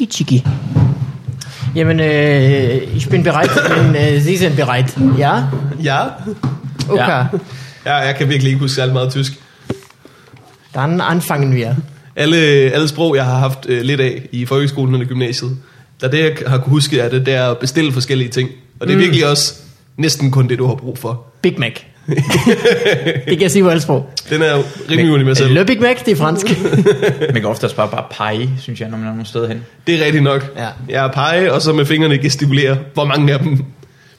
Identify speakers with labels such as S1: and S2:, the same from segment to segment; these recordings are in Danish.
S1: Whisky.
S2: Jamen, äh, ich bin bereit, men äh, Sie sind bereit. Ja?
S3: Ja.
S2: Okay.
S1: Ja.
S3: ja, jeg kan virkelig ikke huske særlig meget tysk.
S2: Dann anfangen wir.
S3: Alle, alle sprog, jeg har haft øh, lidt af i folkeskolen og gymnasiet, der det, jeg har kunne huske, er det der at bestille forskellige ting. Og det er mm. virkelig også næsten kun det, du har brug for.
S2: Big Mac. det kan jeg sige på alle sprog.
S3: Den er jo rimelig
S4: Men-
S3: universel.
S2: Le Big Mac, det er fransk.
S4: Man kan ofte også bare, bare pege, synes jeg, når man er nogle steder hen.
S3: Det er rigtigt nok.
S2: Ja.
S3: Jeg er pege, og så med fingrene gestikulere, hvor mange af dem.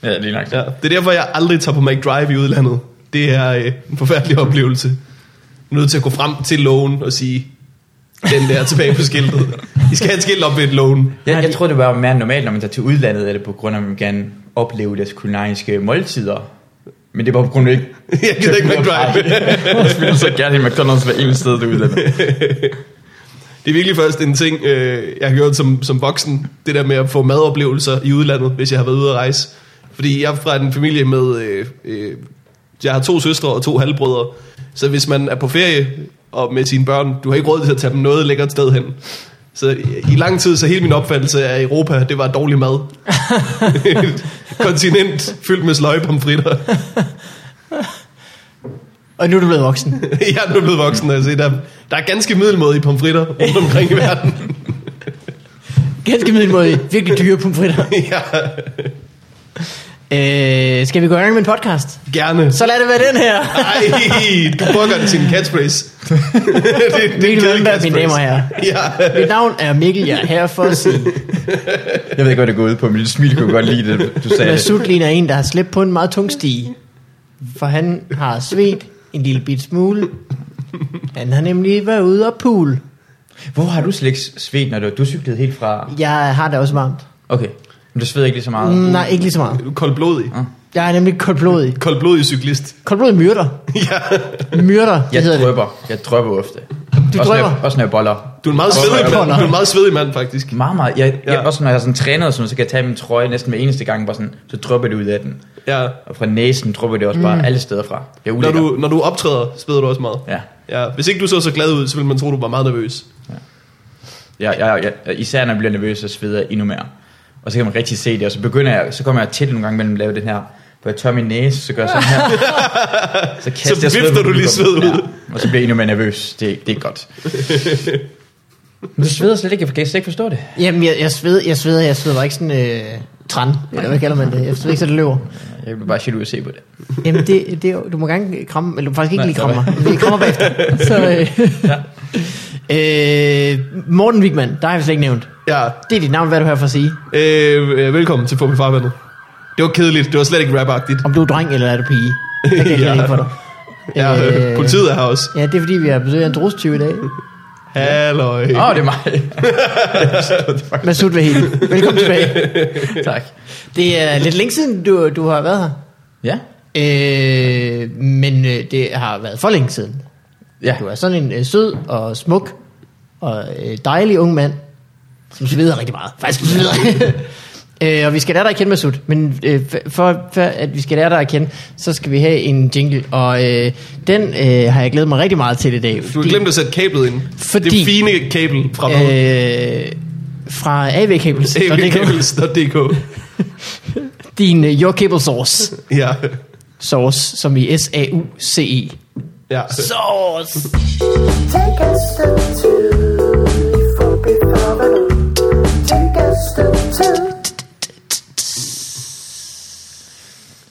S4: Ja, lige nok.
S3: Ja.
S4: Ja.
S3: Det er derfor, jeg aldrig tager på McDrive i udlandet. Det er øh, en forfærdelig oplevelse. Jeg er nødt til at gå frem til lågen og sige, den der er tilbage på skiltet. I skal have et skilt op ved et lågen.
S4: Jeg, jeg tror, det var mere normalt, når man tager til udlandet, er det på grund af, at man gerne opleve deres kulinariske måltider. Men det var på grund af, at ikke...
S3: Jeg gider ikke McDrive.
S4: Jeg ville så gerne i McDonald's hver eneste sted, du er udlandet.
S3: Det er virkelig først en ting, øh, jeg har gjort som, som voksen. Det der med at få madoplevelser i udlandet, hvis jeg har været ude at rejse. Fordi jeg er fra en familie med... Øh, øh, jeg har to søstre og to halvbrødre. Så hvis man er på ferie og med sine børn, du har ikke råd til at tage dem noget lækkert sted hen. Så i- i lang tid, så hele min opfattelse af Europa, det var dårlig mad. Et kontinent fyldt med sløje pomfritter.
S2: Og nu er du blevet voksen.
S3: jeg er nu blevet voksen, og jeg ser, der, der er ganske middelmåde i pomfritter rundt omkring i verden.
S2: Ganske middelmåde. Virkelig dyre pomfritter.
S3: ja,
S2: Øh, skal vi gå i gang med en podcast?
S3: gerne.
S2: Så lad det være den her.
S3: Ej, du bukker det til en catchphrase. det, det, er en
S2: Mikkel
S3: kedelig
S2: Lønberg, mine damer og herrer.
S3: Ja,
S2: Mit navn er Mikkel, jeg er her for at sige,
S4: Jeg ved ikke, hvad det går ud på, men dit smil kunne godt lide det, du sagde.
S2: at
S4: Det.
S2: Sut ligner en, der har slæbt på en meget tung stige. For han har svedt en lille bit smule. Han har nemlig været ude og pool.
S4: Hvor har du slet ikke svedt, når du, du cyklede helt fra...
S2: Jeg har det også varmt.
S4: Okay, men du sveder ikke lige så meget.
S2: Mm, nej, ikke lige så meget.
S3: du er koldblodig.
S2: Jeg er nemlig koldblodig.
S3: Koldblodig cyklist.
S2: Koldblodig myrder.
S3: Ja,
S2: Myrder, det
S4: Jeg
S2: hedder det.
S4: drøber. Jeg drøber ofte.
S2: Du
S4: også Når
S2: drypper?
S4: jeg, også når jeg boller.
S3: du er en meget
S2: Hvorfor
S3: svedig
S2: er
S3: mand.
S2: du-
S3: Du er en meget svedig mand, faktisk.
S4: Meget, meget. Jeg, jeg,
S3: Ja.
S4: Også når jeg har sådan trænet, og sådan, noget, så kan jeg tage min trøje næsten hver eneste gang, bare sådan, så drøber det ud af den.
S3: Ja.
S4: Og fra næsen drøber det også bare alle steder fra. Det er
S3: Når
S4: ulækkert.
S3: du, når du optræder, spæder du også meget.
S4: Ja.
S3: Ja. Hvis ikke du så så glad ud, så ville man tro, du var meget nervøs.
S4: Jeg, jeg, jeg, jeg, især når jeg bliver nervøs, så sveder jeg endnu mere. Og så kan man rigtig se det, og så begynder jeg, så kommer jeg til nogle gange mellem at lave den her, hvor jeg tør min næse, så gør jeg sådan her. Så, kaster
S3: Så
S4: jeg sved på
S3: vifter du lige
S4: publikum.
S3: sved ud.
S4: Ja, og så bliver jeg endnu mere nervøs. Det, det er ikke godt. Men du sveder slet ikke, jeg kan slet ikke forstå det.
S2: Jamen, jeg, jeg sveder, jeg sveder, jeg sveder ikke sådan øh, træn, eller hvad kalder man det? Jeg sveder ikke, så det løber.
S4: Jeg bliver bare jaloux at se på det.
S2: Jamen, det, det, er jo- du må gerne kramme, eller du må faktisk ikke
S4: Nej,
S2: lige
S4: det er
S2: kramme mig. Vi krammer bagefter. Så, øh. ja. øh, Morten Wigman, der har vi slet ikke nævnt.
S3: Ja.
S2: Det er dit navn, hvad er du her for at sige.
S3: Øh, øh, velkommen til Fubi Farvandet. Det var kedeligt. Det var slet ikke rapagtigt.
S2: Om du er dreng, eller er du pige. Det kan jeg ja.
S3: Ja.
S2: ikke for dig.
S3: Ja, øh, politiet er her også.
S2: Ja, det er fordi, vi har besøg af en drostyv i dag.
S3: Halløj.
S4: Åh, oh, det er mig.
S2: Masud Vahil, velkommen tilbage.
S4: tak.
S2: Det er lidt længe siden, du, du har været her.
S4: Ja,
S2: Øh, men øh, det har været for længe siden.
S4: ja.
S2: Du er sådan en øh, sød og smuk og øh, dejlig ung mand, som sveder rigtig meget. Faktisk sveder. øh, og vi skal lære dig at kende, Masud. Men øh, f- for, for at vi skal lære dig at kende, så skal vi have en jingle. Og øh, den øh, har jeg glædet mig rigtig meget til i dag.
S3: Du har glemt at sætte kablet ind.
S2: Fordi-
S3: Det fine kabel fra øh,
S2: øh, fra AV Cables. AV Cables.
S3: avcables.dk.
S2: Din uh, Your Cable Source.
S3: Ja.
S2: Source, som i S-A-U-C-E.
S3: ja.
S2: Source!
S5: Take a step two for phenomenal. Take a step two.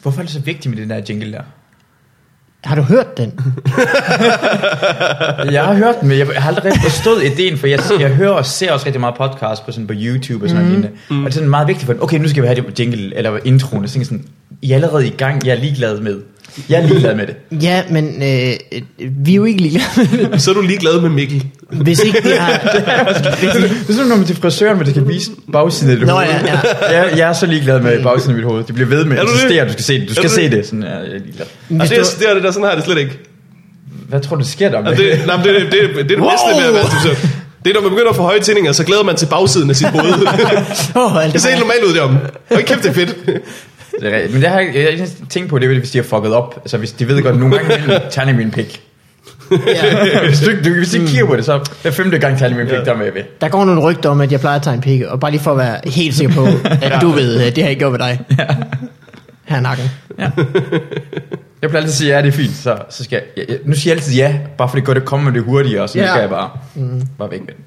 S4: Hvorfor er det så vigtigt med den der jingle der?
S2: Har du hørt den?
S4: Jeg har hørt den, men jeg har aldrig rigtig forstået ideen, for jeg, jeg hører og ser også rigtig meget podcast på, sådan på YouTube og sådan mm. noget. lignende. Og det er sådan meget vigtigt for den. Okay, nu skal vi have det på jingle, eller introen. Og så tænker jeg sådan, I er allerede i gang, jeg er ligeglad med. Jeg er ligeglad med det.
S2: Ja, men øh, øh, vi er jo ikke ligeglade.
S3: Så er du ligeglad med Mikkel.
S2: Hvis ikke vi har...
S4: Det er sådan, når man til frisøren, men det kan vise bagsiden af dit
S2: Nå,
S4: hoved.
S2: ja, ja.
S4: Jeg, jeg, er så ligeglad med bagsiden af mit hoved. Det bliver ved med
S3: Er
S4: at
S3: du det?
S4: insistere, du skal se det.
S3: du
S4: Du skal se
S3: det?
S4: det. Sådan, ja, jeg er ligeglad.
S2: Hvis
S3: Altså,
S2: du,
S3: det, er, det, er, det der, sådan har jeg det slet ikke.
S4: Hvad tror du, der sker der med?
S3: Altså, det, nej, men det, det, det, det er det
S2: Wow!
S3: bedste ved at være frisør. Det er, når man begynder at få høje tændinger, så glæder man til bagsiden af sit hoved.
S2: Åh, alt
S3: Det
S2: det
S3: ser helt
S2: var-
S3: normalt ud derom. Hold kæft, det er fedt.
S4: Det er rigtigt. Men det har jeg, jeg har ikke tænkt på, det er, hvis de har fucket op. Altså, hvis de ved godt, nogle gange imellem, tegner jeg min pik.
S2: Ja.
S4: hvis, du, du, hvis du ikke kigger på det, så er femte gang tager jeg lige min pligt, der er med ved.
S2: Der går nogle rygter om, at jeg plejer at tegne pikke, og bare lige for at være helt sikker på, at du ved, at det har jeg ikke gjort ved dig. Ja. Her nakken.
S4: Jeg plejer altid at sige, ja, det er fint, så, så skal jeg, jeg, jeg, nu siger jeg altid ja, bare fordi det går, det kommer det hurtigere, og så
S2: Ja.
S4: ja. skal jeg bare, mm. bare væk med den.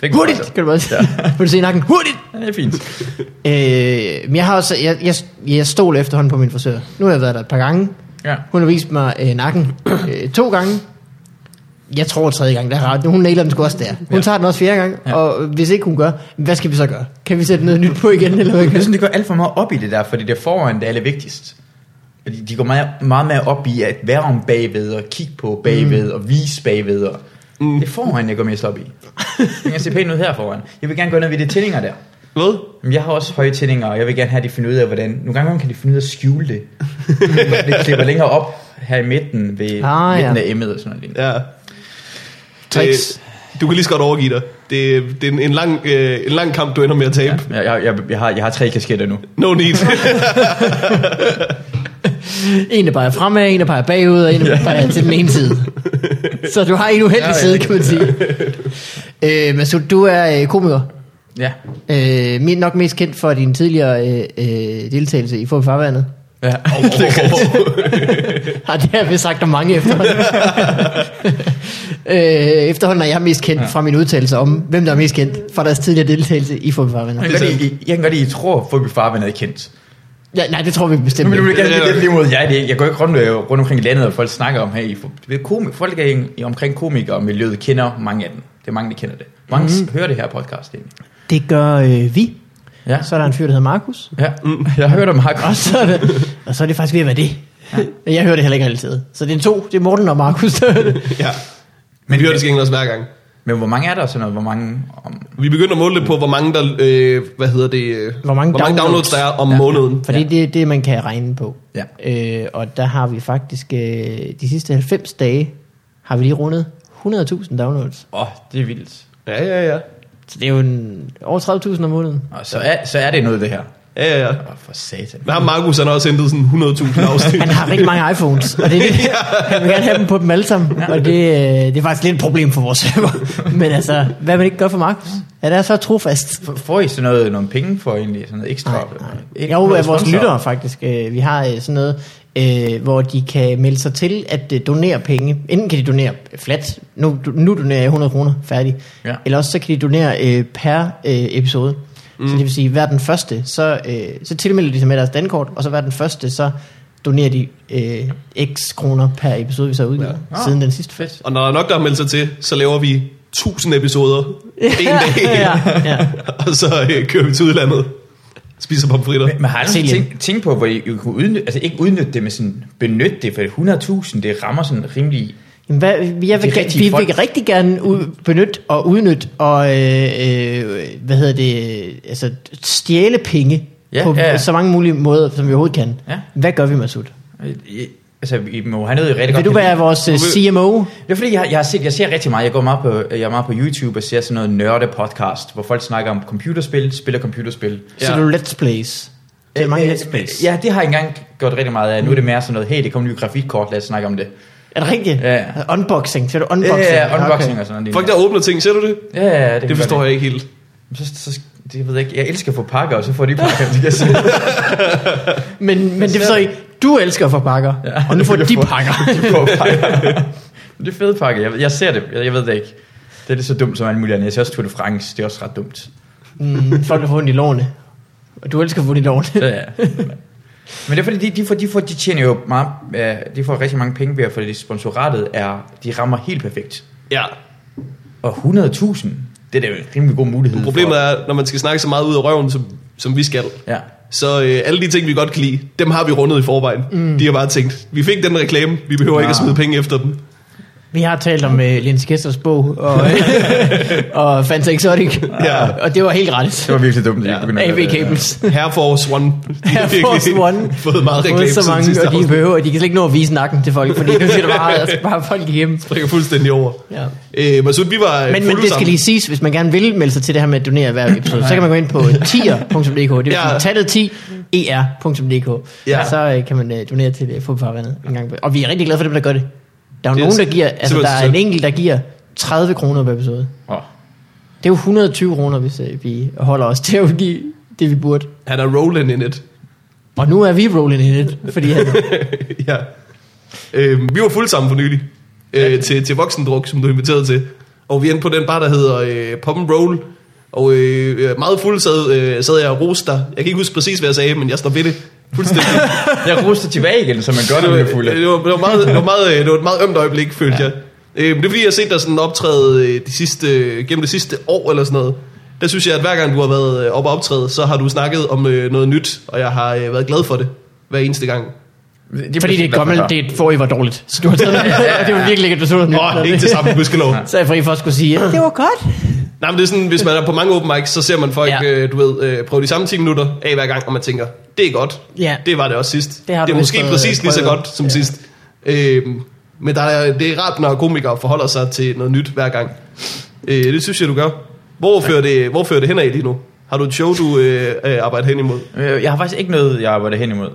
S4: Væk med den,
S2: Hurtigt,
S4: altså.
S2: kan du bare sige. Ja. Vil du se nakken? Hurtigt!
S4: Ja, det er fint.
S2: Øh, men jeg har også, jeg, jeg, jeg stoler efterhånden på min frisør. Nu har jeg været der et par gange.
S4: Ja.
S2: Hun har vist mig øh, nakken øh, to gange. Jeg tror tredje gang, der er ret. Hun nailer den sgu også der. Hun
S4: Ja.
S2: tager den også fjerde gang, ja.
S4: Ja.
S2: og hvis ikke hun gør, hvad skal vi så gøre? Kan vi sætte noget nyt på igen, eller hvad?
S4: Jeg synes, de går alt for meget op i det der, fordi det er foran, det er allervigtigst. Fordi de går meget, meget mere op i at være om bagved, og kigge på bagved, mm. og vise bagved. Og mm. Det er foran, jeg går mest op i. Jeg kan se pænt ud her foran. Jeg vil gerne gå ned ved de tændinger der.
S3: Hvad?
S4: Men jeg har også høje tændinger, og jeg vil gerne have, at de finder ud af, hvordan... Nogle gange kan de finde ud af at skjule det. det klipper længere op her i midten, ved
S2: Ah,
S4: ah, midten
S2: ja.
S4: af emmet og sådan noget. lignende.
S3: Ja.
S2: Tricks.
S3: Det, du kan lige så godt overgive dig. Det, det er en, en, lang, øh, en lang kamp, du ender med at tabe. Ja.
S4: Ja, jeg, jeg, jeg, har, jeg har tre kasketter nu.
S3: No need.
S2: En, der peger fremad, en, der peger bagud, og en, der peger til den ene side. Så du har en uheldig
S4: Ja,
S2: side,
S4: ja.
S2: kan man sige. øh, men så du er øh, komiker.
S4: Ja.
S2: Øh, min nok mest kendt for din tidligere øh, øh, deltagelse i Få Farvandet.
S4: ja.
S2: Har det har vi sagt om mange efterhånden. øh, efterhånden er jeg mest kendt ja. fra min udtalelse om, hvem der er mest kendt for deres tidligere deltagelse i Få Farvandet.
S4: Jeg kan godt lide, I- jeg kan godt lide, I tror, at Fubi Farben er kendt.
S2: Ja, nej, det tror vi
S4: Nu
S2: bestemt
S4: vil
S2: ikke.
S4: jeg gerne lige lidt lige mod jer. Det er- Jeg går ikke rundt, øh, rundt omkring i landet, og folk snakker om, hey, for- ved komik, folk er i- i omkring komikere og miljøet kender mange af dem. Det er mange, der kender det. Mange mm. hører det her podcast egentlig.
S2: Det gør øh, vi.
S4: Ja,
S2: Så er der en fyr, der hedder Markus.
S4: ja. Mm. jeg hører dem har godt.
S2: Og så er det, og så er det faktisk ved at være det. Ja. Jeg hører det heller ikke altid. Så det er to. Det er Morten og Markus, der hører det.
S3: ja. Men
S4: Men,
S3: vi hører det
S4: men,
S3: skal også hver gang.
S4: men, hvor mange er der og sådan noget? Hvor mange? Om,
S3: Vi begynder at måle det på, hvor mange der, øh, hvad hedder det, øh,
S2: Hvor mange
S3: hvor
S2: downloads.
S3: mange downloads der er om ja.
S4: Ja.
S3: måneden.
S2: For det er det, det, man kan regne på.
S4: Ja.
S2: Øh, og der har vi faktisk øh, de sidste 90 dage, har vi lige rundet 100.000 downloads.
S4: åh, det er vildt.
S3: Ja, ja, ja.
S2: Så det er jo en, over 30.000 om måneden.
S4: Og så er, så er det noget, det her.
S3: Ja, ja, ja.
S4: Åh, for satan.
S3: Men ham Markus, han har også hentet sådan 100.000 afsnit.
S2: Han har rigtig mange iPhones, og det er det. Han vil gerne have dem på dem alle sammen. Og det, øh, det er faktisk lidt et problem for vores server. Men altså, hvad man ikke gør for Markus? Han er så trofast.
S4: F- Får I sådan noget, nogle penge for egentlig? Sådan noget ekstra? Ikke
S2: Jo,
S4: noget
S2: af vores
S4: sponsor?
S2: lyttere faktisk. Øh, Vi har øh, sådan noget, øh, hvor de kan melde sig til at øh, donere penge. Enten kan de donere flat, nu, nu donerer jeg 100 kroner, færdig.
S4: Ja.
S2: Eller også så kan de donere øh, per øh, episode. Mm. Så det vil sige, hver den første, så, øh, så tilmelder de sig med deres dankort, og så hver den første, så donerer de øh, x kroner per episode, vi så har udgivet, ja.
S4: Ja.
S2: siden
S4: Ah,
S2: den sidste
S4: fedt.
S3: Og når der er nok, der har meldt sig til, så laver vi 1000 episoder en dag.
S2: ja, ja.
S3: og så øh, kører vi til udlandet. Spiser pomfritter.
S4: Men, men har du
S2: Brasilien.
S4: tænkt, tænkt på, hvor I, I kunne udnytte, altså ikke udnytte det, men sådan benytte det, for 100.000, det rammer sådan rimelig...
S2: Jamen, Hvad, jeg vil,
S4: De
S2: gerne,
S4: rigtige
S2: vi
S4: folk.
S2: vil rigtig gerne ud, benytte og udnytte og øh, øh, hvad hedder det, øh, altså stjæle penge ja,
S4: Ja,
S2: på
S4: ja,
S2: ja,
S4: ja.
S2: så mange mulige måder, som vi overhovedet kan.
S4: Ja.
S2: Hvad gør vi, Masud?
S4: I- I- Altså, I må have noget, I rigtig
S2: Vil
S4: godt
S2: du
S4: kan
S2: være
S4: lide.
S2: vores øh,
S3: Du
S2: CMO?
S4: Det er fordi, jeg, jeg, har set, jeg ser rigtig meget, jeg går meget på, jeg er meget på YouTube og ser sådan noget nørde podcast, hvor folk snakker om computerspil, spiller computerspil.
S2: Ja. Så
S3: Ja.
S2: du let's plays. Det er mange
S4: Øh, øh,
S2: let's plays.
S4: Ja, det har jeg engang gjort rigtig meget af. Nu er det mere sådan noget, hey, det kom en ny grafikkort, lad os snakke om det.
S2: Er det rigtigt?
S4: Ja, ja.
S2: Unboxing. Så er du
S4: Ja,
S2: unboxing?
S4: ja, unboxing
S2: Okay.
S4: og sådan noget.
S3: Folk, der åbner ting, ser du det?
S4: Ja, ja, det,
S3: Det forstår jeg ikke helt.
S4: Så, så, det ved jeg ikke. Jeg elsker at få pakker, og så får de pakker. Det kan jeg se.
S2: Men, men det er så ikke, du elsker at få pakker, ja, og nu får de pakker.
S4: De får pakker. det er fede pakker. Jeg, jeg ser det. Jeg, jeg ved det ikke. Det er lige så dumt som alt muligt andet. Jeg ser også Tour de France. Det er også ret dumt.
S2: Mm, folk der får ondt i lårene. Og du elsker at få ondt i lårene.
S4: Ja, ja. Men det er fordi, de, de, får, de, får, de tjener jo meget, øh, de får rigtig mange penge ved, at- fordi sponsoratet er, de rammer helt perfekt.
S3: Ja.
S4: Og 100.000, det er da en rimelig god mulighed
S3: Problemet
S4: for.
S3: er, når man skal snakke så meget ud af røven, som, som vi skal,
S4: Ja.
S3: så øh, alle de ting, vi godt kan lide, dem har vi rundet i forvejen. Mm. De har bare tænkt, vi fik den reklame, vi behøver ja. ikke at
S4: Ja.
S3: smide penge efter dem.
S2: Vi har talt om uh, Linds Kessers bog og, og Fanta Exotic,
S3: Ja. øh,
S2: og det var helt gratis.
S4: Det var virkelig dumt, at
S3: Ja.
S4: de begyndte at
S2: AV
S4: gøre det.
S2: Cables.
S3: Air Force One. De har
S2: Air
S3: virkelig
S2: Force One.
S3: Fået
S2: Fået
S3: meget reklame
S2: så
S3: siden
S2: mange,
S3: sidste
S2: og de
S3: afsnit.
S2: behøver, de kan slet ikke nå at vise nakken til folk, fordi nu skal der bare, altså, bare folk igennem.
S3: Drikker fuldstændig over.
S2: Ja.
S3: Øh, Masud, vi var
S2: Men,
S3: øh,
S2: men
S3: fulde
S2: det skal
S3: sammen.
S2: lige siges, hvis man gerne vil melde sig til det her med at donere hver episode, så kan man gå ind på tier.dk, det vil
S3: Ja.
S2: sige tallet E 10 er.dk,
S3: Ja.
S2: øh, så øh, kan man øh, donere til uh, Fodboldfarvandet en gang. Og vi er rigtig glade for dem, der gør det. Der er jo
S3: Det er
S2: nogen, der
S3: s-
S2: giver, altså
S3: simpelthen
S2: der er
S3: så-
S2: en enkelt, der giver 30 kroner per episode.
S4: Oh.
S2: Det er jo 120 kroner, hvis øh, vi holder os til at give det, vi burde.
S3: Han er rolling in it.
S2: Og nu er vi rolling in it, fordi han,
S3: ja. Øh, vi var fuldt sammen for nylig øh, til, til voksendruk, som du er inviteret til. Og vi endte på den bar, der hedder øh, Pop and Roll. Og øh, meget fuld sad, øh, sad jeg og roste dig. Jeg kan ikke huske præcis, hvad jeg sagde, men jeg står ved det. Fuldstændig.
S4: Jeg ruster tilbage igen, som man gør,
S3: det,
S4: når man er
S3: var,
S4: fuld.
S3: det, var, det, var meget, det, var meget, øh, det var et meget ømt øjeblik, følte ja. jeg. Øh, men det er fordi, jeg har set dig sådan optræde øh, de sidste, øh, gennem det sidste år eller sådan noget. Der synes jeg, at hver gang du har været øh, oppe og optræde, så har du snakket om øh, noget nyt, og jeg har øh, været glad for det hver eneste gang.
S4: er
S2: fordi det er
S4: præcis,
S2: et gammelt,
S4: hvad man
S2: det er et forrige var dårligt. Så du har taget noget, det var virkelig ikke, at du så noget nyt.
S3: Åh, ikke til samme, gudskelov.
S2: Så er jeg fri for at skulle sige, "Ja, det var godt.
S3: Nej, men det er sådan, hvis man er på mange open mics, så ser man folk, ja.
S2: Ja.
S3: øh, du ved, øh, prøve de samme 10 minutter af hver gang, og man tænker, det er godt.
S2: Ja.
S3: Det var det også sidst.
S2: Det har
S3: det er
S2: du
S3: måske
S2: vist fået,
S3: præcis
S2: øh,
S3: lige så
S2: prøvet.
S3: godt som ja. sidst. Øh, men der er, det er rart, når komikere forholder sig til noget nyt hver gang. Øh, det synes jeg, du gør. Hvor fører, det, hvor fører det henad lige nu? Har du et show, du øh, øh, arbejder hen imod?
S4: Øh, Jeg har faktisk ikke noget, jeg arbejder hen imod.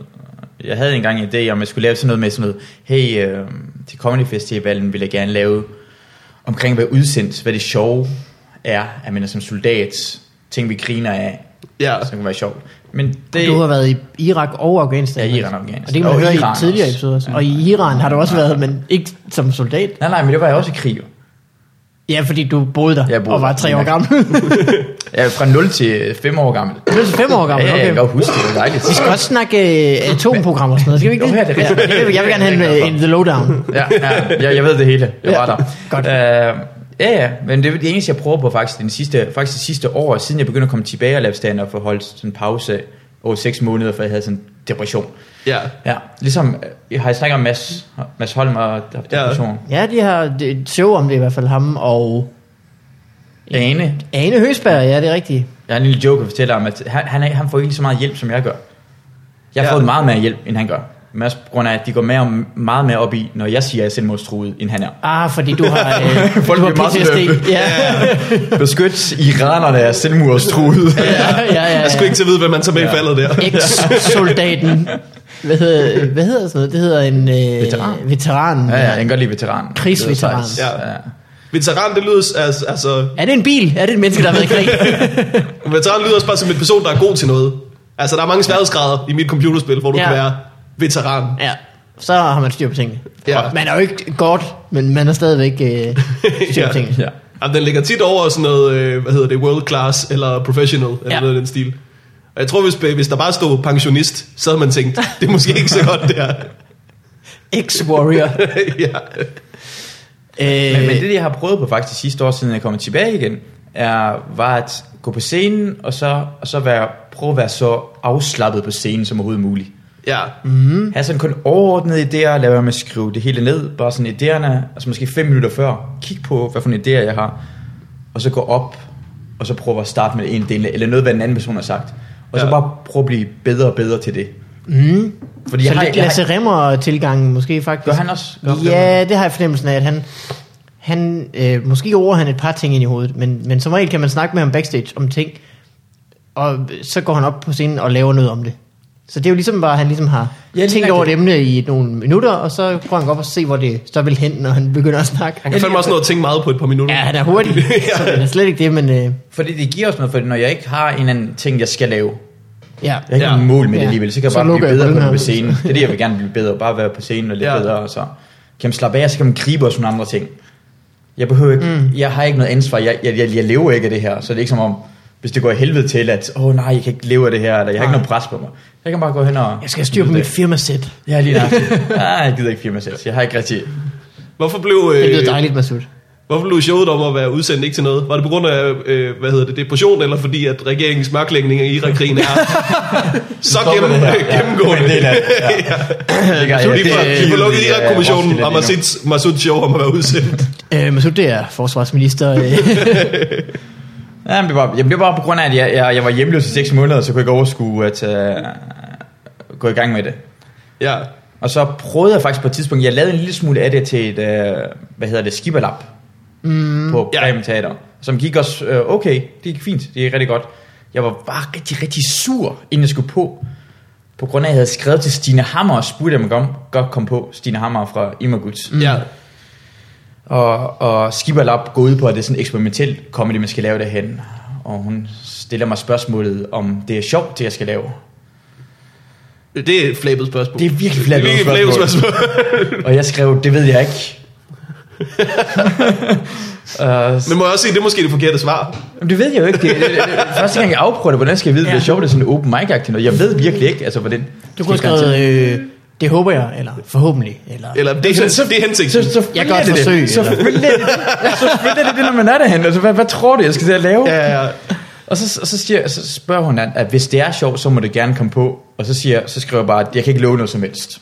S4: Jeg havde engang en idé om, at jeg skulle lave sådan noget med sådan noget, hey, øh, til Comedy Festivalen vil jeg gerne lave omkring at være udsendt, hvad det sjove er, at man er som soldat, ting vi griner af,
S3: Ja.
S4: som kan være sjovt. Men det,
S2: Du har været i Irak og Afghanistan.
S4: Ja, Iran og
S2: altså.
S4: Afghanistan.
S2: Og det kan man
S4: Og
S2: høre i
S4: Iran
S2: tidligere
S4: også.
S2: episoder. også.
S4: Ja.
S2: Og i Iran har du også været, men ikke som soldat.
S4: nej, nej, men det var jeg også i krig. jo.
S2: Ja, fordi du boede der
S4: Jeg boede
S2: og var
S4: der.
S2: tre år
S4: Ja.
S2: gammel.
S4: Jeg er fra 0 til 5 år gammel.
S2: Du er så fem år gammel,
S4: Ja, jeg
S2: okay.
S4: kan godt huske det, det var dejligt.
S2: Vi skal også snakke øh, atomprogrammer og sådan noget. Skal vi ikke
S4: Jo, ja, det er rigtigt.
S2: Ja, jeg vil- Jeg vil gerne have en, øh, en The Lowdown.
S4: ja, ja jeg, jeg ved det hele. Jeg var
S2: Ja,
S4: der.
S2: godt.
S4: Øh, ja, ja, men det er det eneste, jeg prøver på faktisk den sidste, faktisk det sidste år, siden jeg begyndte at komme tilbage og lave stand-up og holde sådan en pause over 6 måneder, for jeg havde sådan en depression.
S3: Ja.
S4: Ja, ligesom øh, jeg har snakket om Mads, Mads Holm og der- depression.
S2: Ja, de har det er et show om det i hvert fald, ham og
S4: Ja. Ane,
S2: Ane Høsberg. Ja, det er rigtigt.
S4: jeg har en lille joke, jeg fortæller om, at han, han, er- han får ikke lige så meget hjælp, som jeg gør. Jeg har
S3: Ja.
S4: ja. fået meget mere hjælp, end han gør. Men også på grund af, at de går mere, meget mere op i, når jeg siger, at jeg er selvmordstruet, end han er.
S2: Ah, fordi du har, øh,
S4: Folk
S2: du har
S4: bliver meget sådan,
S2: PTSD. Ja,
S4: Beskyt iranerne er selvmordstruet.
S2: ja, ja. ja,
S3: Jeg skulle ikke til at vide, hvad man tager med ja. i faldet der.
S2: Ex-soldaten. Hvad hedder, hvad hedder sådan noget? Det hedder en... Øh,
S4: Veteran.
S2: veteran.
S4: Ja, ja, jeg kan godt lide veteran.
S2: Krigsveteran.
S4: Det er sejt.
S3: Ja. Veteran, det lyder, altså, altså,
S2: Er det en bil? Er det et menneske, der har været i krig?
S3: Veteran lyder også bare som en person, der er god til noget. Altså, der er mange sværhedsgrader i mit computerspil, hvor du
S2: Ja.
S3: kan være veteran.
S2: ja. Så har man styr på tingene.
S3: Ja.
S2: Ja. Man er jo ikke godt, men man er stadigvæk øh, styr på
S3: Ja.
S2: tingene.
S4: Ja.
S3: Jamen, den ligger tit over sådan noget, øh, hvad hedder det, world class eller professional, eller
S2: Ja.
S3: noget i den stil. Og jeg tror, hvis, øh, hvis der bare stod pensionist, så havde man tænkt, det er måske ikke så godt, det her.
S2: Ex-warrior.
S3: ja.
S2: Øh,
S4: Men, men det, jeg har prøvet på faktisk sidste år, siden jeg kom tilbage igen, er, var at gå på scenen, og så, og så være, prøve at være så afslappet på scenen som overhovedet muligt.
S3: Ja.
S4: Mm. Have sådan kun overordnede idéer, lade være med at skrive det hele ned, bare sådan idéerne, altså måske fem minutter før, kig på, hvad for nogle idéer jeg har, og så gå op, og så prøve at starte med en del, eller noget, hvad den anden person har sagt, og så
S3: Ja.
S4: bare prøve at blive bedre og bedre til det. Mm. Fordi
S2: så
S4: jeg har,
S2: lidt
S4: jeg
S2: Lasse
S4: har,
S2: Remmer-tilgangen måske faktisk.
S4: gør han også? Gør han
S2: Ja, det har jeg fornemmelsen af, at han, han øh, måske over han et par ting ind i hovedet, men, men som regel kan man snakke med ham backstage om ting, og så går han op på scenen og laver noget om det. Så det er jo ligesom bare, at han ligesom har
S4: Ja,
S2: ja,
S4: lige
S2: tænkt over et
S4: rigtigt.
S2: emne i nogle minutter, og så prøver han godt at se, hvor det så vil hen, når han begynder at snakke. Han
S3: Jeg
S2: kan,
S3: fandt mig også noget at tænke meget på et par minutter.
S2: ja, han er hurtig, så det er slet ikke det, men øh,
S4: Fordi det giver os noget, for når jeg ikke har en eller anden ting, jeg skal lave,
S2: ja.
S4: jeg har ikke
S3: Ja.
S4: ja. nogen mål med
S2: Ja.
S4: det alligevel, så kan jeg
S2: Så
S4: bare blive
S2: lukker jeg
S4: bedre
S2: på den
S4: på det på
S2: her.
S4: scenen. Det er det, jeg vil gerne blive bedre, bare være på scenen og lidt
S3: Ja.
S4: ja. bedre, og så kan man slappe af, og så kan man gribe os nogle andre ting. Jeg behøver ikke, mm. jeg har ikke noget ansvar, jeg, jeg, jeg, jeg lever ikke af det her, så det er ikke som om, hvis det går i helvede til, at åh oh, nej, jeg kan ikke leve af det her, eller jeg har ikke noget pres på mig. Jeg kan bare gå hen og...
S2: Jeg skal styre på mit firmasæt.
S4: Ja, lige nøjagtigt. Nej, jeg gider ikke firma selv, jeg har ikke rigtig...
S3: Hvorfor blev,
S2: Det lyder
S3: øh,
S2: dejligt, Masud.
S3: hvorfor blev showet om at være udsendt ikke til noget? Var det på grund af, øh, hvad hedder det, depression, eller fordi, at regeringens mørklægning af Irak-krigen er så gennem,
S4: det her. Ja,
S3: gennemgående?
S4: men det er da- ja. Det gør jeg.
S3: De får,
S4: Det-
S3: de får lukket
S4: det er
S3: Irak-kommissionen
S4: Roskilde
S3: og
S4: lige nu.
S3: Masud- Masud Show om at være udsendt.
S2: Øh, Masud, det er forsvarsminister. Øh.
S4: Ja, men det var, jamen, det var bare på grund af, at jeg, jeg, jeg var hjemløs i 6 måneder, så kunne jeg ikke overskue at øh, gå i gang med det.
S3: Ja.
S4: Og så prøvede jeg faktisk på et tidspunkt, jeg lavede en lille smule af det til et, øh, hvad hedder det, skiberlap mm. på
S3: Ja.
S4: Bremen Teater, som gik også, øh, okay, det gik fint, det gik rigtig godt. Jeg var bare rigtig, rigtig sur, inden jeg skulle på, på grund af, at jeg havde skrevet til Stine Hammer og spurgte, om jeg godt- godt kom på, Stine Hammer fra Imaguds.
S3: Ja.
S4: Og, og Skipper Lab går ud på, at det er sådan eksperimentel comedy, man skal lave derhen. Og hun stiller mig spørgsmålet, om det er sjovt, det jeg skal lave.
S3: Det er et flabet spørgsmål.
S4: Det er virkelig
S3: det er
S4: flabet
S3: virkelig et flabet
S4: spørgsmål.
S3: spørgsmål.
S4: Og jeg skrev, det ved jeg ikke. uh,
S3: Men må jeg også sige, det er måske det forkerte svar.
S4: Jamen, det ved jeg jo ikke. Det, det, det, det, første gang jeg afprøver det, hvordan skal jeg vide, ja. det er sjovt, det er sådan en open mic-agtig noget. Jeg ved virkelig ikke, altså hvordan...
S2: Du kunne
S4: skal jeg
S2: have skrevet, øh, det håber jeg, eller forhåndelig, eller...
S3: Eller det, er-
S4: så-
S3: det er hensigten.
S4: garantere. Så, så
S2: øh, Jeg gør et forsøg,
S4: Det.
S2: eller-
S4: Så selvfølgelig er det- selvfølgelig er det det, når man er derhen. Altså, hvad, hvad tror du, jeg skal til at lave?
S3: Ja, ja.
S4: Og så, så, siger, så spørger hun, at, at hvis det er sjovt, så må det gerne komme på. Og så, siger, så skriver jeg bare, at jeg kan ikke love noget som helst.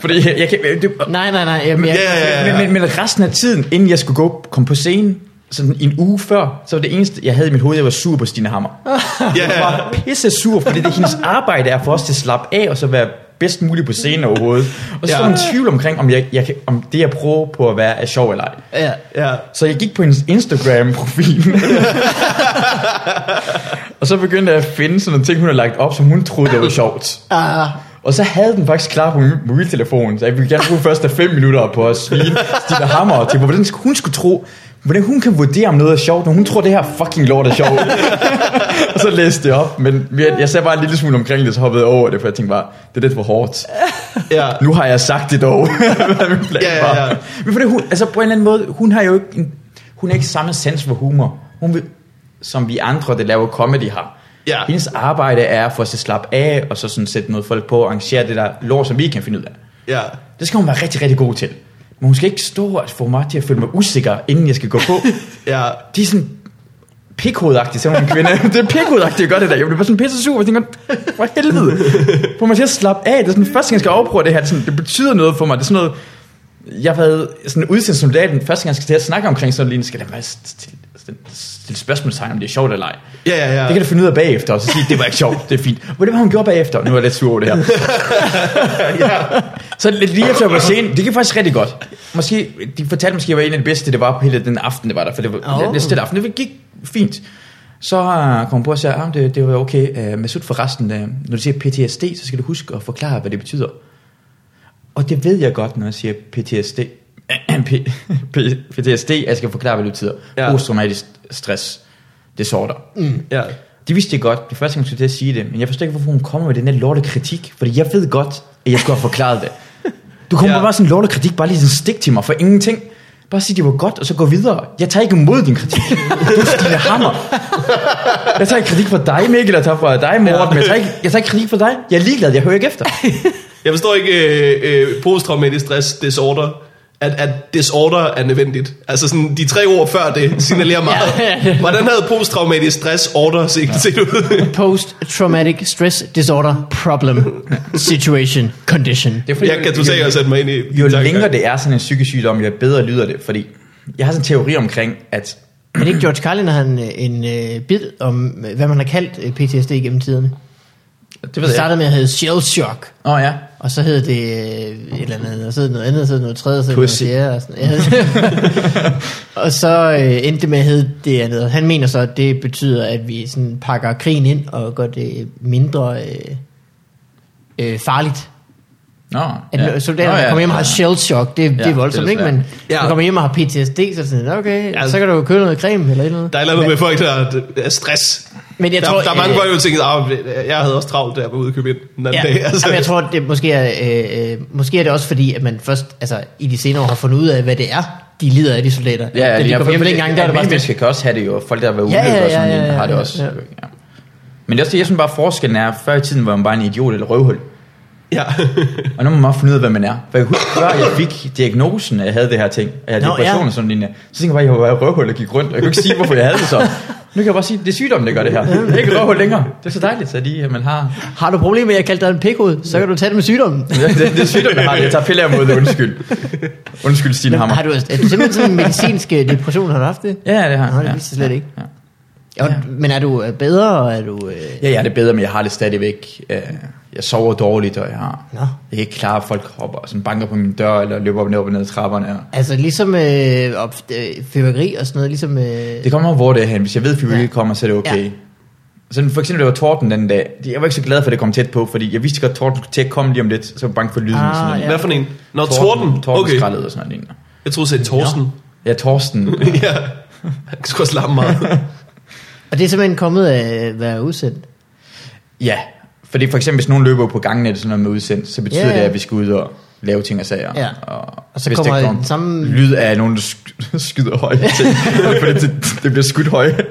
S4: Fordi jeg, jeg kan, det,
S2: Nej, nej, nej. Jamen, jeg,
S3: Ja, ja, ja.
S4: men, men, men resten af tiden, inden jeg skulle gå, komme på scenen, sådan en uge før, så var det eneste, jeg havde i mit hoved, jeg var sur på Stine Hammer.
S3: Ja,
S4: Jeg var pisse sur, fordi det er hendes arbejde er for os til at slappe af, og så være bedst muligt på scenen overhovedet. Og så
S3: Ja.
S4: var hun i tvivl omkring, om, jeg, jeg kan, om det, jeg prøver på at være, er sjov eller ej.
S2: ja.
S3: ja.
S4: Så jeg gik på hendes Instagram-profil. og så begyndte jeg at finde sådan nogle ting, hun har lagt op, som hun troede, det var sjovt.
S2: Ah,
S4: Og så havde den faktisk klar på min mobiltelefon, så jeg ville gerne bruge første 5 minutter på at svine Stine Hammer til, hvordan hun skulle tro, hvordan hun kan vurdere, om noget er sjovt, når hun tror, det her fucking lort er sjovt. og så læste jeg op, men jeg, jeg sagde bare en lille smule omkring det, så hoppede jeg over det, for jeg tænkte bare, det er lidt for hårdt.
S3: ja.
S4: Nu har jeg sagt det dog, hvad min plan
S3: Ja, ja, ja.
S4: var. Men fordi hun, altså på en eller anden måde, hun har jo ikke, en, hun har ikke samme sans for humor, hun vil, som vi andre, der laver comedy har.
S3: Ja.
S4: Hendes arbejde er for at så slappe af, og så sådan sætte noget folk på og arrangere det der lort, som vi ikke kan finde ud af.
S3: ja.
S4: Det skal hun være rigtig, rigtig god til. Men hun skal ikke stå og få mig til at føle mig usikker, inden jeg skal gå på.
S3: Ja.
S4: De er sådan pikhovedagtige, selvom hun er en kvinde. det er pikhovedagtigt, jeg gør det der. Jeg bliver bare sådan pisse sur, og tænker, for helvede. Får mig til at slappe af. Det er sådan, første gang jeg skal afprøve det her. Det, er sådan, det betyder noget for mig. Det er sådan noget, jeg har været sådan udsendt soldaten, første gang jeg skal til at snakke omkring sådan lige, skal jeg bare stille, stille, stille spørgsmålstegn, om det er sjovt eller ej.
S3: Ja, ja, ja.
S4: Det kan du finde ud af bagefter, og så sige, det var ikke sjovt, det er fint. Hvor det var, hun gjorde bagefter? Nu er jeg lidt sur over det her.
S3: ja.
S4: Så lidt lige efter jeg var scenen, det gik faktisk rigtig godt. Måske, de fortalte måske, at jeg var en af de bedste, det var på hele den aften, det var der, for det var
S2: Åh.
S4: oh. næste aften. Det gik fint. Så øh, kom hun på og sagde, at det, det var okay. Uh, Masud for resten, uh, når du siger PTSD, så skal du huske at forklare, hvad det betyder. Og det ved jeg godt, når jeg siger PTSD. P- P- PTSD, jeg skal forklare, hvad det betyder.
S3: Ja.
S4: Ja. Posttraumatisk stress disorder. Mm.
S3: ja.
S4: De vidste det godt, det første gang, jeg skulle til at sige det, men jeg forstår ikke, hvorfor hun kommer med den her lorte kritik, fordi jeg ved godt, at jeg skulle have forklaret det. Du kommer
S3: Ja.
S4: ja. bare med sådan en lorte kritik, bare lige sådan stik til mig for ingenting. Bare sig, det var godt, og så gå videre. Jeg tager ikke imod din kritik. Du er Stine Hammer. Jeg tager ikke kritik fra dig, Mikkel, jeg tager fra dig, Morten, men jeg tager, ikke, jeg tager ikke kritik fra dig. Jeg er ligeglad, jeg hører ikke efter.
S3: Jeg forstår ikke øh, øh, posttraumatisk stress disorder, at, at disorder er nødvendigt. Altså sådan, de tre ord før det signalerer meget. Hvordan havde posttraumatisk stress order set, set ud?
S2: Post-traumatic stress disorder problem situation condition.
S4: Det er fordi,
S3: jeg kan totalt også sætte mig ind i
S4: Jo
S3: tanker.
S4: længere det er sådan en psykisk sygdom, jo bedre lyder det, fordi jeg har sådan en teori omkring, at
S2: Er det ikke George Carlin, der har en, øh, en øh, bid om, øh, hvad man har kaldt øh, PTSD gennem tiderne?
S4: det ved
S2: Det
S4: jeg ikke.
S2: startede med at hedde shell shock,
S4: Åh oh, ja.
S2: og så hed det øh, et eller andet, og så hed det noget andet, og så hed det noget tredje, og så hed det noget
S4: Pussy.
S2: fjerde. Og, sådan. Ja. og så øh, endte det med at hedde det andet. Han mener så, at det betyder, at vi sådan pakker krigen ind og gør det mindre øh, øh, farligt.
S4: Nå,
S2: At ja. soldaterne,
S4: Nå,
S2: der kommer hjem og har shell shock, det, ja, det er voldsomt,
S4: det er
S2: ikke? Men
S3: Ja.
S2: ja. du kommer hjem og har PTSD, så er det sådan, okay,
S3: Ja.
S2: ja. så kan du jo købe noget creme eller et eller andet.
S3: Der er et eller andet med folk, der er stress.
S2: Men jeg
S3: der,
S2: tror,
S3: der er mange
S2: øh,
S3: folk, der tænker, at jeg havde også travlt, da jeg var ude og købe ind den anden
S2: Ja,
S3: dag.
S2: altså. Jamen, jeg tror, det måske er, øh, øh, måske er det også fordi, at man først altså, i de senere år har fundet ud af, hvad det er, de lider af, de soldater.
S4: Ja, ja,
S2: da de
S4: jeg
S2: kom hjem dengang, der er det bare sådan,
S4: mennesker kan også have det jo, og folk der har været
S2: Ja,
S4: uheldige
S2: ja,
S4: og sådan
S2: ja,
S4: ja,
S2: ja,
S4: har det
S2: ja,
S4: også.
S2: ja.
S4: Ja. Men det er også det, jeg synes bare forskellen er, før i tiden var man bare en idiot eller røvhul,
S3: Ja.
S4: og nu må man bare finde ud af, hvad man er. For jeg kan huske, før jeg fik diagnosen, at jeg havde det her ting, at jeg havde
S2: Nå,
S4: depression
S2: ja.
S4: og sådan lignende, så tænkte jeg bare, at jeg var bare røvhul og gik rundt, og jeg kunne ikke sige, hvorfor jeg havde det så. Nu kan jeg bare sige, at det er sygdommen, der gør det her. Det er ikke røvhul længere. Det er så dejligt, at, de, at man har...
S2: har du problemer med, at jeg kaldte dig en pikhoved, så kan du tage det med sygdommen.
S4: Ja, Det, det er sygdommen, jeg har. det. Jeg tager piller imod det, undskyld. Undskyld, Stine Hammer.
S2: Har du, er du simpelthen sådan en medicinsk øh, depression, har du haft det?
S4: Ja, det har
S2: Nå, det
S4: ja.
S2: vidste jeg slet ikke.
S4: Ja.
S2: Ja.
S4: Ja.
S2: Men er du øh, bedre, og er du... Øh,
S4: Ja, jeg har det bedre, men jeg har det stadigvæk. Øh, Jeg sover dårligt, og jeg, har,
S2: Nå.
S4: jeg kan ikke klare, at folk hopper og sådan banker på min dør, eller løber op og ned, op og ned ad trapperne. og-
S2: altså ligesom øh, op, øh, fyrværkeri og sådan noget, ligesom... Øh,
S4: Det kommer an på, hvor det er hen. Hvis jeg ved, at fyrværkeri
S2: Ja.
S4: ja. kommer, så er det okay.
S2: Ja.
S4: Ja. Sådan for eksempel, det var Torten den dag. Jeg var ikke så glad for, at det kom tæt på, fordi jeg vidste godt, at Torten skulle til at komme lige om lidt, så var jeg bange for lyden. og
S2: Ah,
S4: sådan noget.
S2: ja.
S3: Hvad for en? Nå, torden.
S4: Torden
S3: Okay.
S4: skraldede og sådan noget. lignende.
S3: Jeg troede, det Torsten.
S4: Ja, Torsten.
S3: Ja. Han skulle også larme meget.
S2: Og det er simpelthen kommet af øh, at være udsendt.
S4: Ja, fordi for eksempel hvis nogen løber på gangen eller sådan noget med udsendt, så betyder
S2: Ja, ja.
S4: det, at vi skal ud og lave ting og sager.
S2: Ja.
S4: Og,
S2: Og så
S4: hvis
S2: kommer
S4: der
S2: den samme-
S4: Lyd af nogen, der sk- skyder højt. til, fordi det, det, bliver skudt højt.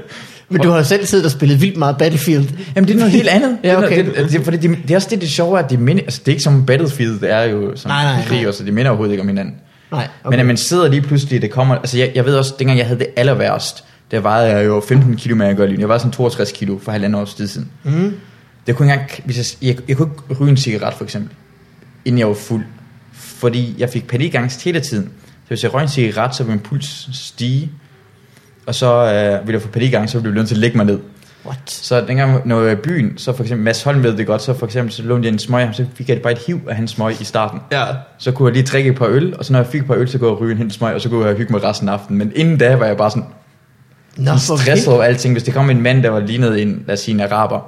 S2: Men du har jo selv siddet og spillet vildt meget Battlefield.
S4: Jamen det er noget helt andet.
S2: Ja, okay.
S4: det, er noget- det, det, fordi det, det, er også det, det sjove, er, at det, minder, altså, det er ikke som Battlefield, det er jo som
S2: Nej, nej, nej.
S4: krig, så det minder overhovedet ikke om hinanden.
S2: Nej,
S4: Okay. Men at man sidder lige pludselig, det kommer... Altså jeg, jeg ved også, dengang jeg havde det aller værst, der vejede jeg jo 15 kilo mere, end jeg gør lige nu. Jeg var sådan 62 kilo for halvandet års tid siden.
S2: Mm.
S4: Jeg kunne ikke engang, hvis jeg, jeg, jeg kunne ikke ryge en cigaret for eksempel, inden jeg var fuld. Fordi jeg fik panikangst hele tiden. Så hvis jeg røg en cigaret, så ville min puls stige. Og så øh, ville jeg få panikangst, så ville jeg blive nødt til at lægge mig ned.
S2: What?
S4: Så dengang, når jeg var i byen, så for eksempel, Mads Holm ved det godt, så for eksempel, så lånte jeg en smøg, af ham, så fik jeg bare et hiv af hans smøg i starten.
S3: Ja.
S4: Så kunne jeg lige drikke et par øl, og så når jeg fik et par øl, så kunne jeg ryge en hel smøg, og så kunne jeg hygge mig resten af aftenen. Men inden da var jeg bare sådan,
S2: Nå,
S4: sådan stresset over alting. Hvis det kom en mand, der var lignet en, lad os sige, en araber.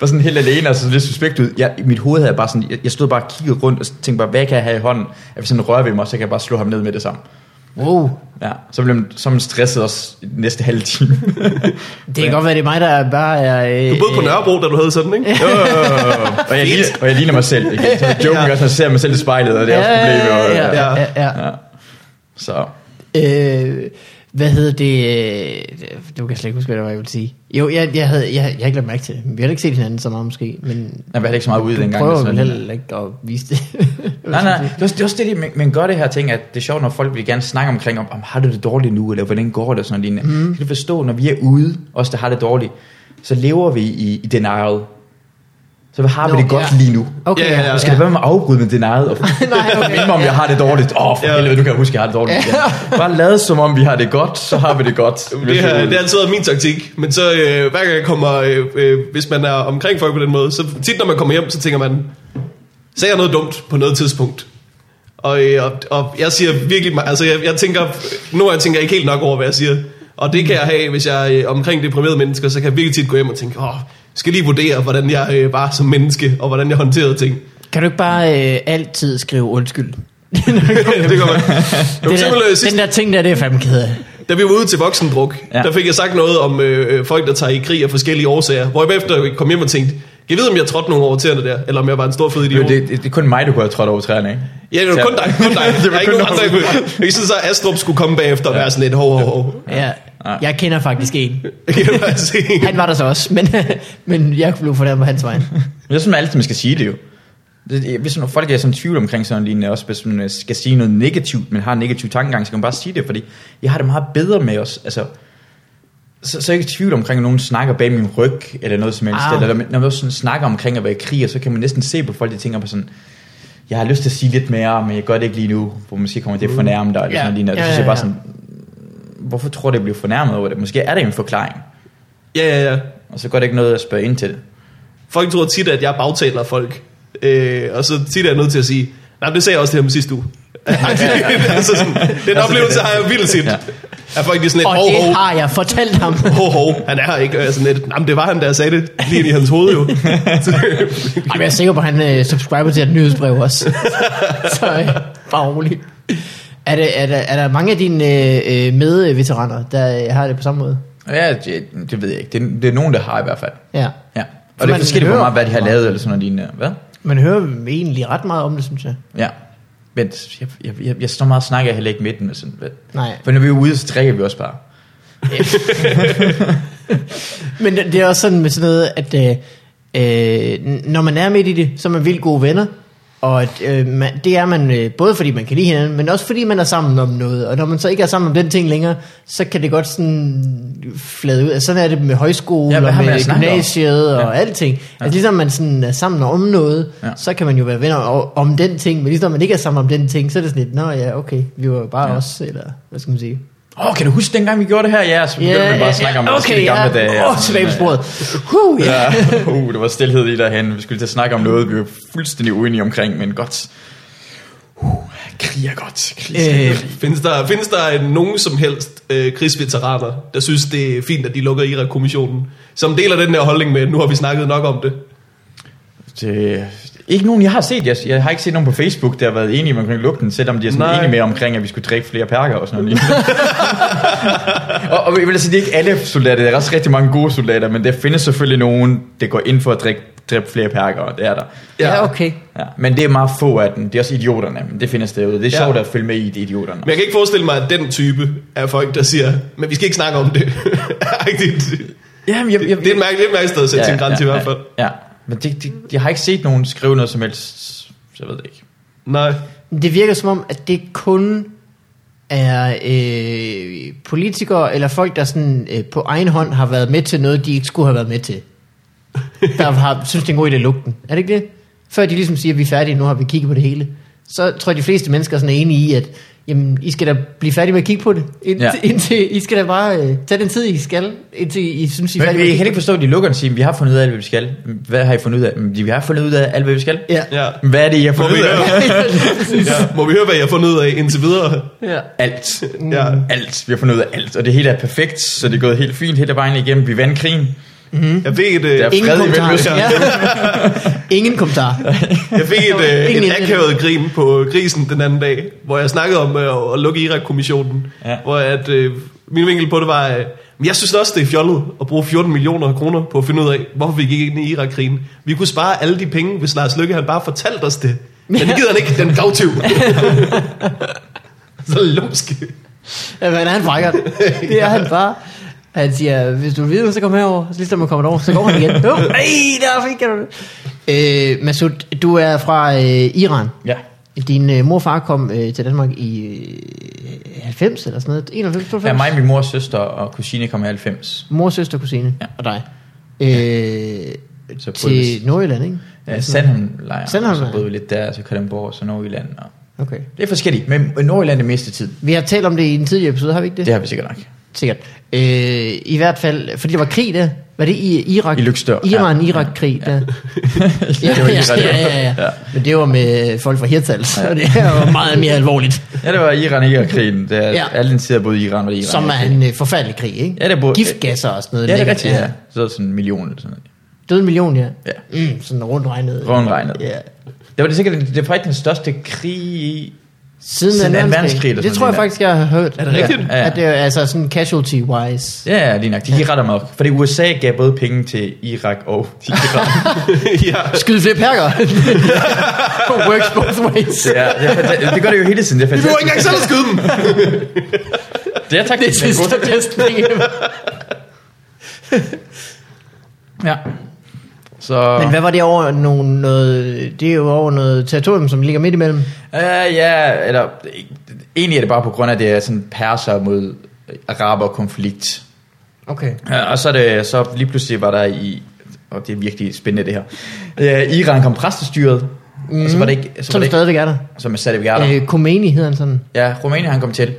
S4: var sådan helt alene og så lidt suspekt ud. Jeg, i mit hoved havde bare sådan, jeg, jeg stod bare og kiggede rundt og tænkte bare, hvad kan jeg have i hånden? At hvis han rører ved mig, så kan jeg bare slå ham ned med det samme.
S2: Wow.
S4: Ja, så blev man, så blev man stresset også i den næste halve time.
S2: Det kan godt være, det er mig, der bare er... Øh,
S3: Du boede på Nørrebro, da du havde sådan, ikke? Ja.
S4: og, jeg ligner, og jeg ligner mig selv. Ikke? Så joken ja. også, at jeg ser mig selv i spejlet, og det er også et problem. Og,
S2: ja, ja, ja, ja.
S4: ja. Så
S2: Øh, hvad hedder det? øh, Du kan slet ikke huske, hvad det var, jeg ville sige. Jo, jeg, jeg, havde, jeg, jeg har ikke lagt mærke til det. Vi har ikke set hinanden så meget måske, men
S4: jeg var heller ikke så meget ude
S2: du
S4: dengang.
S2: prøver
S4: det
S2: vel
S4: sådan-
S2: heller ikke at vise det.
S4: Nej, nej, det er også det, er også det det- man, man gør det her ting, at det er sjovt, når folk vil gerne snakke omkring, om, om har du det dårligt nu, eller hvordan går det, og sådan noget mm. Kan du forstå, når vi er ude, os der har det dårligt, så lever vi i, i denial. Så har vi
S2: Nå,
S4: det godt
S2: ja.
S4: lige nu.
S2: Okay,
S3: Ja, ja, ja.
S4: Så skal det være med at afbryde med denial, og
S2: Nej, okay.
S4: minde mig, om jeg har det dårligt. Åh, oh, for
S3: Ja.
S4: helvede, du kan huske, jeg har det dårligt.
S2: Ja.
S4: igen. Bare lad som om, vi har det godt, så har vi det godt.
S3: Det, har, det har altid været min taktik, men så øh, hver gang jeg kommer, øh, øh, hvis man er omkring folk på den måde, så tit når man kommer hjem, så tænker man, sagde jeg noget dumt på noget tidspunkt? Og, øh, og, og jeg siger virkelig, meget- altså jeg, jeg tænker, nu jeg tænker jeg ikke helt nok over, hvad jeg siger. Og det kan jeg have, hvis jeg er øh, omkring deprimerede mennesker, så kan jeg virkelig tit gå hjem og tænke, åh, skal lige vurdere, hvordan jeg øh, var som menneske, og hvordan jeg håndterede ting.
S2: Kan du ikke bare øh, altid skrive undskyld?
S3: det gør man.
S2: Den,
S3: For eksempel, øh,
S2: der,
S3: sidst-
S2: den der ting der, det er jeg fandme ked af.
S3: Da vi var ude til voksendruk, ja.
S4: Ja.
S3: der fik jeg sagt noget om øh, øh, folk, der tager i krig af forskellige årsager. Hvor jeg bagefter kom hjem og tænkte, jeg ved, om jeg trådte nogle over tæerne der, eller om jeg var en stor fed
S4: Jo,
S3: idiot.
S4: det, det, det er kun mig, du kunne have trådt over træerne, ikke?
S3: ja, det var kun dig, kun dig.
S4: Det
S3: det
S4: var
S3: var ikke
S4: kun
S3: nogen andre, jeg
S4: dig.
S3: kunne. Jeg kan ikke synes, at Astrup skulle komme bagefter og være sådan lidt hov, hov, hov.
S2: Ja.
S4: Ja.
S2: Jeg kender faktisk en.
S3: Det kan jeg bare se.
S2: Han var der så også, men, men jeg blev fornærmet på hans vej.
S4: Men jeg synes altid, man skal sige det jo. Det- det- Hvis sådan- folk er sådan i tvivl omkring sådan lignende, også hvis man øh, skal sige noget negativt, men har en negativ tankegang, så kan man bare sige det, fordi jeg har det meget bedre med os. Altså, så, så er jeg ikke i tvivl omkring, at nogen snakker bag min ryg, eller noget som helst.
S2: Ah.
S4: Eller, når man også sådan snakker omkring at være i krig, og så kan man næsten se på folk, de tænker på sådan, jeg har lyst til at sige lidt mere, men jeg gør det ikke lige nu, hvor måske kommer det at fornærme dig, eller
S2: Mm. Ja.
S4: sådan noget lignende. Og så
S2: Ja,
S4: synes jeg
S2: ja,
S4: bare
S2: ja.
S4: sådan, hvorfor tror du, jeg bliver fornærmet over det? Måske er det en forklaring,
S3: Ja, ja, ja.
S4: og så gør det ikke noget at spørge ind til det.
S3: Folk tror tit, at jeg bagtaler folk. Øh, og så tit er jeg nødt til at sige, nej, det sagde jeg også til ham sidste uge. altså sådan, den oplevelse har jeg vildt tit.
S4: Ja.
S3: At folk de er sådan lidt,
S2: Og
S3: hov, hov,
S2: det har jeg fortalt ham.
S3: ho, ho, han er her ikke. Og jeg er sådan lidt, jamen det var han, der sagde det lige ind i hans hoved jo.
S2: Ej, men jeg er sikker på, at han øh, subscriber til et nyhedsbrev også. så øh, bare rolig. Er, det, er, der, er der mange af dine øh, øh, medveteraner, der øh, har det på samme måde?
S4: Ja, det, det ved jeg ikke. Det, det er nogen, der har i hvert fald.
S2: Ja.
S4: Ja.
S2: For
S4: Og det er
S2: man
S4: forskelligt, hvor
S2: hører-
S4: meget, hvad de har lavet, eller sådan noget lignende. Hvad?
S2: Man hører egentlig ret meget om det, synes jeg.
S4: Ja. Men jeg, jeg, jeg, jeg står meget og snakker heller ikke midten. Sådan, hvad?
S2: Nej.
S4: For når vi er ude, så drikker vi også bare.
S2: Men det det er også sådan med sådan noget, at øh, øh, n- når man er midt i det, så er man vildt gode venner. Og at, øh, man, det er man øh, både fordi man kan lide hinanden, men også fordi man er sammen om noget. Og når man så ikke er sammen om den ting længere, så kan det godt sådan flade ud. Altså, sådan er det med højskole
S4: Ja,
S2: ja,
S4: hvad
S2: og
S4: har man at
S2: med
S4: snakke om?
S2: gymnasiet og
S4: Ja.
S2: ja. alting. Altså ligesom man sådan er sammen om noget,
S4: Ja.
S2: ja. så kan man jo være venner o- om den ting. Men ligesom når man ikke er sammen om den ting, så er det sådan lidt, nå ja, okay, vi var jo bare
S4: Ja.
S2: ja. os, eller hvad skal man sige.
S4: Åh, oh, kan du huske dengang, vi gjorde det her? Ja, så begyndte yeah, man bare at snakke om
S2: ja,
S4: vores
S2: okay,
S4: gamle
S2: ja.
S4: dage. og
S2: Åh,
S4: sådan
S2: tilbage på
S4: noget.
S2: sporet. Huh, ja.
S4: Ja, uh, der var stillhed i derhen. Vi skulle til at snakke om noget, vi var fuldstændig uenige omkring, men godt. Uh, krig er godt. Krig skal
S2: Øh,
S4: øh,
S3: findes, der, findes der en- nogen som helst øh, krigsveteraner, der synes, det er fint, at de lukker Irak-kommissionen, som deler den der holdning med, nu har vi snakket nok om det?
S4: Det, Ikke nogen, jeg har set. Jeg, jeg har ikke set nogen på Facebook, der har været enige med omkring lugten, selvom de er sådan
S3: Nej.
S4: Nej. enige med omkring, at vi skulle drikke flere perker og sådan noget. og, og jeg vil sige, det er ikke alle soldater. Der er også rigtig mange gode soldater, men der findes selvfølgelig nogen, der går ind for at drikke, drikke flere perker, og det er der.
S2: Ja, okay.
S4: Ja. Men det er meget få af dem. Det er også idioterne, men det findes derude. Det er
S3: Ja.
S4: sjovt at følge med i de idioterne.
S3: Men jeg kan ikke forestille mig, at den type af folk, der siger, men vi skal ikke snakke om det. Agtigt.
S4: Jamen, jeg,
S3: det, det er et mærkeligt, et mærkeligt sted at sætte ja, sin grænse
S4: ja,
S3: i hvert fald.
S4: Ja, ja. men det, det, jeg har ikke set nogen skrive noget som helst, så jeg ved det ikke.
S3: Nej.
S2: Men Det virker som om, at det kun er øh, politikere eller folk, der sådan, øh, på egen hånd har været med til noget, de ikke skulle have været med til. Der har, synes, det er en god idé at lukke den. Er det ikke det? Før de ligesom siger, at vi er færdige, nu har vi kigget på det hele. Så tror jeg, de fleste mennesker sådan er enige i, at jamen, I skal da blive færdige med at kigge på det. Ind, ja.
S4: Ja.
S2: indtil, I skal da bare øh, tage den tid, I skal, indtil I synes, I er
S4: Men
S2: færdige
S4: vi
S2: med at
S4: kan
S2: kigge
S4: ikke forstå, at de lukker og siger, vi har fundet ud af alt, hvad vi skal. Hvad har I fundet ud af? "Jamen, Vi har fundet ud af alt, hvad vi skal.
S2: på det." Ja.
S3: Ja.
S4: Hvad er det, I har
S3: Må
S4: fundet
S3: vi,
S4: ud af?
S3: høre, ja. Må vi høre, hvad jeg har fundet ud af indtil videre?
S2: Mm. ja.
S4: Alt.
S3: Ja.
S4: Alt. Vi har fundet ud af alt. Og det hele er perfekt, så det er gået helt fint hele vejen igennem. Vi vandt krigen.
S3: Jeg fik et, øh,
S4: Mm. Der er
S2: Ingen
S4: fred i
S2: kommentar.
S4: Mellemøsten.
S2: Ja. Ingen kommentar.
S3: jeg fik et,
S2: Der var ingen
S3: øh, et
S2: indvending.
S3: akavet grin på grisen den anden dag, hvor jeg snakkede om øh, at lukke Irak-kommissionen.
S4: Ja.
S3: Hvor at, øh, min vinkel på det var, øh, men jeg synes også, det er fjollet at bruge 14 millioner kroner på at finde ud af, hvorfor vi gik ind i Irak-krigen. Vi kunne spare alle de penge, hvis Lars Lykke han bare fortalte os det. Men det gider han ikke, den gavtiv. Så lumsk.
S2: Ja, men han frækker den. Det er han bare. Han siger, hvis du vil vide, så kom herover. Så lige så man kommer derover, så går han igen. Jo, ej, der fik jeg det. Øh, Masud, du er fra øh, Iran.
S4: Ja.
S2: Din øh, mor og far kom øh, til Danmark i øh, 90 eller sådan noget. 91, 92?
S4: Ja, mig, min mors søster og kusine kom i 90.
S2: Mor, søster, kusine.
S4: Ja.
S2: Og dig. Øh,
S4: Så
S2: til
S4: prøves.
S2: Nordjylland, ikke?
S4: Ja, Sandholmlejren.
S2: Sandholmlejren.
S4: Så boede vi lidt der, så Kalundborg og så Nordjylland. Og
S2: Okay.
S4: det er forskelligt, men Nordjylland er meste tid.
S2: Vi har talt om det i en tidligere episode, har vi ikke det?
S4: Det har vi sikkert nok.
S2: Sikkert. Øh, I hvert fald, fordi der var krig der. Var det i Irak?
S4: I Løgstør, ja.
S2: Iran-Irak-krig der. Ja,
S4: Det var
S2: ja,
S4: Iran,
S2: ja, ja, ja.
S4: Ja.
S2: Men det var med folk fra Hirtals, ja. og det var meget mere alvorligt.
S4: Ja, det var Iran-Irak-krigen. Det er,
S2: Ja.
S4: ja. Alle den tid, jeg boede i Iran, var det Iran.
S2: Som er en øh, forfærdelig krig, ikke?
S4: Ja, det er både-
S2: Giftgasser og sådan noget.
S4: Ja, det er
S2: lækkert.
S4: rigtigt, ja. Så er det sådan en million eller sådan noget.
S2: Døde en million, ja.
S4: Ja.
S2: Mm, sådan rundt regnet.
S4: Rundregnet.
S2: Ja.
S4: Det var det sikkert, det var faktisk den største krig i...
S2: Siden,
S4: Siden
S2: Siden
S4: anden
S2: anden verdenskrig.
S4: verdenskrig, eller
S2: Det
S4: sådan
S2: tror jeg
S4: noget.
S2: faktisk, jeg har hørt. Er
S3: det rigtigt?
S2: Ja.
S4: Ja.
S2: At det er altså sådan casualty-wise.
S4: Ja, ja, lige nok. De gik ret amok. Fordi USA gav både penge til Irak og Iran.
S3: ja.
S2: Skyd flere perker. Works both ways.
S4: det, er, det, er, fanta- det, gør det jo hele tiden. Det er
S3: Vi behøver
S4: fantastisk.
S3: ikke engang selv at skyde dem.
S4: Det er
S2: Det er
S4: taktisk. men
S2: sidste
S4: godt.
S2: bedste
S4: Ja. Så...
S2: Men hvad var det over nogle, noget, det er jo over noget territorium, som ligger midt imellem.
S4: Uh, ja, eller... Egentlig er det bare på grund af, at det er sådan perser mod araber-konflikt.
S2: Okay.
S4: Ja, og så, er det, så lige pludselig var der i, og det er virkelig spændende det her, øh, Iran kom præstestyret, mm. og så var det ikke, så var
S2: Som
S4: det ikke,
S2: stadigvæk er der.
S4: som er sat i øh.
S2: Øh, Khomeini hedder han sådan.
S4: Ja, Rumænien han kom til,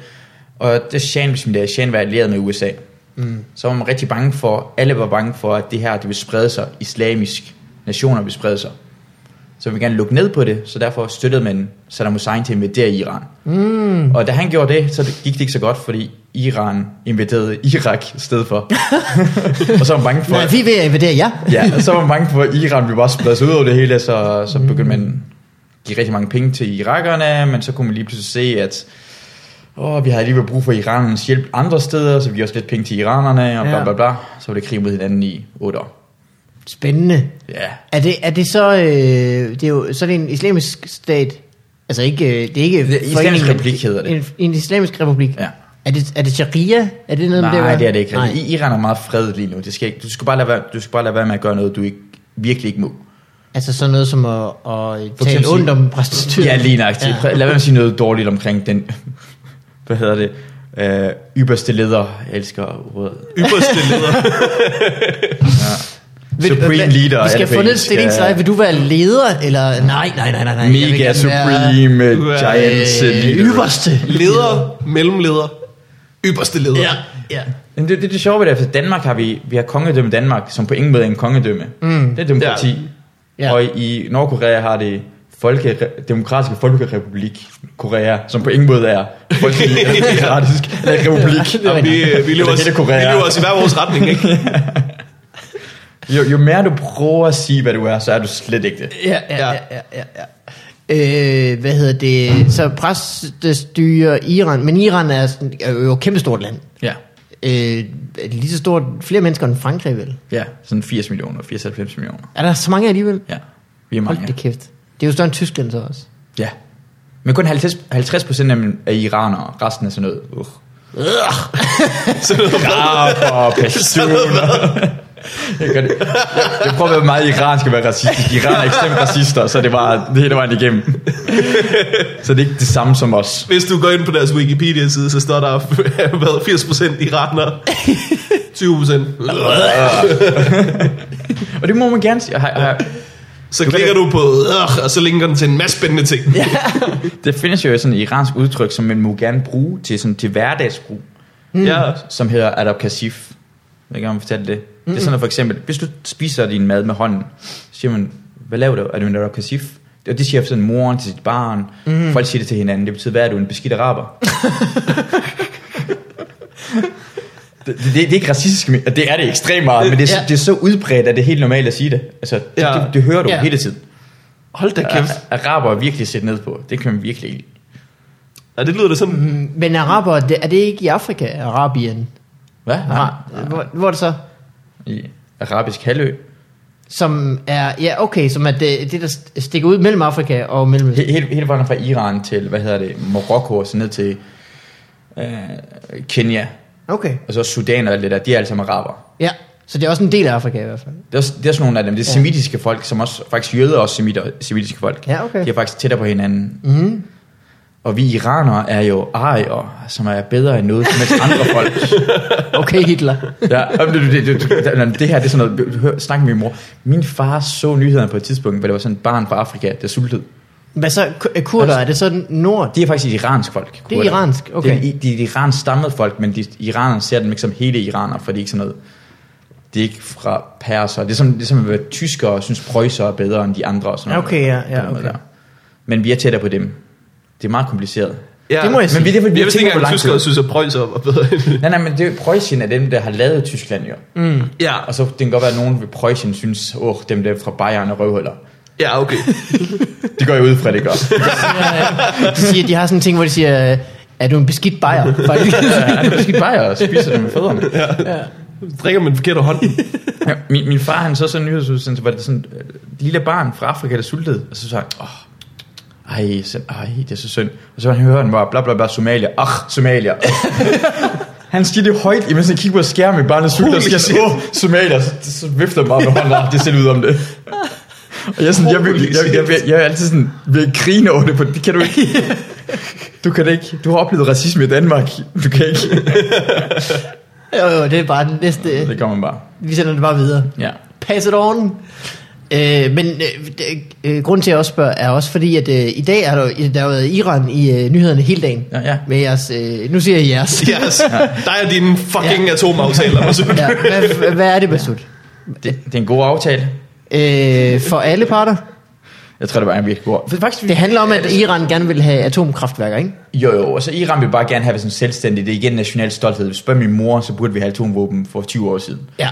S4: og det Shan, som det er, Shan var allieret med USA. Mm. Så var man rigtig bange for, alle var bange for, at det her, det ville sprede sig, islamisk nationer ville sprede sig. Så vi vil gerne lukke ned på det, så derfor støttede man Saddam Hussein til at invadere Iran. Mm. Og da han gjorde det, så gik det ikke så godt, fordi Iran invaderede Irak i stedet for. og så var man bange for,
S2: Nej, vi er ved at invadere jer.
S4: Ja, og så var mange på Iran, vi bare spredte sig ud over det hele, så,
S2: Mm.
S4: så begyndte man at give rigtig mange penge til irakerne, men så kunne man lige pludselig se, at åh, vi havde alligevel brug for Iranens hjælp andre steder, så vi gav også lidt penge til iranerne, og
S2: Ja.
S4: bla bla bla. Så var det krig mod hinanden i otte år.
S2: Spændende.
S4: Ja,
S2: Er det, er det så, øh, det er jo, så er det en islamisk stat? Altså ikke, øh, det er ikke...
S4: Det er Islamisk
S2: foreningen-
S4: Republik hedder det.
S2: En, en islamisk republik?
S4: ja.
S2: Er det, er det sharia? Er det noget med
S4: Nej,
S2: det?
S4: det er det ikke.
S2: Nej.
S4: I Iran er meget fred lige nu. Det skal ikke, du, skal bare lade være, du skal bare lade være med at gøre noget, du ikke, virkelig ikke må.
S2: Altså sådan noget som at, at tale
S4: eksempel
S2: ondt
S4: sige-
S2: om præstestyret?
S4: Ja, lige nøjagtigt. Ja. Lad være med at sige noget dårligt omkring den, hvad hedder det, øh, ypperste leder, jeg elsker ordet,
S3: Ypperste leder.
S4: Supreme
S2: hvad-
S4: Leader.
S2: Vi
S4: er
S2: skal
S4: det
S2: få
S4: på
S2: ned
S4: engelsk.
S2: stillingsleje. Vil du være leder? Eller nej, nej, nej, nej. nej. Jeg vil
S4: Mega
S2: gerne være,
S4: Supreme øh,
S3: Du er,
S4: Giants
S2: øh,
S4: øh, leader.
S2: Ypperste.
S3: Leder, mellemleder, ypperste leder.
S2: Ja, ja.
S4: Men det, det, det sjove ved det er, for Danmark har vi, vi har kongedømme Danmark, som på ingen måde er en kongedømme. Mm. Det er demokrati.
S2: Ja.
S4: Ja. Og i Nordkorea har det Folke, Demokratiske Folkerepublik Korea, som på ingen måde er Folkedemokratisk Republik.
S3: Jamen, vi, øh, vi, lever
S4: Eller
S3: også,
S4: hele Korea.
S3: vi lever også i hver vores retning, ikke?
S4: Jo, jo mere du prøver at sige, hvad du er, så er du slet ikke det.
S2: Ja, ja, ja, ja, ja. ja. Øh, hvad hedder det? Så præstestyrer Iran, men Iran er, sådan, er jo et kæmpestort land.
S4: Ja.
S2: Øh, er det lige så stort, flere mennesker end Frankrig vel?
S4: Ja, sådan 80 millioner, 94 millioner.
S2: Er der så mange alligevel?
S4: Ja, vi er mange.
S2: Hold da kæft. Det er jo større end Tyskland så også.
S4: Ja. Men kun 50, 50 procent af, er iranere, resten er sådan noget. Uh. Araber, personer. Jeg, gør det. Jeg, jeg prøver at være meget iransk at være racistisk. Iran er ekstremt racister, så det var det hele vejen igennem. Så det er ikke det samme som os.
S3: Hvis du går ind på deres Wikipedia-side, så står der hvad, 80% iranere, 20%.
S4: Og det må man gerne sige. Har- har-
S3: Så klikker du på, "Ugh", og så linker den til en masse spændende ting.
S4: Der findes jo sådan et iransk udtryk, som man må gerne bruge til, sådan, til hverdagsbrug.
S3: Ja.
S4: som hedder adab kasif. Jeg ved ikke, om jeg fortalte det. Det er sådan noget, for eksempel, hvis du spiser din mad med hånden, så siger man, hvad laver du? Er du en adab kasif? Og det siger sådan moren til sit barn. Mm. Folk siger det til hinanden. Det betyder, hvad er du, en beskidt araber? det, det, det, er ikke racistisk, men- det er det ekstremt meget, men det er,
S2: Ja.
S4: ja. det er så udbredt, at det er helt normalt at sige det. Altså, det,
S3: Ja.
S4: ja. det, det hører du
S2: Ja.
S4: ja. hele tiden.
S3: Hold da kæft.
S4: Ar- Araber er virkelig set ned på. Det kan man virkelig ikke.
S3: Ja, det lyder da sådan.
S2: Men araber, det, er det ikke i Afrika, Arabien?
S4: Hvad? Nej.
S2: Ara- Hvor, hvor er det så?
S4: I arabisk halvø.
S2: Som er, ja okay, som er det, det der stikker ud mellem Afrika og mellem
S4: He- Hele, hele vejen fra Iran til, hvad hedder det, Marokko og så ned til øh, Kenya,
S2: Okay,
S4: og så Sudan og alt det der, de er alle sammen araber.
S2: ja. Så det er også en del af Afrika i hvert fald.
S4: Det er, også, det er sådan nogle af dem, det er
S2: Ja.
S4: semitiske folk, som også, faktisk jøder er også semiter, semitiske folk.
S2: Ja, okay.
S4: De er faktisk tættere på hinanden.
S2: Mm.
S4: Og vi iranere er jo arier, som er bedre end noget som helst andre folk.
S2: Okay, Hitler.
S4: Ja, jamen, det, det, det, det, det, det her, det er sådan noget, hør, snak med min mor. Min far så nyhederne på et tidspunkt, hvor der var sådan et barn fra Afrika, der sultede.
S2: Hvad så, Ku- øh, kurder, er det
S4: Altså-
S2: så nord?
S4: De er faktisk et iransk folk.
S2: Det er
S4: kurder.
S2: iransk, okay.
S4: Det er, i- de er et iransk stammet folk, men de, iranerne ser dem ikke som hele iraner, for de er ikke sådan noget... De er ikke fra perser. Det er som, det er som at tyskere synes, prøjser er bedre end de andre. Og sådan noget.
S2: Okay, ja, ja,
S4: På den måde
S2: okay.
S4: der. Men vi er tættere på dem. Det er meget kompliceret.
S3: Ja.
S2: Det må jeg sige.
S4: Men vi er derfor, vi
S3: Jeg
S4: har
S3: vidste ikke
S4: tænkt på
S3: engang, at
S4: lang
S3: tyskere
S4: tid.
S3: synes, at prøjser var bedre.
S4: Nej, nej, men det er jo Preussen er dem, der har lavet Tyskland jo. Mm.
S3: ja,
S4: Og så det kan godt være, at nogen ved Preussen synes, åh, oh, dem der fra Bayern er røvhuller.
S3: ja, okay.
S4: Det går jeg ud fra, det gør.
S2: De, siger, de har sådan en ting, hvor de siger, øh, er du en beskidt bajer? Faktisk.
S4: Han er beskidt Bayer og spiser dem med fødderne.
S3: Drikker med den forkerte hånd.
S4: Ja, min, min far, han så sådan en nyhedsudsendelse, hvor det sådan øh, et lille barn fra Afrika, der sultede, og så sagde han, åh, ej, så, ej, det er så synd. Og så hører han bare, bla bla bla, Somalia, ach, Somalia. han siger det højt, imens han kigger på skærmen i barnet sulter, og
S3: Holy
S4: siger,
S3: shit.
S4: åh, Somalia, så, så vifter han bare med hånden, "Ah, det ser ud om det. Og jeg, er sådan, jeg, vil, jeg, jeg, jeg, jeg, jeg er altid sådan, vil grine over det, for det kan du ikke. Du kan det ikke. Du har oplevet racisme i Danmark. Du kan ikke.
S2: jo, jo, det er bare den næste.
S4: Altså, Det gør man bare.
S2: Vi sender det bare videre.
S4: Ja.
S2: Pass it on. Øh, men øh, det- øh, grunden til, at jeg også spørger, er også fordi, at øh, i dag er der, jo- der har været Iran i øh, nyhederne hele dagen.
S4: Ja, ja.
S2: Med jeres, øh, nu siger jeg jeres.
S3: Yes. Dig og dine fucking ja. atomaftaler. Masoud.
S2: ja, hvad, hvad er det, Basut?
S4: Det, det er en god aftale.
S2: Øh, for alle parter?
S4: Jeg tror, det var en virkelig god. For Faktisk,
S2: Det handler om, at Iran gerne vil have atomkraftværker, ikke?
S4: jo, jo, og så Iran vil bare gerne have sådan selvstændig. Det er igen national stolthed. Hvis du spørger min mor, så burde vi have atomvåben for 20 år siden.
S2: Ja.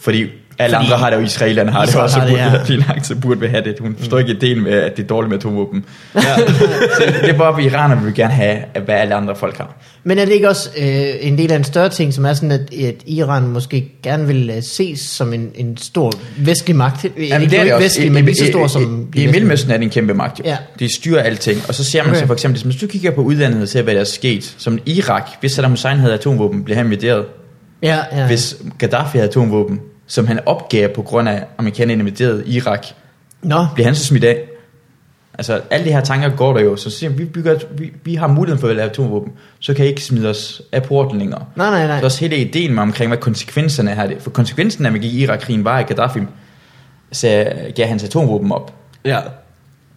S4: Fordi alle
S2: Fordi-
S4: andre har det, og israelerne har det,
S2: Israel
S4: og så
S2: har det,
S4: burde,
S2: ja. Mm.
S4: det, ja. langt, så burde vi have det. Hun forstår ikke ideen med, at det er dårligt med atomvåben. Ja. så det er bare, at iranerne vil gerne have, at hvad alle andre folk har.
S2: Men er det ikke også øh, en del af en større ting, som er sådan, at, at Iran måske gerne vil øh, ses som en, en stor vestlig magt? Jamen, ikke det er ikke
S4: også.
S2: vestlig,
S4: I-
S2: men
S4: i-
S2: lige så stor
S4: i-
S2: som... de
S4: I, i
S2: vestlige.
S4: Mellemøsten er det en kæmpe magt, jo.
S2: Ja.
S4: Ja. De styrer alting. Og så ser man
S2: Okay.
S4: okay. så for eksempel, hvis du kigger på udlandet og ser, hvad der er sket. Som Irak, hvis Saddam Hussein havde atomvåben, blev han invaderet.
S2: Ja, ja.
S4: hvis Gaddafi havde atomvåben, som han opgav på grund af, amerikanerne invaderede Irak,
S2: Nå,
S4: bliver han så smidt af? Altså, alle de her tanker går der jo. Så siger, vi, bygger, vi, vi har muligheden for at lave atomvåben, så kan I ikke smide os af porten længere.
S2: nej, nej,
S4: Det
S2: nej.
S4: er også hele ideen med omkring, hvad konsekvenserne er af det. For konsekvensen af, at man gik i Irak-krigen, var, at Gaddafi sagde, gav hans atomvåben op.
S3: Ja.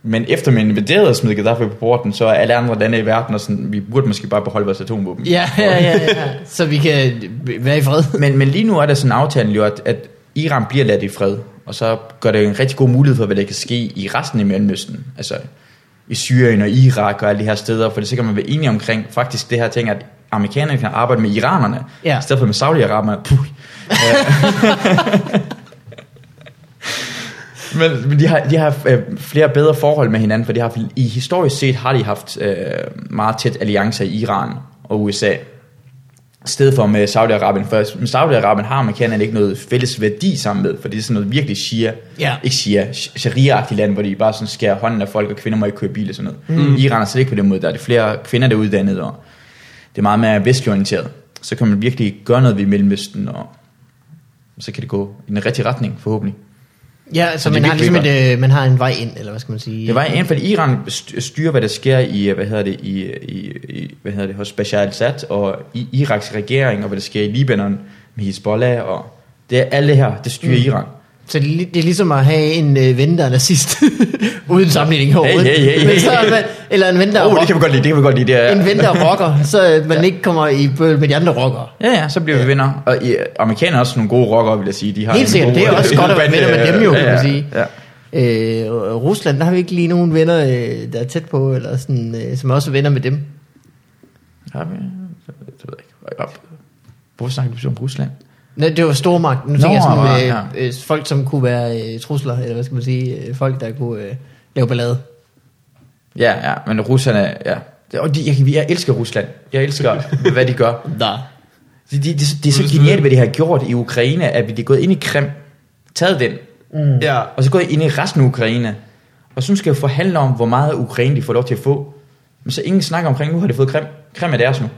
S4: Men efter man invaderede og smed Gaddafi på porten, så er alle andre lande i verden, og sådan, vi burde måske bare beholde vores atomvåben.
S2: Ja, ja, ja, ja. Så vi kan være i fred.
S4: Men, men lige nu er der sådan en aftale jo, at, at Iran bliver ladt i fred, og så gør det jo en rigtig god mulighed for, hvad der kan ske i resten af Mellemøsten. Altså i Syrien og Irak og alle de her steder, for det så kan man være enige omkring faktisk det her ting, at amerikanerne kan arbejde med iranerne,
S2: Ja.
S4: i stedet for med Saudi-Araberne. Puh. Men, men de har, de har øh, flere bedre forhold med hinanden, for de har, i historisk set har de haft øh, meget tæt alliancer i Iran og USA. I stedet for med Saudi-Arabien. For med Saudi-Arabien har amerikanerne ikke noget fælles værdi sammen med, for det er sådan noget virkelig shia,
S2: Ja.
S4: ikke shia, sh- sharia-agtigt land, hvor de bare sådan skærer hånden af folk, og kvinder må ikke køre bil og sådan noget. Mm. I Iran er slet ikke på den måde. Der er det flere kvinder, der er uddannet, og det er meget mere vestlig orienteret. Så kan man virkelig gøre noget ved Mellemøsten, og så kan det gå i den rigtige retning, forhåbentlig.
S2: Ja, så, så
S4: det
S2: man,
S4: er
S2: har ligesom
S4: virkelig
S2: et, øh, man har en vej ind, eller hvad skal man sige?
S4: Det var i hvert fald Iran st- styrer, hvad der sker i, øh, hvad hedder det, i, i, i hvad hedder det, hos Bashar al-Assad og i Iraks regering, og hvad der sker i Libanon med Hezbollah, og det er alle det her, det styrer mm. Iran.
S2: Så det, er li- det er ligesom at have en øh, ven, der er nazist, uden sammenligning overhovedet.
S4: hey, hey,
S2: Men så er
S4: hey.
S2: man, eller en ven, der er
S4: Åh, oh, det
S2: rock,
S4: kan vi godt lide, det kan vi godt lide. Det er,
S2: en ven, der er rocker, så øh, man ikke kommer i bøl med de andre rockere.
S4: Ja, ja, så bliver vi venner. Og i, amerikanerne er også nogle gode rockere, vil jeg sige. De har
S2: Helt
S4: en
S2: sikkert,
S4: god-
S2: det er også
S4: en
S2: godt at være
S4: god bande,
S2: venner med dem jo,
S4: øh,
S2: kan man sige.
S4: Ja, ja.
S2: Øh, og Rusland, der har vi ikke lige nogen venner, øh, der er tæt på, eller sådan, øh, som også er venner med dem.
S4: Har vi? Det ved jeg ikke. Op. Hvorfor snakker du så om Rusland?
S2: Nej, det var stormagt. Nu
S4: Nå,
S2: tænker jeg
S4: ja,
S2: sådan, øh,
S4: ja.
S2: øh, folk, som kunne være øh, trusler, eller hvad skal man sige, øh, folk, der kunne øh, lave ballade.
S4: Ja, ja, men russerne, ja. Det- Og de, jeg, jeg elsker Rusland. Jeg elsker, hvad de gør.
S2: Da.
S4: Det, det, det, det er så genialt, hvad de har gjort i Ukraine, at de er gået ind i Krim, taget den,
S2: Mm.
S3: Ja.
S4: og så gået ind i resten af Ukraine. Og så skal jeg forhandle om, hvor meget af Ukraine de får lov til at få. Men så ingen snakker omkring, nu har de fået Krim. Krim er deres nu.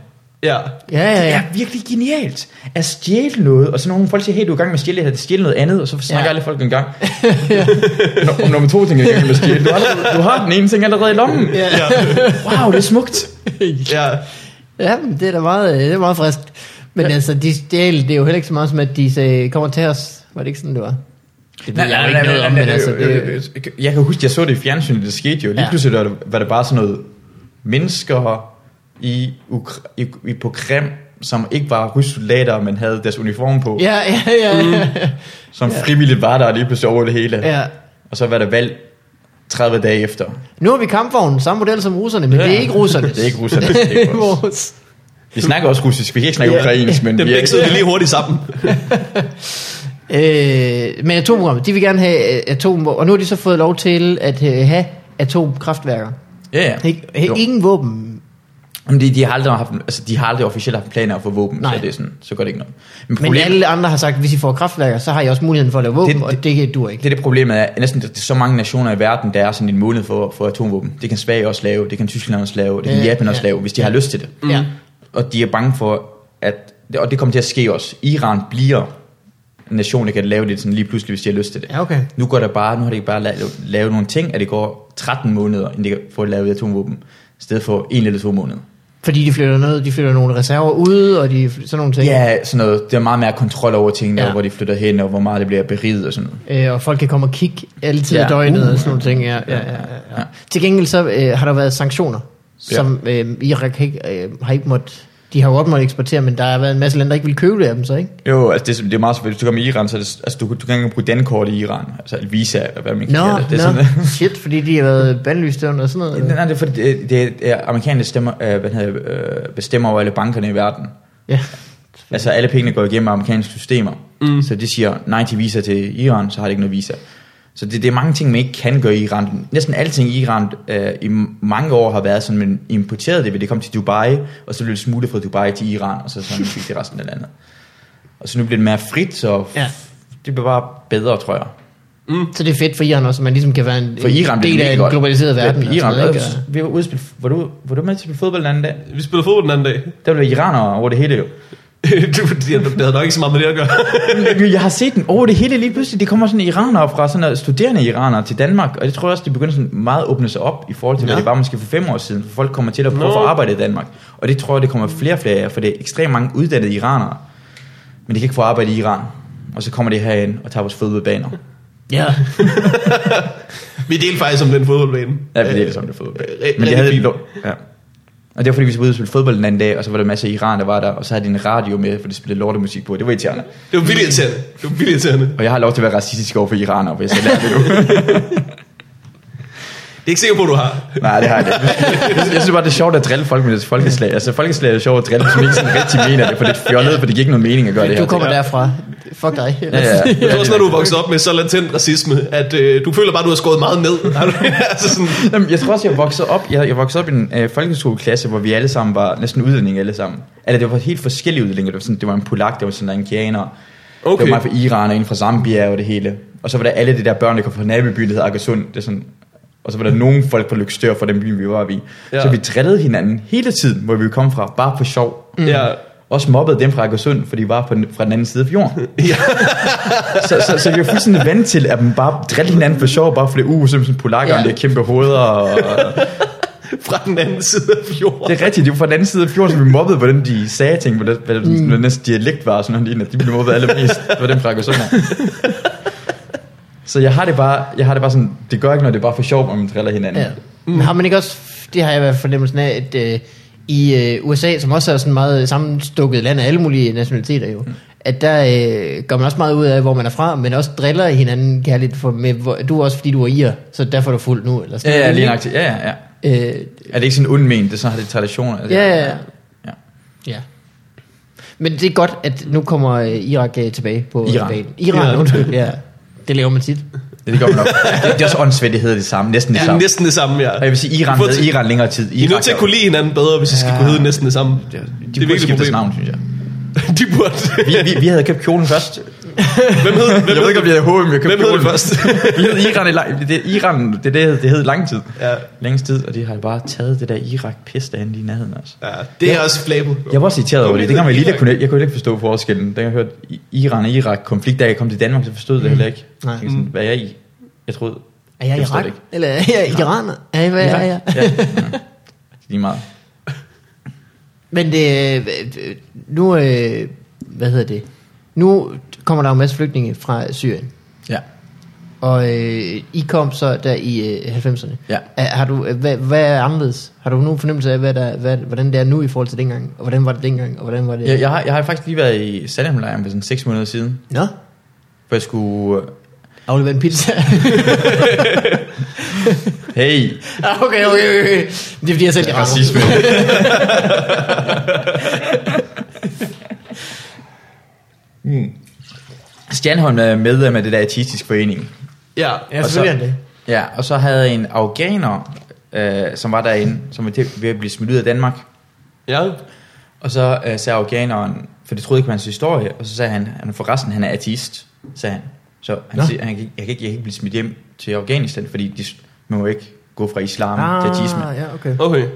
S3: Ja.
S2: Ja, ja,
S4: Det
S2: ja.
S4: er virkelig genialt. At stjæle noget, og så nogle folk siger, hey, du er i gang med at stjæle det her, det stjæle noget andet, og så snakker
S2: Ja.
S4: alle folk en gang. Nå, om nummer to ting, jeg i gang med at stjæle. Du har, allerede- du har den ene ting allerede i lommen.
S2: Ja,
S3: Ja.
S4: Wow, det er smukt.
S3: ja.
S2: ja men det er da meget, øh, det er meget frisk. Men ja. altså, de stjæl, det er jo heller ikke så meget som, at de sagde, kommer til os. Var det ikke sådan, det var? Det ved jeg jo ikke noget om, men altså, det,
S4: det... Jeg kan huske, jeg så det i fjernsynet, det skete jo. Lige
S2: Ja.
S4: pludselig var det, var det bare sådan noget mennesker i, Ukra- i, i, på Krim, som ikke var ryssoldater, men havde deres uniform på,
S2: Ja, ja, ja,
S4: Mm.
S2: ja.
S4: som frivilligt var der og lige pludselig over det hele.
S2: ja.
S4: Og så var der valg 30 dage efter.
S2: Nu har vi kampvognen, samme model som russerne, men ja. det er ikke russerne.
S4: Det er ikke russerne. Det er ikke vores. Vi snakker også russisk, vi kan ikke snakke
S2: Ja.
S4: yeah. ukrainsk, men
S3: Dem
S4: vi er
S3: mixede vi
S4: ikke...
S3: lige hurtigt sammen.
S2: Øh, men atomprogrammet, de vil gerne have øh, atom, og nu har de så fået lov til at øh, have atomkraftværker.
S4: Ja, ja.
S2: Ikke,
S4: Jo.
S2: ingen våben.
S4: Men de, de, har aldrig haft, altså, de har aldrig officielt haft planer for våben,
S2: Nej.
S4: så det er sådan, så går det ikke noget.
S2: Men alle andre har sagt, at hvis I får kraftværker, så har I også muligheden for at lave våben, det,
S4: Det-
S2: og det dur ikke.
S4: Det er det problemet er, at næsten det er så mange nationer i verden, der er sådan en mulighed for, for atomvåben. Det kan Sverige også lave, det kan Tyskland også lave, det kan
S2: Ja,
S4: Japan
S2: ja.
S4: også lave, hvis de har lyst til det.
S2: Ja.
S4: Og de er bange for, at, og det kommer til at ske også, Iran bliver en nation, der kan lave det sådan lige pludselig, hvis de har lyst til det.
S2: Ja, okay.
S4: Nu går der bare, nu har de bare lavet, lavet nogle ting, at det går 13 måneder, inden de kan få lavet atomvåben, i stedet for en eller to måneder.
S2: Fordi de flytter noget, de flytter nogle reserver ud, og de fly- sådan nogle ting.
S4: Ja, sådan noget, der er meget mere kontrol over tingene,
S2: Ja.
S4: ja. hvor de flytter hen, og hvor meget det bliver beriget og sådan noget.
S2: Øh, og folk kan komme og kigge altid ja.
S4: Ja.
S2: i døgnet
S4: Uh,
S2: og sådan nogle ting. Ja, ja, ja, ja, ja. Til gengæld så øh, har der været sanktioner, som øh, Irak ikke, øh, har ikke måttet... De har jo godt måttet eksportere, men der har været en masse lande, der ikke vil købe det af dem så, ikke?
S4: Jo, altså det, er- det er meget svært. Hvis du kommer i Iran, så er det, altså du, du kan ikke engang bruge dankort i Iran. Altså et visa, eller hvad man kan
S2: Nå,
S4: kalde det. det
S2: nå,
S4: er sådan,
S2: shit, fordi de har været bandlyst og sådan noget.
S4: Nej, det er fordi, det, det, det er amerikanerne stemmer, øh, hvad hedder, det, øh, bestemmer over alle bankerne i verden.
S2: Ja.
S4: Altså alle pengene går igennem amerikanske systemer. Mm. Så de siger nej til visa til Iran, så har de ikke noget visa. Så det, det er mange ting, man ikke kan gøre i Iran. Næsten alting i Iran øh, i mange år har været sådan, man importerede det, ved det kom til Dubai, og så blev det smuglet fra Dubai til Iran, og så sådan fik det resten af landet. Og så nu bliver det mere frit, så
S2: Ja.
S4: ja. det bliver bare bedre, tror jeg.
S2: Så det er fedt for Iran også, at man ligesom kan være en,
S4: For
S2: en
S4: Iran bliver
S2: del af
S4: det virkelig
S2: en
S4: godt.
S2: globaliseret verden.
S4: Ja,
S2: og
S4: Iran,
S2: sådan noget, ikke?
S4: noget, vi var, ude at spille, var, du, var du med til at spille fodbold den anden dag?
S3: Vi spillede fodbold den anden dag.
S4: Der blev iranere over det hele jo.
S3: du, det det havde nok ikke så meget med det at gøre.
S4: Men Jeg har set den over det hele lige pludselig. Det kommer sådan iranere fra sådan noget, studerende iranere til Danmark, og det tror jeg også, de begynder sådan meget at åbne sig op i forhold til, hvad
S2: Ja.
S4: det var måske for fem år siden. For folk kommer til at prøve
S3: Nå.
S4: at få arbejde i Danmark. Og det tror jeg, det kommer flere og flere af, for det er ekstremt mange uddannede iranere. Men de kan ikke få arbejde i Iran. Og så kommer de herind og tager vores fodboldbaner.
S2: Ja.
S3: Vi delte faktisk om den fodboldbane.
S4: Ja, det er det, som det er fodbold.
S3: Øh, rigtig
S4: Men det havde
S3: fint.
S4: fint. Ja. Og det var fordi, vi skulle ud og spille fodbold den anden dag, og så var der masser af Iran, der var der, og så havde de en radio med, for de spillede lortemusik på. Det var irriterende.
S3: Det var vildt irriterende. Det var vildt irriterende.
S4: Og jeg har lov til at være racistisk over for iranere, for jeg selv er det jo.
S3: Det er ikke sikker på, du har.
S4: Nej, det har jeg ikke. Jeg synes bare, det er sjovt at drille folk med deres folkeslag. Altså, folkeslag er sjovt at drille, hvis man ikke sådan rigtig mener det, for det er fjollet, for det giver ikke nogen mening at gøre det
S2: Du
S4: her.
S2: kommer derfra. Fuck dig.
S4: Ja, ja.
S3: Jeg tror også, når du er vokset op med så latent racisme, at øh, du føler bare, du har skåret meget ned. altså sådan,
S4: Jamen, jeg tror også, jeg voksede op, jeg, jeg voksede op i en øh, folkeskoleklasse, hvor vi alle sammen var næsten udlændinge alle sammen. Eller det var helt forskellige udlændinge. Det var, sådan, det var en polak, det var sådan en indianer.
S3: Okay.
S4: Det var mig fra Iran og en fra Zambia og det hele. Og så var der alle de der børn, der kom fra nabobyen, der hedder Akersund. Det er sådan, og så var der nogle folk fra Lykstør fra den by, vi var i.
S3: Ja.
S4: Ja. Så vi drillede hinanden hele tiden, hvor vi kom fra, bare for sjov.
S3: ja,
S4: Også mobbede dem fra Akersund, fordi de var på den, fra den anden side af fjorden.
S3: Ja.
S4: så, så, så, vi var fuldstændig vant til, at man bare driller hinanden for sjov, bare fordi, uh, så er vi sådan polakker,
S2: Ja.
S4: ja. det er kæmpe hoveder. Og,
S3: fra den anden side af fjorden.
S4: det er rigtigt, det var fra den anden side af fjorden, så vi mobbede, hvordan de sagde ting, hvordan, hvordan, mm. hvordan deres dialekt var, og sådan noget, lignende. de blev mobbet allermest, det var dem fra Akersund. Så jeg har det bare, jeg har det bare sådan, det gør ikke noget, det er bare for sjov, om man driller hinanden.
S2: Ja. Men har man ikke også, det har jeg i hvert fald fornemmelsen af, at øh, i øh, USA, som også er sådan meget sammenstukket land af alle mulige nationaliteter jo, at der øh, gør man også meget ud af, hvor man er fra, men også driller hinanden kærligt, for med, hvor, du er også fordi, du er ir, så derfor er du fuld nu. Eller sådan
S4: Ja, ja,
S2: noget,
S4: lige
S2: ikke?
S4: nøjagtigt. Ja, ja, ja.
S2: Øh,
S4: Er det ikke sådan undment, det er sådan har det traditioner? Altså,
S2: Ja, ja, ja.
S4: ja.
S2: ja. Men det er godt, at nu kommer øh, Irak øh, tilbage på
S4: Iran.
S2: banen. Iran,
S3: Iran.
S2: undskyld. Ja. Det laver man tit.
S4: Ja, Det gør man nok. Det, det er også åndssvagt, det hedder det samme. Næsten det
S3: Ja,
S4: samme.
S3: næsten det samme, ja.
S4: Og jeg vil sige, Iran
S3: I får
S4: havde
S3: til-
S4: Iran længere tid.
S3: I er nødt til at kunne lide hinanden bedre, hvis I skal
S4: Ja.
S3: kunne hedde næsten det samme.
S4: De,
S3: er
S4: de burde
S3: virkelig
S4: skifte deres
S3: problem.
S4: navn, synes jeg.
S3: De burde.
S4: Vi, vi, vi havde købt kjolen først.
S3: Hvem hed, hvem
S4: Jeg ved ikke, om vi havde HM, jeg købte
S3: Hvem hed det
S4: kjolen.
S3: først?
S4: Vi hed Iran i lang, det, det, Iran, det, det, det hed i lang tid.
S3: Ja.
S4: Længst tid, og de har bare taget det der Irak-pis derinde lige i nærheden også.
S3: ja, det er også flabet.
S4: Jeg var også irriteret over det.
S3: Hvorfor
S4: Dengang var jeg
S3: hedder
S4: lille, kunne jeg, jeg kunne heller ikke forstå forskellen. Da jeg hørte I- Iran og Irak konflikt, da jeg kom til Danmark, så forstod jeg det heller ikke.
S2: Nej.
S4: Jeg tænkte sådan, hvad er jeg i? Jeg troede...
S2: Er jeg
S4: forstår
S2: Irak?
S4: det ikke.
S2: Eller er jeg iraner? Er jeg, hvad er jeg?
S4: Ja. ja. Lige meget.
S2: Men det, øh, nu, øh, hvad hedder det? Nu kommer der jo en masse flygtninge fra Syrien.
S4: Ja.
S2: Og øh, I kom så der i øh, 90'erne.
S4: Ja.
S2: Er, har du, øh, hvad, hvad er anderledes? Har du nogen fornemmelse af, hvad der, hvad, hvordan det er nu i forhold til dengang? Og hvordan var det dengang? Og hvordan var det?
S4: Jeg, jeg, har, jeg har faktisk lige været i Salamlejren for sådan 6 måneder siden,
S2: Nå,
S4: hvor jeg skulle...
S2: aflever en pizza.
S4: Hey!
S2: Ah, okay, okay, okay. Det er fordi, jeg selv er
S4: Præcis, men. Hmm. Stjernholm er medlem af det der artistisk forening.
S3: Ja,
S2: Ja,
S4: Og så-
S2: selvfølgelig er det.
S4: Ja, og så havde jeg en afghaner, øh, som var derinde, som var til- ved at blive smidt ud af Danmark.
S3: ja.
S4: Og så øh, sagde afghaneren, for det troede ikke var hans historie, og så sagde han, han forresten, han er ateist, sagde han. Så han
S2: Nå.
S4: siger, han, kan ikke- jeg, kan ikke, jeg kan ikke blive smidt hjem til Afghanistan, fordi de s- man må ikke gå fra islam ah, til ateisme.
S2: Ah, ja, okay.
S3: Okay.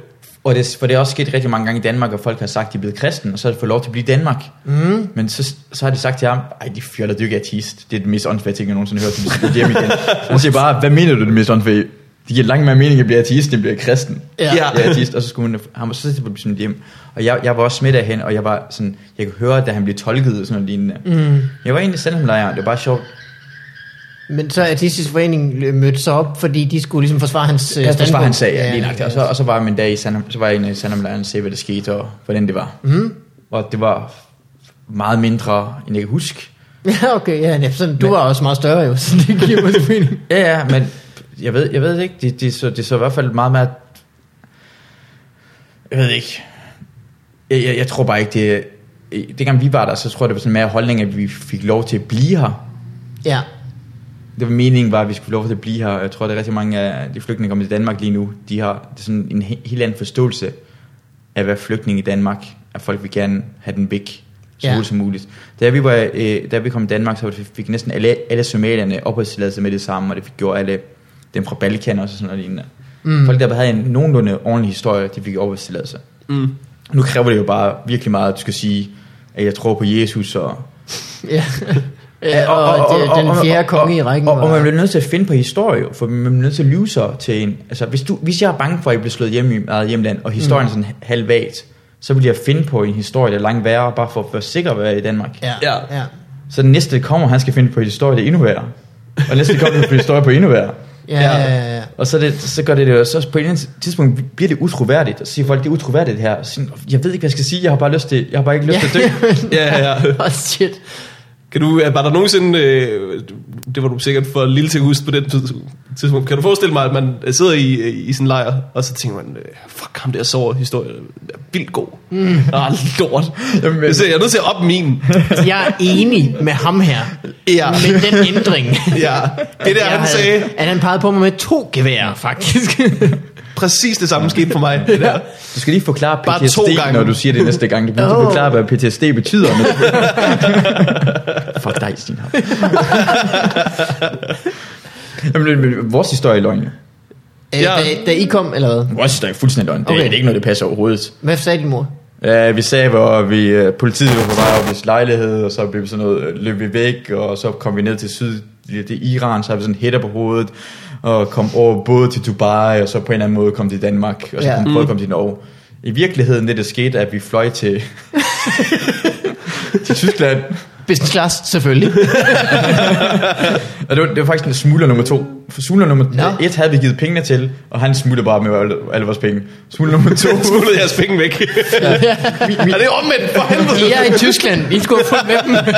S4: Og det, for det er også sket rigtig mange gange i Danmark, at folk har sagt, at de er blevet kristne, og så har de fået lov til at blive i Danmark. Mm. Men så, så har de sagt til ham, ej, de fjoller, du er ikke ateist. Det er det mest åndssvage ting, jeg nogensinde har hørt, at de hjem igen. Han siger bare, hvad mener du det mest åndssvage? Det giver langt mere mening at blive ateist, end at blive kristen.
S2: Ja.
S4: Jeg er ateist, og så skulle hun, han var så til at blive smidt hjem. Og jeg, jeg var også smidt af hende, og jeg var sådan, jeg kunne høre, da han blev tolket og sådan noget lignende. Mm. Jeg var egentlig selv ham lejren, det var bare sjovt.
S2: Men så er Artistisk Forening øh, mødt sig op, fordi de skulle ligesom forsvare hans øh,
S4: Jeg forstår,
S2: standpunkt.
S4: han sagde, ja, lige nok. Og så, og så var jeg min dag i Sandham, så var jeg inde i Sandhamlejren og se, hvad der skete, og hvordan det var. Mm. Og det var meget mindre, end jeg kan huske.
S2: Ja, okay, ja, ja sådan, du var også meget større jo, så det giver mig mening.
S4: Ja, ja, men jeg ved, jeg ved det ikke, det, det, så, det så i hvert fald meget mere... Jeg ved ikke. Jeg, jeg, jeg tror bare ikke, det... Dengang vi var der, så tror jeg, det var sådan mere holdning, at vi fik lov til at blive her.
S2: Ja,
S4: Det var meningen var, at vi skulle få lov til at blive her. og Jeg tror, at rigtig mange af de flygtninge, der kommer til Danmark lige nu, de har det er sådan en he- helt anden forståelse af, hvad flygtning i Danmark, at folk vil gerne have den væk så
S2: Ja.
S4: hurtigt som muligt. Da vi, var, øh, da vi kom til Danmark, så fik næsten alle, alle somalierne opholdstilladelse med det samme, og det fik gjort alle dem fra Balkan også og sådan noget lignende. Mm. Folk, der havde en nogenlunde ordentlig historie, de fik opholdstilladelse.
S3: Mm.
S4: Nu kræver det jo bare virkelig meget, at du skal sige, at jeg tror på Jesus og
S2: ja. ja og, og, og, og, den fjerde konge i rækken
S4: og, og, og man
S2: var...
S4: bliver nødt til at finde på historie, for man bliver nødt til at lyve sig til en. Altså, hvis, du, hvis jeg er bange for, at jeg bliver slået hjem i mit eget hjemland, og historien mm. er sådan halvvagt, så vil jeg finde på en historie, der er langt værre, bare for at være sikker på at være i Danmark.
S2: Ja,
S3: Ja.
S2: ja.
S4: Så den næste, der kommer, han skal finde på en historie, der er endnu værre. Og den næste kommer på en historie på endnu værre.
S2: Ja, ja, ja, ja.
S4: Og så, det, så gør det det jo- så på et eller andet tidspunkt bliver det utroværdigt, og så siger folk, det er utroværdigt det her. Og så Sådan, jeg ved ikke, hvad jeg skal sige, jeg har bare, lyst til, jeg har bare ikke lyst til at dø.
S3: Ja, ja.
S2: Åh, shit.
S3: Kan du, er- var der nogensinde, øh, det var du sikkert for lille til at huske på den tids- tidspunkt. Kan du forestille mig, at man øh, sidder i, øh, i sin lejr, og så tænker man, øh, fuck ham der sover historie er vildt god. Mm. Ah, lort.
S4: Jamen,
S3: Jamen, så jeg er nødt til at op min.
S2: Jeg er enig med ham her.
S3: Ja.
S2: Med den ændring.
S3: Ja, det der,
S2: Jeg
S3: han
S2: havde-
S3: sagde,
S2: At han pegede på mig med to geværer, faktisk.
S3: præcis det samme skete for mig. Det der.
S4: Du skal lige forklare
S3: Bare
S4: PTSD,
S3: to gange.
S4: når du siger det næste gang. Du bliver nødt til at forklare, hvad PTSD betyder. Men... Fuck dig, Stine. Jamen, men- men vores historie er løgn. jo.
S2: Øh,
S3: Ja.
S2: da, da I kom, eller hvad?
S4: Vores historie er fuldstændig løgn. Det, okay.
S2: Okay.
S4: det er ikke noget, det passer overhovedet.
S2: Hvad sagde din mor?
S4: Ja, vi sagde, hvor vi, øh, politiet var på vej op i vores lejlighed, og så blev vi sådan noget, øh, løb vi væk, og så kom vi ned til syd, det er Iran, så havde vi sådan hætter på hovedet, og kom over både til Dubai, og så på en eller anden måde kom til Danmark, og så
S2: Ja. Mm.
S4: kom, prøvede at komme til Norge. I virkeligheden, det der skete, at vi fløj til, til Tyskland,
S2: Business class, selvfølgelig.
S4: og det var, det var faktisk en smugler nummer to. For smugler nummer
S2: Nå.
S4: et havde vi givet pengene til, og han smuglede bare med alle, alle vores penge. Smugler nummer to,
S3: Så smuglede jeres penge væk. Ja, det er omvendt for helvede.
S2: I er i Tyskland. I skulle have fulgt med dem.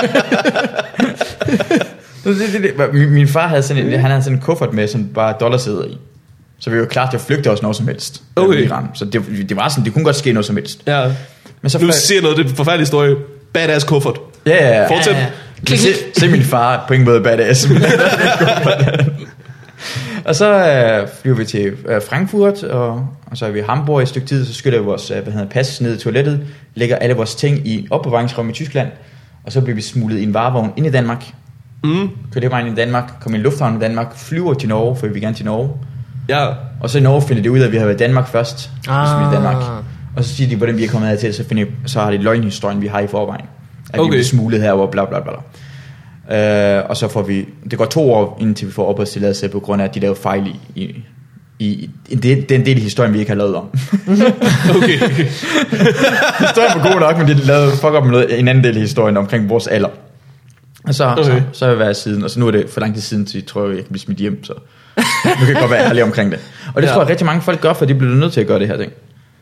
S4: Det, det, det, det. Min, min far havde sådan en, han havde sådan en kuffert med, som bare dollarsæder i. Så vi var klar til at flygte os når som helst. øh,
S3: Okay.
S4: Iran. Så det, det var sådan, det kunne godt ske noget som helst.
S3: Ja.
S4: Men så
S3: Nu
S4: fløj-
S3: siger jeg noget, det er en forfærdelig historie. Badass kuffert.
S4: ja, ja, ja.
S3: Fortsæt.
S2: Ja, ja.
S4: Men
S2: Klik,
S4: Se,
S2: klik.
S4: se, min far på ingen måde badass. Men han er sådan en kuffert. og så øh, flyver vi til øh, Frankfurt, og, og så er vi i Hamburg i et stykke tid, så skyller vi vores øh, hvad hedder, det, pas ned i toilettet, lægger alle vores ting i en opbevaringsrum i Tyskland, og så bliver vi smuglet i en varevogn ind i Danmark,
S3: Mm.
S4: kører det vejen i Danmark, kommer i en lufthavn i Danmark, flyver til Norge, for vi vil gerne til Norge,
S3: Ja.
S4: Og så i Norge finder de ud af, at vi har været i Danmark først. Ah. Så vi er i
S2: Ah.
S4: Danmark. Og så siger de, hvordan vi er kommet hertil, så, finder, så har de løgnhistorien, vi har i forvejen. At okay.
S3: Okay.
S4: vi er smuglet herover, bla bla bla. Uh, og så får vi, det går to år, indtil vi får opholdstilladelse, på grund af, at de lavede fejl i, i, i, i den, den del af historien, vi ikke har lavet om.
S3: Okay.
S4: historien var god nok, men de lavede fuck op med noget, en anden del af historien omkring vores alder. Og så, okay.
S3: Okay.
S4: så, så har jeg været siden, og så nu er det for lang tid siden, så jeg tror, jeg kan blive smidt hjem, så nu kan jeg godt være ærlig omkring det. Og det ja.
S3: Ja.
S4: tror jeg rigtig mange folk gør, for de bliver nødt til at gøre det her ting.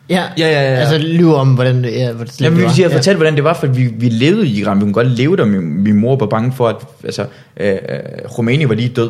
S2: Ja,
S3: Ja, ja, ja.
S2: Altså lyver om, hvordan det, ja, hvordan det
S4: Jamen, vi
S2: var.
S4: vil sige, at fortælle, hvordan det var, for vi, vi levede i Iran. Vi kunne godt leve der. Min, min mor var bange for, at altså, øh, øh, Rumæni var lige død.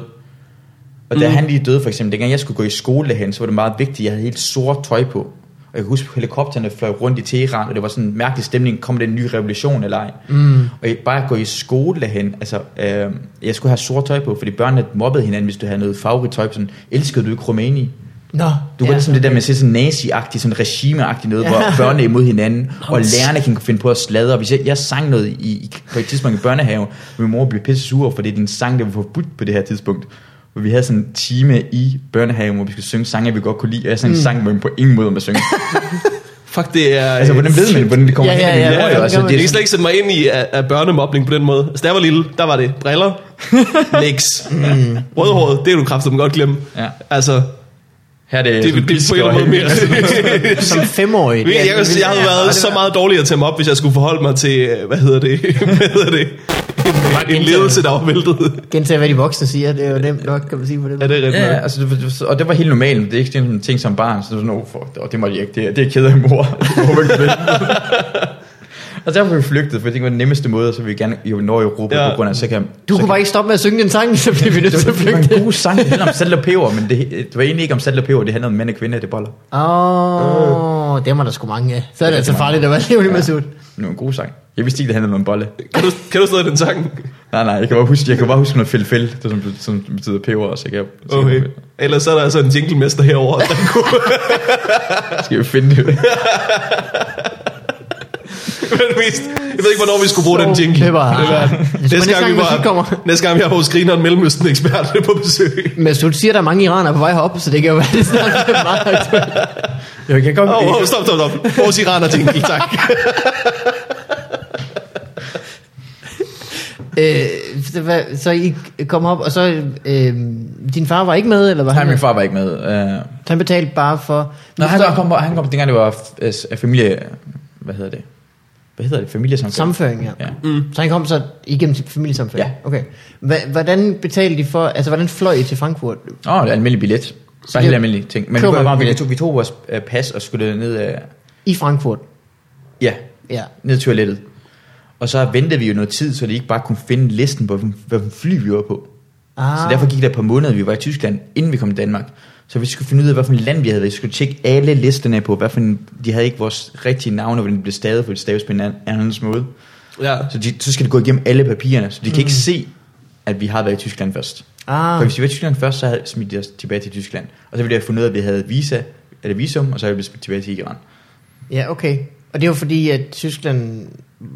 S4: Og da mm. han lige døde, for eksempel, dengang jeg skulle gå i skole derhen, så var det meget vigtigt, at jeg havde helt sort tøj på. Og jeg kan huske, at helikopterne fløj rundt i Teheran, og det var sådan en mærkelig stemning. Kom det en ny revolution eller ej? Mm. Og jeg, bare at gå i skole derhen, altså, øh, jeg skulle have sort tøj på, fordi børnene mobbede hinanden, hvis du havde noget farverigt tøj på. Sådan, elskede du ikke Rumæni?
S2: Nå,
S4: Du ja, ligesom det der med at se sådan nazi-agtigt, sådan regime-agtigt noget, hvor børnene er imod hinanden, og lærerne kan finde på at sladre. Hvis jeg, jeg sang noget i, i, på et tidspunkt i børnehaven, og min mor blev pisse sur, over, for det er din sang, der var forbudt på det her tidspunkt. Hvor vi havde sådan en time i børnehaven, hvor vi skulle synge sange, vi godt kunne lide, og jeg sang en
S2: Mm.
S4: sang, hvor man på ingen måde må synge.
S3: Fuck, det er... øh,
S4: Altså, hvordan ved man, hvordan det kommer
S2: Ja,
S4: hen?
S2: ja,
S4: i
S2: ja,
S4: dit
S2: ja,
S4: øre,
S2: ja,
S4: altså,
S2: ja,
S4: det
S3: Jeg
S4: er
S3: kan slet
S4: sådan-
S3: ikke sætte mig ind i af, af børnemobning på den måde. Altså, da jeg var lille, der var det briller, niks. Mm. Rødhåret, det er du kraftigt godt glemme.
S4: Ja.
S3: Altså, det,
S4: Her er det,
S3: det, det, det på en eller anden måde mere.
S2: som femårig.
S3: Jeg, jeg, jeg havde været så meget dårligere til mig op, hvis jeg skulle forholde mig til, øh, hvad hedder det, hvad hedder det, en, en ledelse, der var væltet.
S2: Gentage, hvad de voksne siger. Det er jo nemt nok, kan man sige på det.
S3: Er det rigtigt?
S4: Ja,
S3: Ja.
S4: altså, det var- og det var helt normalt. Det er ikke sådan en ting som barn, så det var sådan, oh, fuck, det, det må jeg ikke. Det, er- det er ked af mor. Det håber jeg ikke, det. og derfor blev vi flygtet, for det var den nemmeste måde, så vi gerne i Norge Europa, ja.
S3: Ja.
S4: på grund af, så kan...
S2: Du
S4: så
S2: kunne
S4: kan-
S2: bare ikke stoppe med at synge den sang, så blev vi nødt til at
S4: det var
S2: flygte.
S4: en god sang, det handler om salt og peber, men det, det var egentlig ikke om salt og peber, det handler om mænd og kvinder, det boller.
S2: Åh, oh, dem er der sgu mange af. Så er det altså farligt at være levende med sut.
S4: Men det var en god sang. Jeg vidste ikke, det handlede om en bolle.
S3: Kan, du, kan du stadig den sang?
S4: Nej, nej, jeg kan bare huske, jeg kan bare huske noget fælfæl, det som, som betyder peber, og så kan jeg... så kan
S3: Okay.
S4: jeg-
S3: Ellers er der altså en jinglemester herovre, der
S4: Skal jeg finde det?
S3: Men mest, jeg ved ikke, hvornår vi skulle bruge
S2: Så
S3: den jingle.
S2: det var-
S3: Det var-
S2: Næste
S3: Næste gang,
S2: gang
S3: vi
S2: musik
S3: var,
S2: kommer.
S3: næste gang vi har hos Grineren Mellemøsten ekspert på besøg.
S2: Men Sut siger, at der er mange iranere på vej herop, så det kan jo være, det snart er meget aktuelt.
S4: Jeg kan godt...
S3: Åh, oh, stop, stop, stop. Vores iraner jingle, tak.
S2: Øh, så hvad- så I kom op, og så... Øh, din far var ikke med, eller var
S4: Nej,
S2: han
S4: min
S2: med?
S4: far var ikke med. Øh,
S2: Han betalte bare for...
S4: Nå, han, han, kom, han kom dengang, det var øh, s- familie... Hvad hedder det? Hvad hedder det? Familiesamfund?
S2: Samføring, ja.
S4: Ja.
S2: Mm. Så han kom så igennem sin familiesamføring?
S4: Ja.
S2: Okay. Hva- Hvordan betalte de for, altså hvordan fløj I til Frankfurt?
S4: Åh, oh, det er almindelig billet. Bare
S2: det-
S4: helt almindelig ting. Men vi,
S2: Køber
S4: var,
S2: man
S4: vi,
S2: billet?
S4: tog, vi tog vores øh, pas og skulle ned, øh,
S2: I Frankfurt?
S4: ja,
S2: Ja.
S4: ned til toilettet. Og så ventede vi jo noget tid, så de ikke bare kunne finde listen på, hvilken- hvilken fly vi var på.
S2: Ah.
S4: Ah. Så derfor gik der et par måneder, vi var i Tyskland, inden vi kom til Danmark. Så vi skulle finde ud af, hvilken land vi havde været. Vi skulle tjekke alle listerne på, hvilken, de havde ikke vores rigtige navne, hvordan de blev stavet, for de staves på en an- andens måde.
S3: Ja.
S4: Så, de, så skal det gå igennem alle papirerne, så de kan ikke se, at vi har været i Tyskland først. For
S2: Mm. Ah,
S4: hvis vi var i Tyskland først, så havde smidt de os tilbage til Tyskland. Og så ville jeg have fundet ud af, at vi havde visa, eller visum, og så ville vi smidt tilbage til Iran.
S2: ja, okay. Og det er jo fordi, at Tyskland...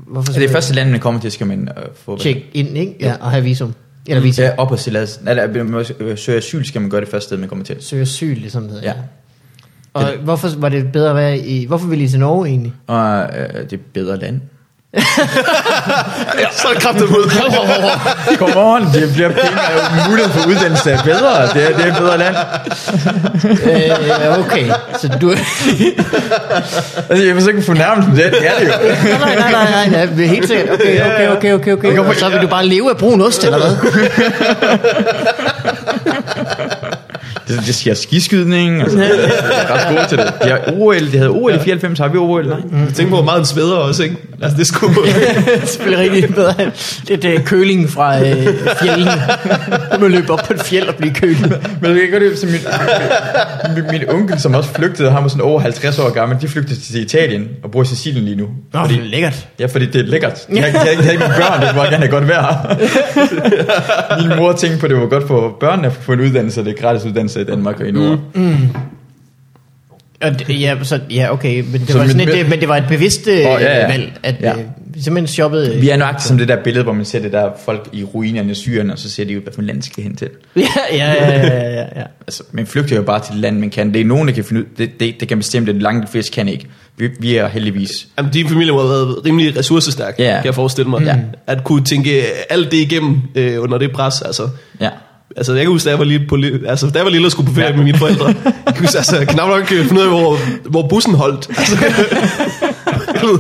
S2: Hvorfor
S4: Så Altså, det er første land, man kommer til, skal man øh, få...
S2: Tjek ind, ikke? Ja, og have visum. Eller visa.
S4: Ja, opholdstilladelse. Eller man må øh, søge asyl, skal man gøre det første sted, man kommer til.
S2: Søge asyl, ligesom det hedder.
S4: Ja.
S2: Og hvorfor var det bedre at være i... Hvorfor ville I til Norge egentlig?
S4: Og øh, det er et bedre land.
S3: Så er det kraftigt mod.
S4: Come on, det bliver penge og mulighed for uddannelse er bedre. Det er, det er et bedre land.
S2: øh, okay, så du...
S4: Altså, jeg forsøger ikke fornærme det. Det er det jo.
S2: nej, nej, nej, nej, nej, nej, det er helt sikkert. Okay, okay, okay, okay, okay. Og så vil du bare leve af brun ost, eller hvad?
S4: Det, det siger skiskydning. Altså, det er ret gode til det. De har OL. De havde OL i 94. Har vi OL? Nej.
S3: Tænk på, hvor meget en sveder også, ikke? Altså, det skulle...
S2: det er selvfølgelig rigtig bedre. Det er køling fra øh, fjellene. Du må løbe op på et fjeld og blive kølet.
S4: Men jeg kan godt lide, som min, min, min onkel, som også flygtede, han var sådan over 50 år gammel, de flygtede til Italien og bor i Sicilien lige nu.
S2: Nå, det er lækkert.
S4: Ja, fordi det er lækkert. Jeg, jeg, jeg, jeg, jeg mine børn, det må gerne have godt vejr. Min mor tænkte på, at det var godt for børnene at få en uddannelse, og det er gratis uddannelse i Danmark og i Norden. Mm.
S2: Og d- ja, så, ja, okay, men det,
S4: Så
S2: så var
S4: mit-
S2: sådan et, det, men det var et bevidst øh, oh,
S4: ja,
S2: ja,
S4: ja.
S2: ja. valg, at
S4: Ja.
S2: ja. øh, vi simpelthen shoppede...
S4: Vi er nøjagtigt som det der billede, hvor man ser det der folk i ruinerne i Syrien, og så ser de jo, hvad for en land skal hen til.
S2: Ja, ja, ja, ja, ja, ja.
S4: Altså, man flygter jo bare til det land, man kan. Det er nogen, der kan finde ud, det, det, det kan bestemme det, langt de fleste kan ikke. Vi, vi er heldigvis.
S3: Jamen, din familie må have været rimelig ressourcestærk,
S4: Ja. Mm.
S3: kan jeg forestille mig.
S4: Ja.
S3: At kunne tænke alt det igennem øh, under det pres, altså.
S4: Ja.
S3: Altså, jeg kan huske, da jeg var lille, på, li- altså, da jeg var lille og skulle på ferie
S4: Ja.
S3: ja. med mine forældre. Jeg kan huske, altså, jeg knap nok øh, finde ud af, hvor, hvor bussen holdt. Altså, du ved,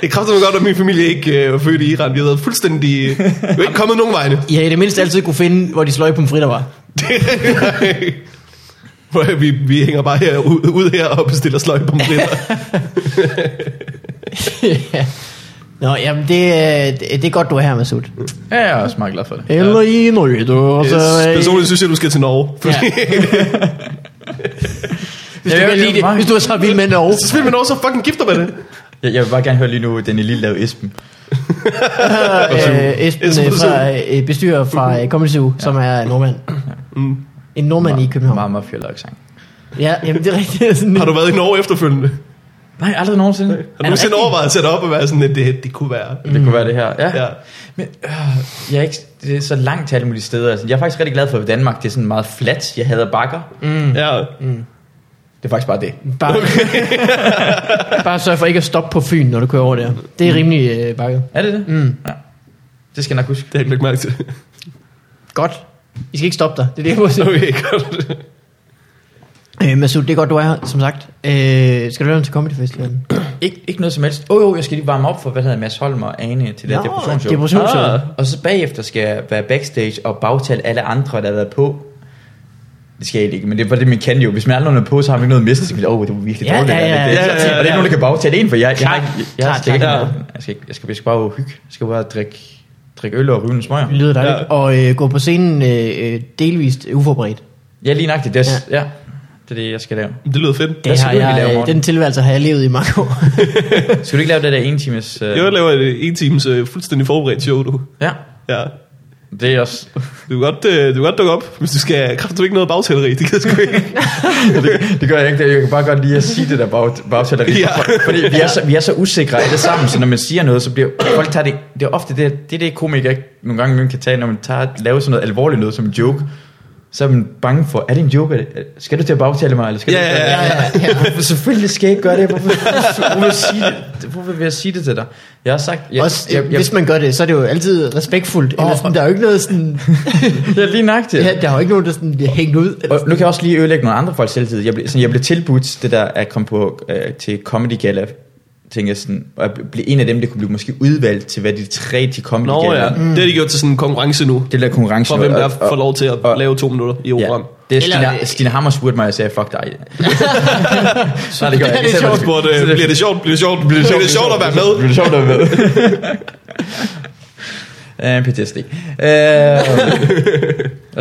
S3: det kræfter mig godt, at min familie ikke øh, var født i Iran. Vi havde været fuldstændig... Øh, vi var ikke kommet nogen vegne.
S2: I har i det mindste altid kunne finde, hvor de sløje pomfritter var.
S3: Hvor vi, vi hænger bare her, ud, ud her og bestiller sløj på
S2: ja. Nå, jamen det, øh, det, det er godt, du er her, Masud.
S4: Ja, jeg er også meget glad for det.
S2: Eller i Norge, du. Og så, øh,
S3: Personligt synes jeg, du skal til Norge. Fordi, ja.
S2: hvis, du
S4: Ja, jeg
S2: kan
S4: vil
S2: lide det,
S4: meget.
S2: hvis du er så vild med Norge.
S3: så spiller man Norge, så fucking gifter man det.
S4: Jeg, jeg vil bare gerne høre lige nu, den lille lave Esben.
S2: Øh, Esben
S3: Esben
S2: øh,
S3: fra
S2: fra, øh, bestyrer fra øh, Comedy Zoo, som er nordmand.
S3: Mm.
S2: En nordmand i København.
S4: Meget, meget fjollet accent.
S2: Ja, jamen det er rigtigt. Sådan,
S3: Har du været i Norge efterfølgende?
S4: Nej, aldrig nogensinde.
S3: Har du nogensinde overvejet at sætte op og være sådan, at det, det kunne være?
S4: Det kunne være det her. Ja.
S3: Ja.
S4: ja. Men øh, jeg er ikke det er så langt til alle mulige steder. Altså, jeg er faktisk rigtig glad for, at Danmark det er sådan meget fladt. Jeg hader bakker.
S3: Ja.
S4: Det er faktisk bare det.
S2: Bare, bare sørg for ikke at stoppe på Fyn, når du kører over der. Det er
S3: Mm.
S2: rimelig øh, bakket.
S4: Er det det?
S2: Mm.
S4: Ja. Det skal jeg nok huske.
S3: Det har jeg ikke lagt mærke til.
S2: Godt. I skal ikke stoppe dig. Det er det, jeg må sige.
S3: Okay, godt.
S2: Øh, Masud, det er godt, du er her, som sagt. Øh, skal du lave den til Comedy Festivalen?
S4: Ikke, ikke noget som helst. Åh oh, jo, jeg skal lige varme op for, hvad hedder Mads Holm og Ane til det her
S2: Nå,
S4: depressionsshow.
S2: depressionsshow.
S3: Ah,
S4: Og så bagefter skal jeg være backstage og bagtale alle andre, der har været på. Det skal jeg ikke, men det er bare det, man kan jo. Hvis man aldrig er på, så har man ikke noget at miste. Så kan man, åh, oh, det var virkelig
S2: Ja,
S4: dårligt.
S2: ja, ja,
S4: eller det,
S3: ja, ja, ja.
S4: Og det er ikke nogen, der kan bagtale en, for jeg, jeg,
S2: Klart,
S4: har ikke- jeg, jeg,
S2: klart,
S4: jeg, skal ikke
S2: klart.
S4: have- jeg, skal, ikke- jeg, skal, jeg skal bare hygge. Jeg skal bare drikke, drikke øl og ryge en smøger.
S2: Det lyder dejligt.
S3: Ja.
S2: Ja. Og øh, gå på scenen øh, øh, delvist uforberedt.
S4: Ja, lige nøjagtigt. Det er, ja. ja. Det er det, jeg skal lave.
S3: Det lyder fedt.
S4: Hvad
S2: Det
S4: skal
S2: har
S4: du egentlig lave i
S2: jeg, øh,
S4: morgen?
S2: den tilværelse har jeg levet i mange år.
S4: Skal du ikke lave det der en times... Øh...
S3: Jeg laver et en times øh, fuldstændig forberedt show, du.
S4: Ja,
S3: Ja.
S4: det er også...
S3: Du kan godt, øh, du kan godt dukke op, hvis du skal kræfte ikke noget bagtaleri. Det kan jeg sgu ikke.
S4: det, det gør jeg ikke. Det- Jeg kan bare godt lide at sige det der bag, bagtaleri.
S3: Ja.
S4: Fordi vi er, så, vi er så usikre alle sammen, så når man siger noget, så bliver folk tager det... Det er ofte det, det, er det komikere ikke nogle gange man kan tage, når man tager, laver sådan noget alvorligt noget som en joke. Så er man bange for, er det en joke? Er det- Skal du til at bagtale mig? Eller skal
S3: Ja,
S4: du ikke
S3: ja,
S4: gøre
S3: ja,
S4: det? Hvorfor- Selvfølgelig skal jeg ikke gøre det. Hvorfor, hvorfor, vil jeg sige det? hvorfor vil jeg sige det til dig? Jeg har sagt... Jeg,
S2: Også,
S4: jeg, jeg,
S2: hvis man gør det, så er det jo altid respektfuldt. Oh,
S4: Åh,
S2: eller sådan, der er jo ikke noget sådan,
S4: jeg, jeg lige nøjagtigt.
S2: ja, der er jo ikke nogen, der sådan bliver hængt ud.
S4: Og nu kan jeg også lige ødelægge nogle andre folks selvtid. Jeg blev, sådan, jeg blev tilbudt det der at komme på, øh, til Comedy Gala, tænkte jeg sådan, og jeg blev en af dem, der kunne blive måske udvalgt til, hvad de tre til Comedy
S3: Nå
S4: Gala.
S3: ja, det har de gjort til sådan en konkurrence nu.
S4: Det der konkurrence.
S3: For hvem der får lov til at
S4: og-
S3: lave to minutter i
S4: øh, ja,
S3: operan.
S4: det er
S2: Eller-
S4: Stine, Stine Hammer spurgte mig, og jeg sagde, fuck dig. Nej, det gør
S2: Det er
S4: jeg ikke.
S2: sjovt.
S3: Hvor det, bliver det sjovt, bliver det sjovt, bliver det sjovt, at være med?
S4: Bliver det sjovt at være med? Uh, PTSD. Uh,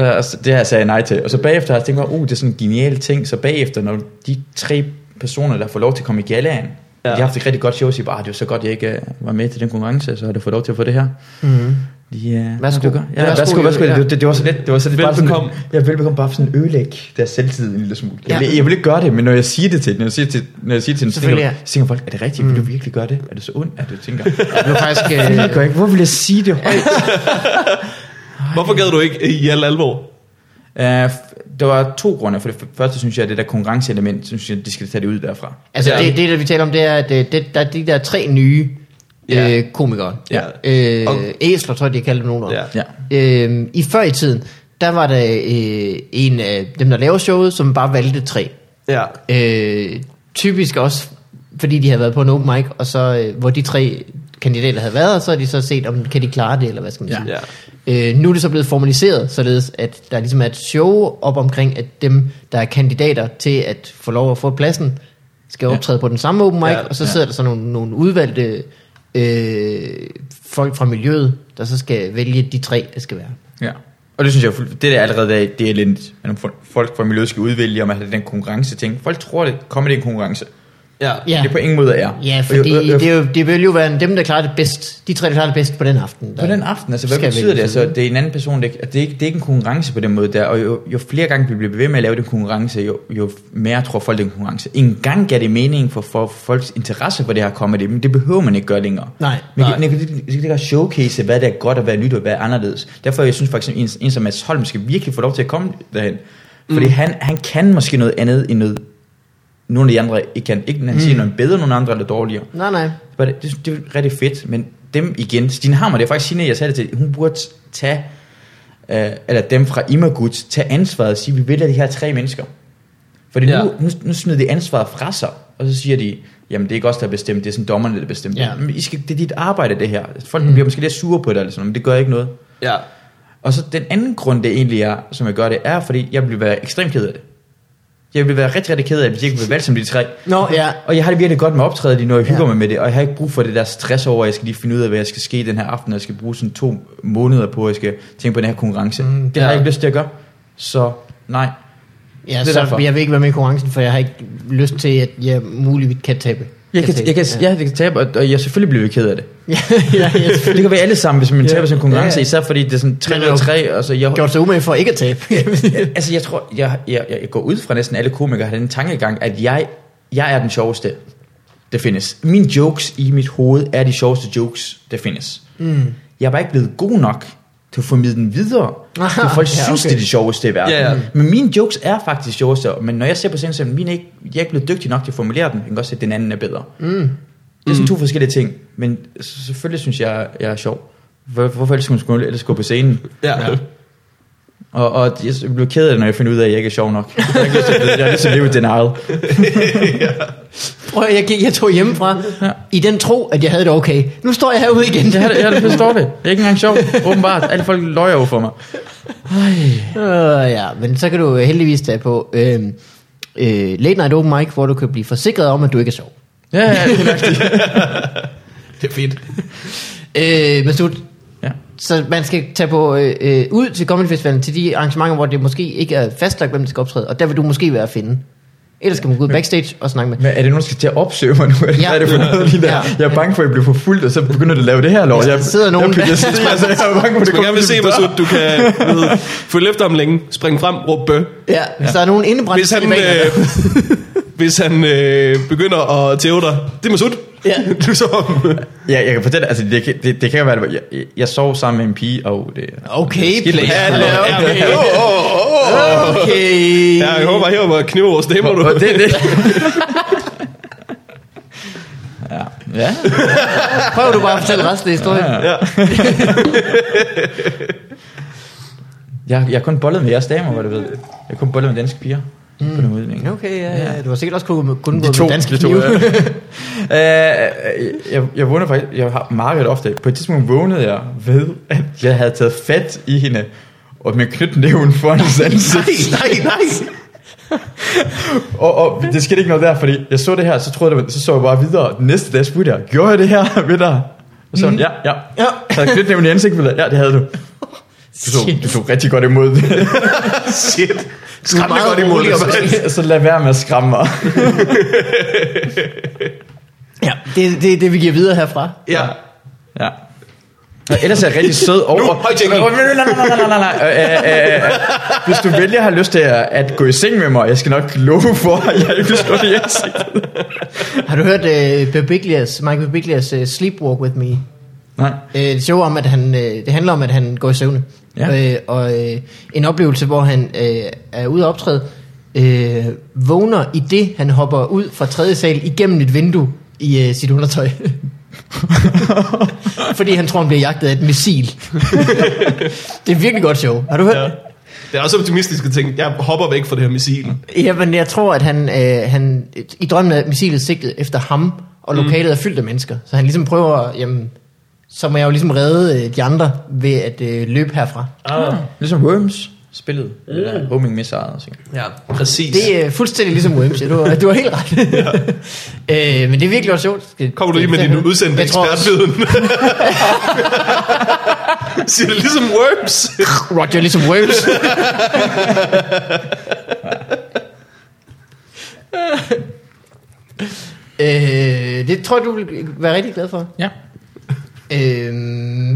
S4: Og, og så- Øh, det har jeg sagde nej til. Og så bagefter har jeg tænkt mig, uh, det er sådan en genial ting. Så bagefter, når de tre personer, der får lov til at komme i galaen, ja. de har haft et rigtig godt show, og siger bare, "Ah, det var så godt, jeg ikke uh, var med til den konkurrence, så har du fået lov til at få det her.
S2: Mm.
S4: Ja,
S2: Værsgo.
S4: Ja,
S2: Værsgo,
S4: værsgo, værsgo.
S2: Jeppe,
S4: værsgo.
S2: ja.
S4: Det, det, det, var så lidt, det var så lidt
S3: Velbekomme.
S4: Bare sådan, jeg velbekomme bare for sådan ødelægge deres selvtid en lille smule. Jeg,
S2: Ja.
S4: ja. vil, jeg vil ikke gøre det, men når jeg siger det til den, når jeg siger det til, når jeg siger det til den, så tænker,
S2: Selvfølgelig, Mm.
S4: jeg- så tænker folk, er det rigtigt? Vil du virkelig gøre det? Er det så ondt, at du tænker?
S2: Jeg blev faktisk...
S4: Jeg
S2: Øh,
S4: ikke. Hvor vil jeg sige det højt?
S3: Hvorfor gad du ikke i al alvor?
S4: Uh, der var to grunde. For det f- første synes jeg, at det der konkurrenceelement, synes jeg, de skal tage det ud derfra.
S2: altså,
S3: Ja.
S2: det, det, der vi taler om, det er, at øh, det, der er de der tre nye
S3: Ja.
S2: øh, komikere.
S4: Ja.
S2: Øh,
S3: Og-
S2: æsler, tror jeg, de har kaldt dem nogen
S3: Ja.
S2: ja.
S4: Ja.
S2: øh, I før i tiden, der var der øh, en af dem, der lavede showet, som bare valgte tre.
S3: Ja.
S2: Øh, typisk også, fordi de havde været på en open mic, og så, øh, hvor de tre kandidater havde været, og så har de så set, om kan de klare det, eller hvad skal man
S4: Ja.
S2: sige.
S3: ja.
S2: Øh, nu er det så blevet formaliseret, således at der ligesom er et show op omkring, at dem, der er kandidater til at få lov at få pladsen, skal
S4: Ja.
S2: optræde på den samme open mic,
S3: Ja,
S2: ja, og så
S4: ja.
S2: sidder der så nogle, nogle udvalgte øh, folk fra miljøet, der så skal vælge de tre, der skal være.
S4: ja. Og det synes jeg, er fuld- det der allerede er, det er lidt, at nogle fol- folk fra miljøet skal udvælge, om at det er den konkurrence ting. Folk tror, at kommer det er en konkurrence.
S3: ja.
S4: Ja. Det er på Øh, ingen måde er.
S2: Ja, fordi
S4: Og- og- og-
S2: det, er jo, det vil jo være en- dem, der klarer det bedst. De tre, der klarer det bedst på den aften. Der
S4: På den aften, altså hvad
S2: skal
S4: betyder det?
S2: vælges
S4: Altså,
S2: ud.
S4: det er en anden person, det, er ikke- at det, er ikke, det er ikke en konkurrence på den måde der, og jo, jo flere gange vi bliver ved med at lave den konkurrence, jo, jo mere tror folk, det er en konkurrence. En gang gav det mening for, for folks interesse for det her comedy, men det behøver man ikke gøre længere.
S2: Nej.
S4: Man
S3: Nej.
S4: kan, man kan, man kan ikke showcase, hvad der er godt og hvad er nyt og hvad er anderledes. Derfor jeg synes faktisk, en, en som Mads Holm skal virkelig få lov til at komme derhen. Fordi han, han kan måske noget andet end noget, nogle af de andre ikke kan. Ikke, når han mm. siger noget bedre end nogle andre eller dårligere.
S2: Nej, nej.
S4: Det, var det, det, det var rigtig fedt, men dem igen, Stine Hammer, det er faktisk Signe, jeg sagde det til, hun burde tage, øh, eller dem fra Imagut, tage ansvaret og sige, vi vælger de her tre mennesker. Fordi
S3: Ja.
S4: ja. nu, nu, nu smider de ansvaret fra sig, og så siger de, jamen det er ikke os, der har bestemt, det er sådan dommerne, der bestemmer.
S2: Ja.
S4: Ja. Men I skal, det er dit arbejde, det her. Folk mm. bliver måske lidt sure på det, eller sådan, noget, men det gør ikke noget.
S3: ja.
S4: Og så den anden grund, det egentlig er, som jeg gør det, er, fordi jeg vil være ekstremt ked af det. Jeg vil være rigtig, rigtig ked af det, hvis jeg ikke blev valgt som de tre.
S2: Nå, ja.
S4: Og jeg har det virkelig godt med optrædet lige nu, og jeg
S2: Ja.
S4: hygger ja. mig med det, og jeg har ikke brug for det der stress over, at jeg skal lige finde ud af, hvad jeg skal ske den her aften, og jeg skal bruge sådan to måneder på, at jeg skal tænke på den her konkurrence.
S2: Mm,
S4: Mm, det har
S2: ja.
S4: jeg ikke lyst til at gøre. Så nej.
S2: ja
S4: er
S2: så
S4: derfor.
S2: jeg vil ikke være med i konkurrencen, for jeg har ikke lyst til, at jeg muligvis kan tabe.
S4: Jeg kan, jeg kan, ja. jeg kan tabe, og, og jeg selvfølgelig bliver vi ked af det.
S2: ja, ja, jeg har
S4: Det kan være alle sammen, hvis man
S2: Ja.
S4: taber sådan en
S2: Ja,
S4: konkurrence, ja,
S2: ja.
S4: ja. især fordi det er sådan
S2: Men
S4: 3 og 3, og så jeg,
S2: gjort sig umage for ikke at tabe.
S4: altså jeg tror, jeg, jeg, jeg, jeg går ud fra næsten alle komikere har den tankegang, at jeg, jeg er den sjoveste, der findes. Mine jokes i mit hoved er de sjoveste jokes, der findes. Mm. Jeg er bare ikke blevet god nok til at formidle den videre,
S2: Ah,
S4: så folk
S2: ja,
S4: ja, synes,
S2: okay.
S4: det er de sjoveste i verden. Mm.
S3: Ja, ja.
S4: Men mine jokes er faktisk sjoveste, men når jeg ser på scenen, så er mine ikke, jeg er ikke blevet dygtig nok til at formulere den. Jeg kan godt se, at den anden er bedre. Mm. Det er sådan to forskellige ting, men s- selvfølgelig synes jeg, jeg er sjov. Hvor- Hvorfor ellers skulle man skulle- ellers gå på scenen?
S3: ja. ja.
S4: Og, og jeg bliver ked af det, når jeg finder ud af, at jeg ikke er sjov nok. Jeg har ikke lyst til at vide- jeg har lyst til at leve i denial.
S2: Prøv, at- jeg, gik- jeg tog hjemmefra ja. i den tro, at jeg havde det okay. Nu står jeg herude igen.
S4: Jeg, har det- jeg, jeg forstår det. Jeg er ikke engang sjov, åbenbart. Alle folk løjer jo for mig.
S2: Øh, ja, men så kan du heldigvis tage på øh, øh, Late Night Open Mic, hvor du kan blive forsikret om, at du ikke er sjov.
S4: Ja, ja, det er rigtigt.
S3: Det er fedt.
S2: Øh, Masud,
S4: Ja.
S2: så man skal tage på øh, øh, ud til Comedy Festivalen til de arrangementer, hvor det måske ikke er fastlagt, hvem der skal optræde, og der vil du måske være at finde. Ellers skal man gå ud backstage og snakke med.
S4: Men er det nogen, der skal til at opsøge mig nu? Eller
S2: Ja.
S4: ja. er det for noget lige der?
S2: Ja.
S4: Jeg er bange for, at jeg bliver forfulgt, og så begynder det at lave det her lov.
S2: Hvis der
S4: Jeg,
S2: sidder nogen-
S4: Jeg, jeg, jeg, jeg, jeg, jeg, er bange for, at
S3: Hvis
S4: det
S3: man
S4: kommer
S3: gerne vil se,
S4: til
S3: hvor
S4: min dør.
S3: sødt du kan du ved, følge efter ham længe, springe frem, råbe bø.
S2: Ja, hvis der er nogen indebrændte
S3: Hvis han,
S2: talibaner.
S3: øh, hvis han øh, begynder at tæve dig, det er Masud.
S2: Ja.
S3: Du så ham.
S4: Ja, jeg kan fortælle, altså det, kan- det, det kan jo være, at jeg, jeg, jeg sov sammen med en pige, og det...
S2: Okay,
S4: Skidt lækkert.
S2: Hallo.
S3: Ja, men, åh, åh, åh, åh.
S2: Okay.
S3: Ja, jeg håber, jeg håber, at kniver vores damer,
S4: Og,
S3: du.
S4: og det, det. Ja. ja.
S2: Prøv du bare at fortælle resten af historien.
S4: Ja. jeg, jeg har kun bollet med jeres damer, hvor du ved. Jeg har kun bollet med danske piger. Mm. På den måde, ikke?
S2: Okay, ja, ja. Du har sikkert også kunne, kun
S4: De
S2: gået
S4: to,
S2: med danske
S4: de to,
S2: knive.
S4: ja. Øh, jeg, jeg vågnede faktisk, jeg har mareridt ofte. På et tidspunkt vågnede jeg ved, at jeg havde taget fat i hende, og med knytnæven foran hendes ansigt.
S2: nej, nej.
S4: Og, og, det skete ikke noget der, fordi jeg så det her, så troede jeg, det var- så så jeg bare videre. Den næste dag spurgte jeg, gjorde jeg det her ved dig? Og så mm. ja, ja.
S2: Ja.
S4: Så jeg knytnæven i ansigtet, ved dig. ja, det havde du. Du tog, du tog rigtig godt imod det.
S3: Shit.
S2: Du er
S3: Skræmmende
S2: meget
S3: godt imod
S2: rolig
S3: det.
S2: omkring
S3: mand.
S2: det.
S4: så lad være med at skræmme mig.
S2: Ja, det er det, det, vi giver videre herfra.
S3: Ja.
S4: Ja. Og ellers er jeg rigtig sød over...
S3: Nu, høj jingle.
S4: Åh, nej, nej, nej, nej, nej, nej. Øh, øh, øh, øh. Hvis du vælger har lyst til at, at gå i seng med mig, jeg skal nok love for, at jeg ikke vil slå dig i ansigtet.
S2: Har du hørt uh, Babiglias, Michael Babiglias uh, Sleepwalk With Me?
S4: Nej.
S2: Øh, det sjove om, at han, øh, det handler om, at han går i søvne.
S4: Ja.
S2: Øh, og øh, en oplevelse, hvor han øh, er ude at optræde, øh, vågner i det, han hopper ud fra tredje sal igennem et vindue i øh, sit undertøj. Fordi han tror, han bliver jagtet af et missil. det er virkelig godt show. Har du hørt
S3: ja.
S2: ja.
S3: Det er også optimistisk at tænke, jeg hopper væk fra det her missil.
S2: Jamen, jeg tror, at han, øh, han i drømmen er missilet sigtet efter ham, og lokalet er fyldt af mennesker. Så han ligesom prøver, jamen, så må jeg jo ligesom redde øh, de andre ved at øh, løbe herfra.
S3: Ah.
S4: Ligesom Worms spillet. Mm. Eller Homing Missile. og sådan.
S3: Ja, præcis.
S2: Det er fuldstændig ligesom Worms, ja. du, har- du har helt ret. Ja. øh, men det er virkelig også sjovt. Skal-
S3: Kommer du lige med
S2: skal-
S3: din udsendte
S2: Jeg tror også,
S3: ekspertviden? Siger det ligesom worms?
S2: Roger er ligesom Worms. øh, det tror jeg, du vil være rigtig glad for.
S4: Ja.
S2: Øh,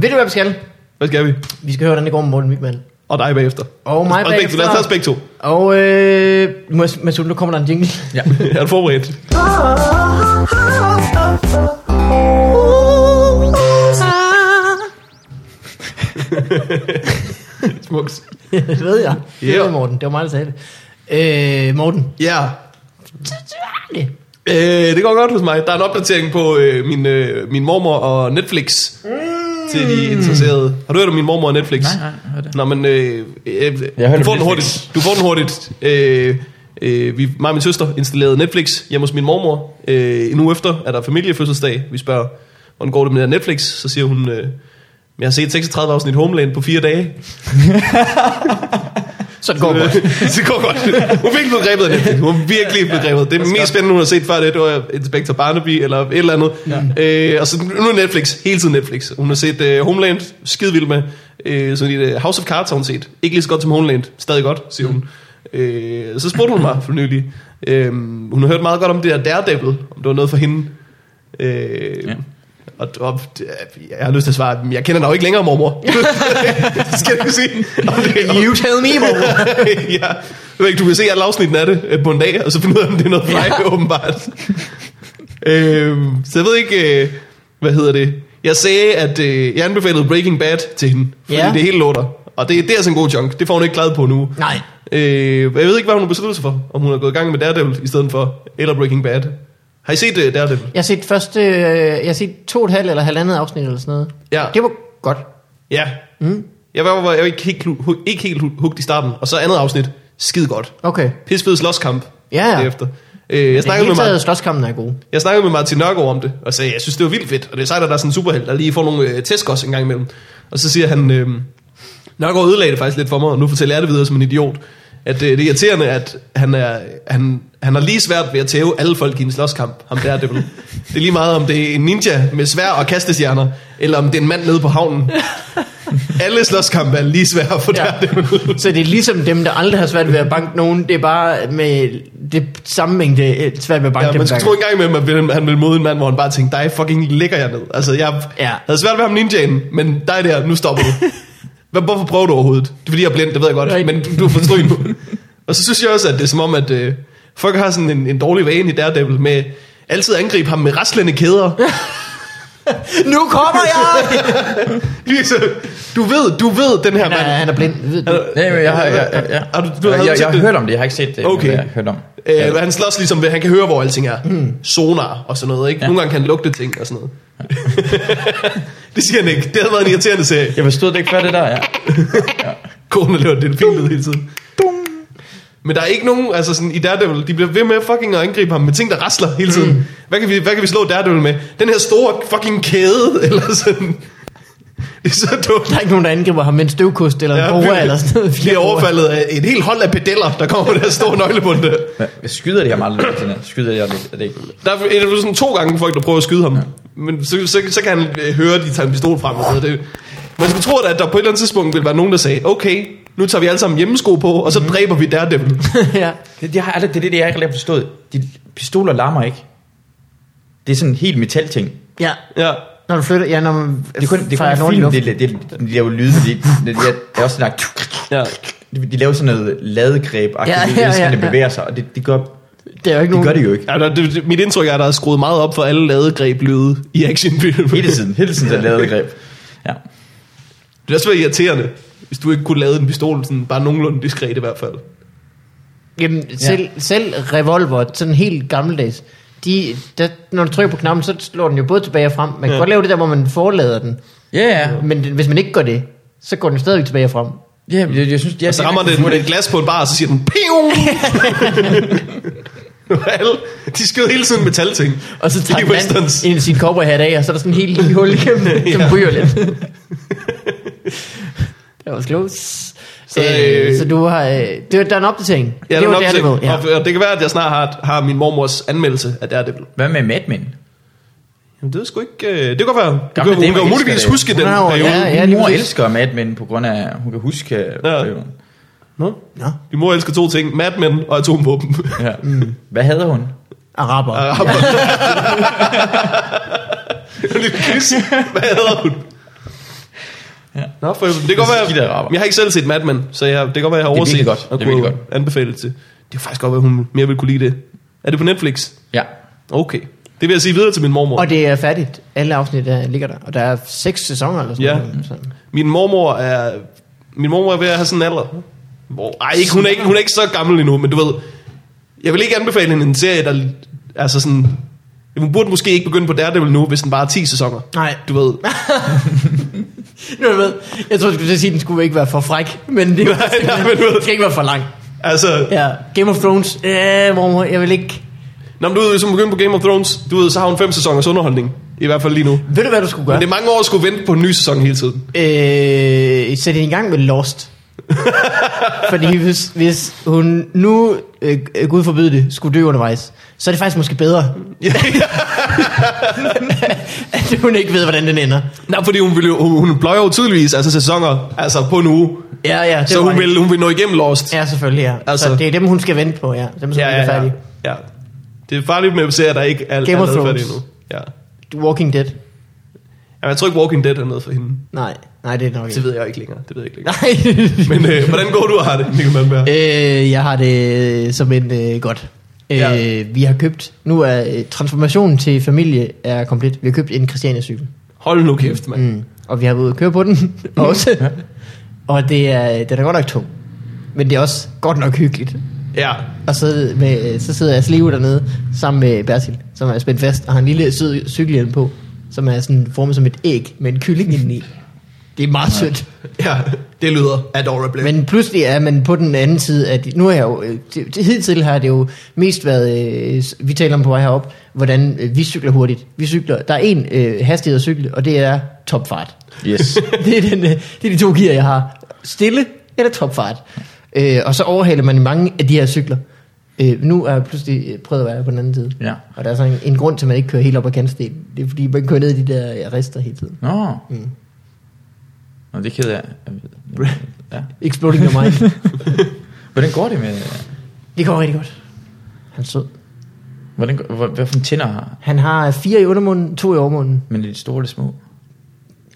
S2: ved du, hvad vi skal?
S3: Hvad skal vi?
S2: Vi skal høre, hvordan det går med Morten Wigman.
S3: Og dig bagefter.
S2: Og mig
S3: og begge, lad os tage os
S2: bagefter.
S3: begge to.
S2: Og øh, Mads- Mads, Hult, nu kommer der en jingle.
S4: ja.
S3: Er du forberedt? Smukt.
S2: det ved jeg. Det ved
S3: Ja.
S2: jeg, Morten. Det var mig, der sagde det. Øh, Morten.
S3: Ja,
S2: Det.
S3: øh, det går godt hos mig. Der er en opdatering på øh, min, øh, min mormor og Netflix. Mm. Til de interesserede. Har du hørt om min mormor og Netflix?
S4: Nej, nej, hvad er det?
S3: Nå, men øh, øh,
S4: Jeg hørte
S3: du, får
S4: om
S3: den
S4: Netflix.
S3: hurtigt. du får den hurtigt. Øh, øh, vi, mig og min søster installerede Netflix hjemme hos min mormor. Øh, en uge efter er der familiefødselsdag. Vi spørger, hvordan går det med det her Netflix? Så siger hun, øh, jeg har set 36 afsnit Homeland på fire dage.
S2: Så det går godt.
S3: det går godt. Hun er virkelig blevet grebet af Netflix. Hun er virkelig blevet grebet. Det mest spændende, hun har set før det, det var Inspector Barnaby eller et eller andet. Ja. Øh, og så nu er Netflix. Hele tiden Netflix. Hun har set øh, Homeland, skide vild med. Øh, sådan et, øh, House of Cards har hun set. Ikke lige så godt som Homeland. Stadig godt, siger hun. Øh, så spurgte hun mig for nylig. Øh, hun har hørt meget godt om det der Daredevil. Om det var noget for hende. Øh,
S4: Ja.
S3: ja. Og, og jeg har lyst til at svare, jeg kender dig jo ikke længere, mormor. det skal jeg ikke sige. Og det-
S2: You tell me, Morten.
S3: ja. Jeg ved ikke, du kan se alle afsnitten af det øh, på en dag, og så finde ud af, om det er noget for dig, åbenbart. øh, så jeg ved ikke, øh, hvad hedder det? Jeg sagde, at øh, jeg anbefalede Breaking Bad til hende, fordi
S2: Ja.
S3: ja. det hele låter. Og det, det er altså en god chunk. Det får hun ikke klaret på nu.
S2: Nej.
S3: Øh, jeg ved ikke, hvad hun har besluttet sig for. Om hun har gået i gang med Daredevil i stedet for, eller Breaking Bad. Har I set uh, Daredevil?
S2: Jeg har set første, øh, jeg har set to og et halvt eller halvandet afsnit eller sådan noget.
S3: Ja.
S2: Det var godt.
S3: Ja. Mm. Jeg var, var jeg var ikke helt, hu- ikke helt hu- hugt i starten. Og så andet afsnit. Skide godt.
S2: Okay.
S3: Pissfed slåskamp.
S2: Ja, ja.
S3: Derefter. Øh, jeg
S2: Det
S3: snakkede
S2: hele
S3: med mig.
S2: taget slåskampen er god.
S3: Jeg snakkede med Martin Nørgaard om det, og sagde, jeg synes, det var vildt fedt, og det er sejt, at der er sådan en superheld, der lige får nogle øh, tæsk også en gang imellem. Og så siger han, øh, Nørgaard ødelagde det faktisk lidt for mig, og nu fortæller jeg det videre som en idiot, at øh, det er irriterende, at han, er, han, han har lige svært ved at tæve alle folk i en slåskamp, ham der det Det er lige meget, om det er en ninja med svær og kastestjerner, eller om det er en mand nede på havnen. Alle slåskampe er lige svære for ja.
S2: Ja.
S3: der
S2: Så det er ligesom dem, der aldrig har svært ved at banke nogen. Det er bare med det samme mængde øh, svært ved at banke
S3: Ja,
S2: dem.
S3: man skulle tro
S2: hver gang.
S3: engang med, at ville- han ville møde en mand, hvor han bare tænkte, dig fucking ligger jeg ned. Altså, jeg
S2: Ja.
S3: ja. havde svært ved ham ninjaen, men dig der, nu stopper du. Hvad, hvorfor prøver du overhovedet? Det er fordi, jeg er blind, det ved jeg godt,
S2: Nej.
S3: men du, du er for stryg nu. Og så synes jeg også, at det er som om, at øh, folk har sådan en, en dårlig vane i Daredevil med altid at angribe ham med raslende kæder.
S2: Nu kommer jeg!
S3: Lise, du ved, du ved, den her
S2: han, er,
S3: mand.
S2: han er blind. Ved du?
S4: Nej, men jeg har, jeg, jeg, jeg,
S3: Har du- du har
S4: jeg, jeg,
S3: set
S4: jeg har
S3: det?
S4: hørt om det, jeg har ikke set det,
S3: Okay.
S4: men jeg har hørt om.
S3: Øh, han slås ligesom ved, han kan høre, hvor alting er.
S2: Hmm.
S3: Mm. Sonar og sådan noget, ikke?
S4: Ja.
S3: Ja. Nogle gange kan han lugte ting og sådan noget. det siger han ikke. Det havde været en irriterende serie.
S4: Jeg forstod det ikke før det der, ja.
S3: Kone laver delfinlyd hele tiden.
S4: Dum.
S3: Men der er ikke nogen, altså sådan i Daredevil, de bliver ved med fucking at angribe ham med ting, der rasler hele tiden.
S2: Hmm.
S3: Mm. Hvad, kan vi, hvad kan vi slå Daredevil med? Den her store fucking kæde, eller sådan. Det er så dumt.
S2: Der er ikke nogen, der angriber ham med en støvkost eller en ja, boa
S3: virkelig.
S2: eller sådan noget.
S3: Bliver overfaldet af et helt hold af pedeller, der kommer med deres store nøglebund der.
S4: Jeg skyder det her meget lidt, sådan her. skyder det her lidt, er det ikke?
S3: Der er er der sådan to gange folk, der prøver at skyde ham. Ja. Men så, så, så kan han øh, høre, at de tager en pistol frem og sådan noget. Det, Man skulle tro, at der på et eller andet tidspunkt ville være nogen, der sagde, okay, nu tager vi alle sammen hjemmesko på, og
S4: Mhm.
S3: så dræber vi Daredevil.
S2: ja.
S4: Det, det, har jeg aldrig, det er det, jeg ikke har forstået. De pistoler larmer ikke. Det er sådan en helt metalting. Det
S2: ja.
S3: Ja.
S2: Når du flytter, ja, når man
S4: er kun, det er
S2: fejrer
S4: kun
S2: nogen i
S4: en film,
S2: luften.
S4: det, det, det, de laver lyde, de, de, de, de er også sådan
S3: ja.
S4: de, de laver sådan noget ladegreb, ja, ja, ja, ja, det bevæger sig, og det, det, gør,
S2: Det er jo ikke
S4: det
S2: nogen...
S4: gør det jo ikke.
S3: ja der, det, det- mit indtryk er, at der er skruet meget op for alle ladegreb lyde i actionfilm.
S4: Hele tiden, hele tiden der ladegreb. Ja.
S3: Det er også være irriterende, hvis du ikke kunne lade en pistol sådan bare nogenlunde diskret i hvert fald.
S2: Jamen, selv, ja. selv revolver, sådan helt gammeldags, de, der, når du trykker på knappen, så slår den jo både tilbage og frem. Man kan
S3: Ja.
S2: ja. godt lave det der, hvor man forlader den.
S4: Ja, ja.
S2: Men den- hvis man ikke gør det, så går den stadigvæk tilbage og frem.
S4: ja jeg, jeg, synes, jeg,
S3: Og så rammer den et glas på en bar, og så siger den, Piu! Alle, de skød hele tiden metalting.
S2: Og så tager
S3: I
S2: den
S3: westerns.
S2: anden en af sine cowboyhat af, og så er der sådan en helt lille hul igennem, ja.
S3: Ja.
S2: som ryger lidt. det var close. Så, øh,
S3: øh,
S2: så du har... Øh, det, var- der er en opdatering.
S3: Ja,
S2: det var
S3: nok til.
S2: Daredevil, ja.
S3: Og, og det kan være, at jeg snart har, har min mormors anmeldelse af Daredevil.
S4: Hvad med Mad Men?
S3: Jamen, det er sgu ikke... Øh, det kan godt være. Du kan, hun
S4: Gamle damer
S3: kan
S4: elsker
S3: muligvis
S4: det.
S3: huske den
S2: Hun er jo-
S3: periode.
S2: ja,
S3: Ja.
S2: ja.
S4: Ja, Min mor
S2: lige præcis.
S4: elsker Mad Men på grund af, hun kan huske øh, ja.
S3: Nå?
S2: Nå,
S3: Min mor elsker to ting. Mad Men og atomvåben.
S4: Ja.
S2: Mm.
S4: Hvad havde hun?
S2: araber.
S3: Og ham- Lidt quiz. Hvad hedder hun? Ja. Nå, for, det kan godt være,
S4: skidt araber.
S3: men jeg har ikke selv set Mad Men, så jeg, det kan godt være, jeg har
S4: Det er virkelig
S3: overset
S4: godt.
S3: og
S4: Det er virkelig
S3: kunne anbefale det til. Det kan faktisk godt være, hun mere vil kunne lide det. Er det på Netflix?
S4: Ja.
S3: Okay. Det vil jeg sige videre til min mormor.
S2: Og det er færdigt. Alle afsnit der ligger der. Og der er seks sæsoner eller sådan
S3: Ja.
S2: noget. Så.
S3: Min mormor er... Min mormor er ved at have sådan en alder. Hvor, ej, ikke, hun, er ikke, hun er ikke så gammel endnu, men du ved... Jeg vil ikke anbefale hende en serie, der... Altså sådan... Hun burde måske ikke begynde på Daredevil nu, hvis den bare er 10 sæsoner.
S2: Nej.
S3: Du ved...
S2: Nu er jeg med. Jeg tror, du skulle til at sige, at den skulle ikke være for fræk, men det,
S3: Nej, nej, men du ved-
S2: den skal ikke være for lang.
S3: Altså...
S2: Ja, Game of Thrones. Øh, mormor, jeg vil ikke...
S3: Nå, men du ved, hvis hun begynder på Game of Thrones, du ved, så har hun fem sæsoners underholdning. I hvert fald lige nu. Men
S2: Ved du, hvad du skulle gøre?
S3: det er mange år at skulle vente på en ny sæson hele tiden.
S2: Øh, sæt hende i gang med Lost. Fordi hvis, hvis hun nu, øh, gud forbyde det, skulle dø undervejs, så er det faktisk måske bedre, at hun ikke ved, hvordan den ender.
S3: Nej, fordi hun, vil, jo- hun, hun pløjer jo tydeligvis altså sæsoner altså på en uge.
S2: Ja, ja, det
S3: Så
S2: var
S3: hun
S2: rigtigt.
S3: vil, hun vil nå igennem Lost.
S2: Ja, selvfølgelig, ja. Altså,
S3: Altså-
S2: så det er dem, hun skal vente på, ja. Dem, som ja, ja, ja. er færdige.
S3: ja. Det er farligt med serier, der ikke er, er
S2: Game of
S3: lavet færdige
S2: Thrones.
S3: endnu. Ja.
S2: Walking Dead.
S3: Jamen, jeg tror ikke, Walking Dead er noget for hende.
S2: Nej, nej, det er nok
S3: Det
S2: ikke.
S3: ved jeg ikke længere. Det ved jeg ikke længere.
S2: Nej.
S3: Men øh, hvordan går du og har det, Mikkel Malmberg?
S2: øh, jeg har det som en øh, godt. Øh,
S3: Ja.
S2: ja. Vi har købt, nu er øh, transformationen til familie er komplet. Vi har købt en Christiania-cykel.
S3: Hold nu kæft, mand.
S2: Mm. Og vi har været ude at køre på den også. og det er, den er godt nok tung. Men det er også godt nok hyggeligt.
S3: Ja.
S2: Og så, med, øh, så sidder jeg slive dernede sammen med Bertil, som er spændt fast, og har en lille sød cykelhjelm på, som er sådan formet som et æg med en kylling indeni. Det er meget sødt.
S3: Ja, det lyder adorable. Men,
S2: Men pludselig er man på den anden side af... De, nu er jeg jo... øh, Til, til hidtil har det jo mest været... Øh, s- vi taler om på vej herop, hvordan øh, vi cykler hurtigt. Vi cykler... Der er en øh, hastighed at cykle, og det er topfart.
S4: Yes.
S2: det, er den, øh, det er de to gear, jeg har. Stille eller topfart. Øh, og så overhaler man mange af de her cykler. Øh, nu er jeg pludselig øh, prøvet at være på den anden side.
S4: Ja.
S2: Og der er sådan en, en grund til, at man ikke kører helt op ad kantstenen. Det er fordi, man kører ned i de der øh, rister hele tiden.
S4: Nå.
S2: Mm.
S4: Nå, det keder jeg. Ja.
S2: Exploding your mind.
S4: Hvordan går det med...
S2: det går rigtig godt. Han er sød.
S4: Hvordan, går- hvor- hvad for en tænder har?
S2: Han har fire i undermunden, to i overmunden.
S4: Men lidt store, lidt små.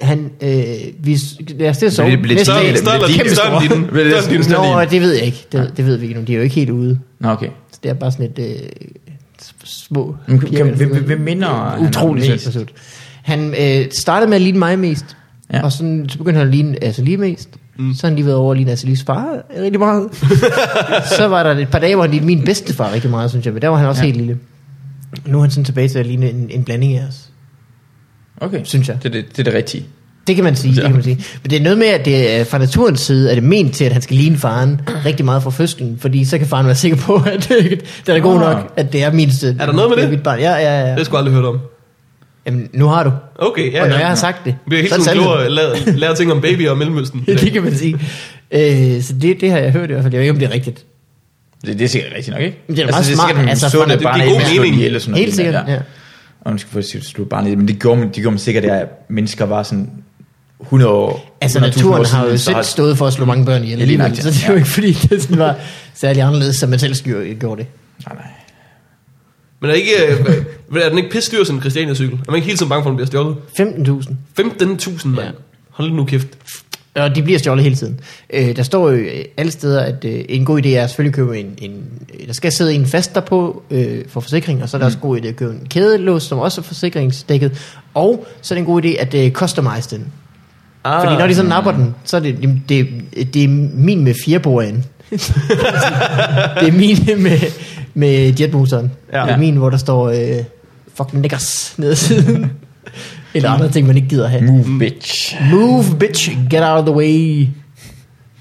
S2: Han, øh, vi, lad os til at sove.
S4: Bliver det- bliver det
S2: Næste dag-
S3: større
S4: større- større- det er
S3: eller
S4: kæmpe
S3: større
S4: store.
S3: end din?
S4: Vel, det er
S3: Større end din?
S4: sådan-
S2: Nå, det ved jeg ikke. Det, det ved vi ikke nu. De er jo ikke helt ude.
S4: Nå, okay.
S2: Så det er bare sådan et øh, s- små...
S4: Men kan-
S2: piger,
S4: kan-
S2: eller sådan
S4: hvem- hvem
S2: noget.
S4: minder han om
S2: Utrolig
S4: mest?
S2: sødt. Han øh, startede med at ligne mig mest.
S4: Ja.
S2: Ja. Og sådan, så begyndte han at ligne Asselie mest. Mm. Så har han lige været over at ligne Asselies far rigtig meget. så var der et par dage, hvor han lignede min bedstefar rigtig meget, synes jeg. Men der var han også
S4: Ja.
S2: ja. helt lille. Nu er han sådan tilbage til at ligne en, en blanding af os.
S4: Okay.
S2: Synes jeg.
S4: Det, er det, det er det rigtige.
S2: Det kan man sige, ja.
S4: Ja.
S2: det kan man sige. Men det er noget med, at det er, fra naturens side er det ment til, at han skal ligne faren rigtig meget fra fødslen, fordi så kan faren være sikker på, at det er god
S4: Ah.
S2: nok, at det er min sted.
S3: Er der noget med det?
S2: Mit barn. Ja, ja, ja.
S3: Det har
S2: ja.
S3: jeg sgu aldrig hørt om.
S2: Jamen, nu har du. Ja,
S3: Okay, ja,
S2: og når jeg
S3: ja.
S2: har sagt det,
S3: Vi er helt
S2: så er det
S3: sådan klogere
S2: sandheden.
S3: at lære, lære ting om babyer og Mellemøsten.
S2: Ja, det kan man sige. Øh, så det, det har jeg hørt i hvert fald. Jeg ved ikke, om det er rigtigt.
S4: Det, det er sikkert rigtigt nok, ikke?
S2: Men det er meget smart,
S4: Altså,
S2: altså,
S4: det,
S2: for-
S4: det, det,
S2: det-
S3: det er god
S4: det,
S3: mening.
S4: det, eller sådan noget.
S2: Helt sikkert, ja.
S4: Og man skal få sit slå barnet i det, men det gjorde man, det gjorde man sikkert, at mennesker var sådan 100 år.
S2: Altså
S4: 100.000 år
S2: naturen har jo
S4: siden, så
S2: selv stået for at slå mange børn ihjel
S4: Ja, lige
S2: alligevel,
S4: nøjagtigt,
S2: så det er jo
S4: ja.
S2: ikke fordi, det sådan var særlig anderledes, som man selv skyr- gjorde det.
S4: Nej, nej.
S3: Men er, ikke, øh, hvad- er den ikke pisse dyr, sådan en Christiania-cykel? Er man ikke hele tiden bange for, at den bliver stjålet?
S2: 15.000.
S3: 15.000, mand.
S2: Ja.
S3: Hold nu kæft.
S2: Og de bliver stjålet hele tiden. Øh, der står jo øh, alle steder, at øh, en god idé er selvfølgelig at købe en... en øh, der skal sidde en fast derpå øh, for forsikring, og så er der mm. også en god idé at købe en kædelås, som også er forsikringsdækket. Og så er det en god idé at øh, customize den. Ah. Fordi når de så napper den, så er det, det, det, det er min med fireborderen. det er min med, med jetmotoren.
S3: Ja.
S2: Ja. Det er min, hvor der står øh, fuck niggers nede i siden. Eller andre ting, man ikke gider have.
S4: Move, bitch.
S2: Move, bitch, get out of the way.
S3: Det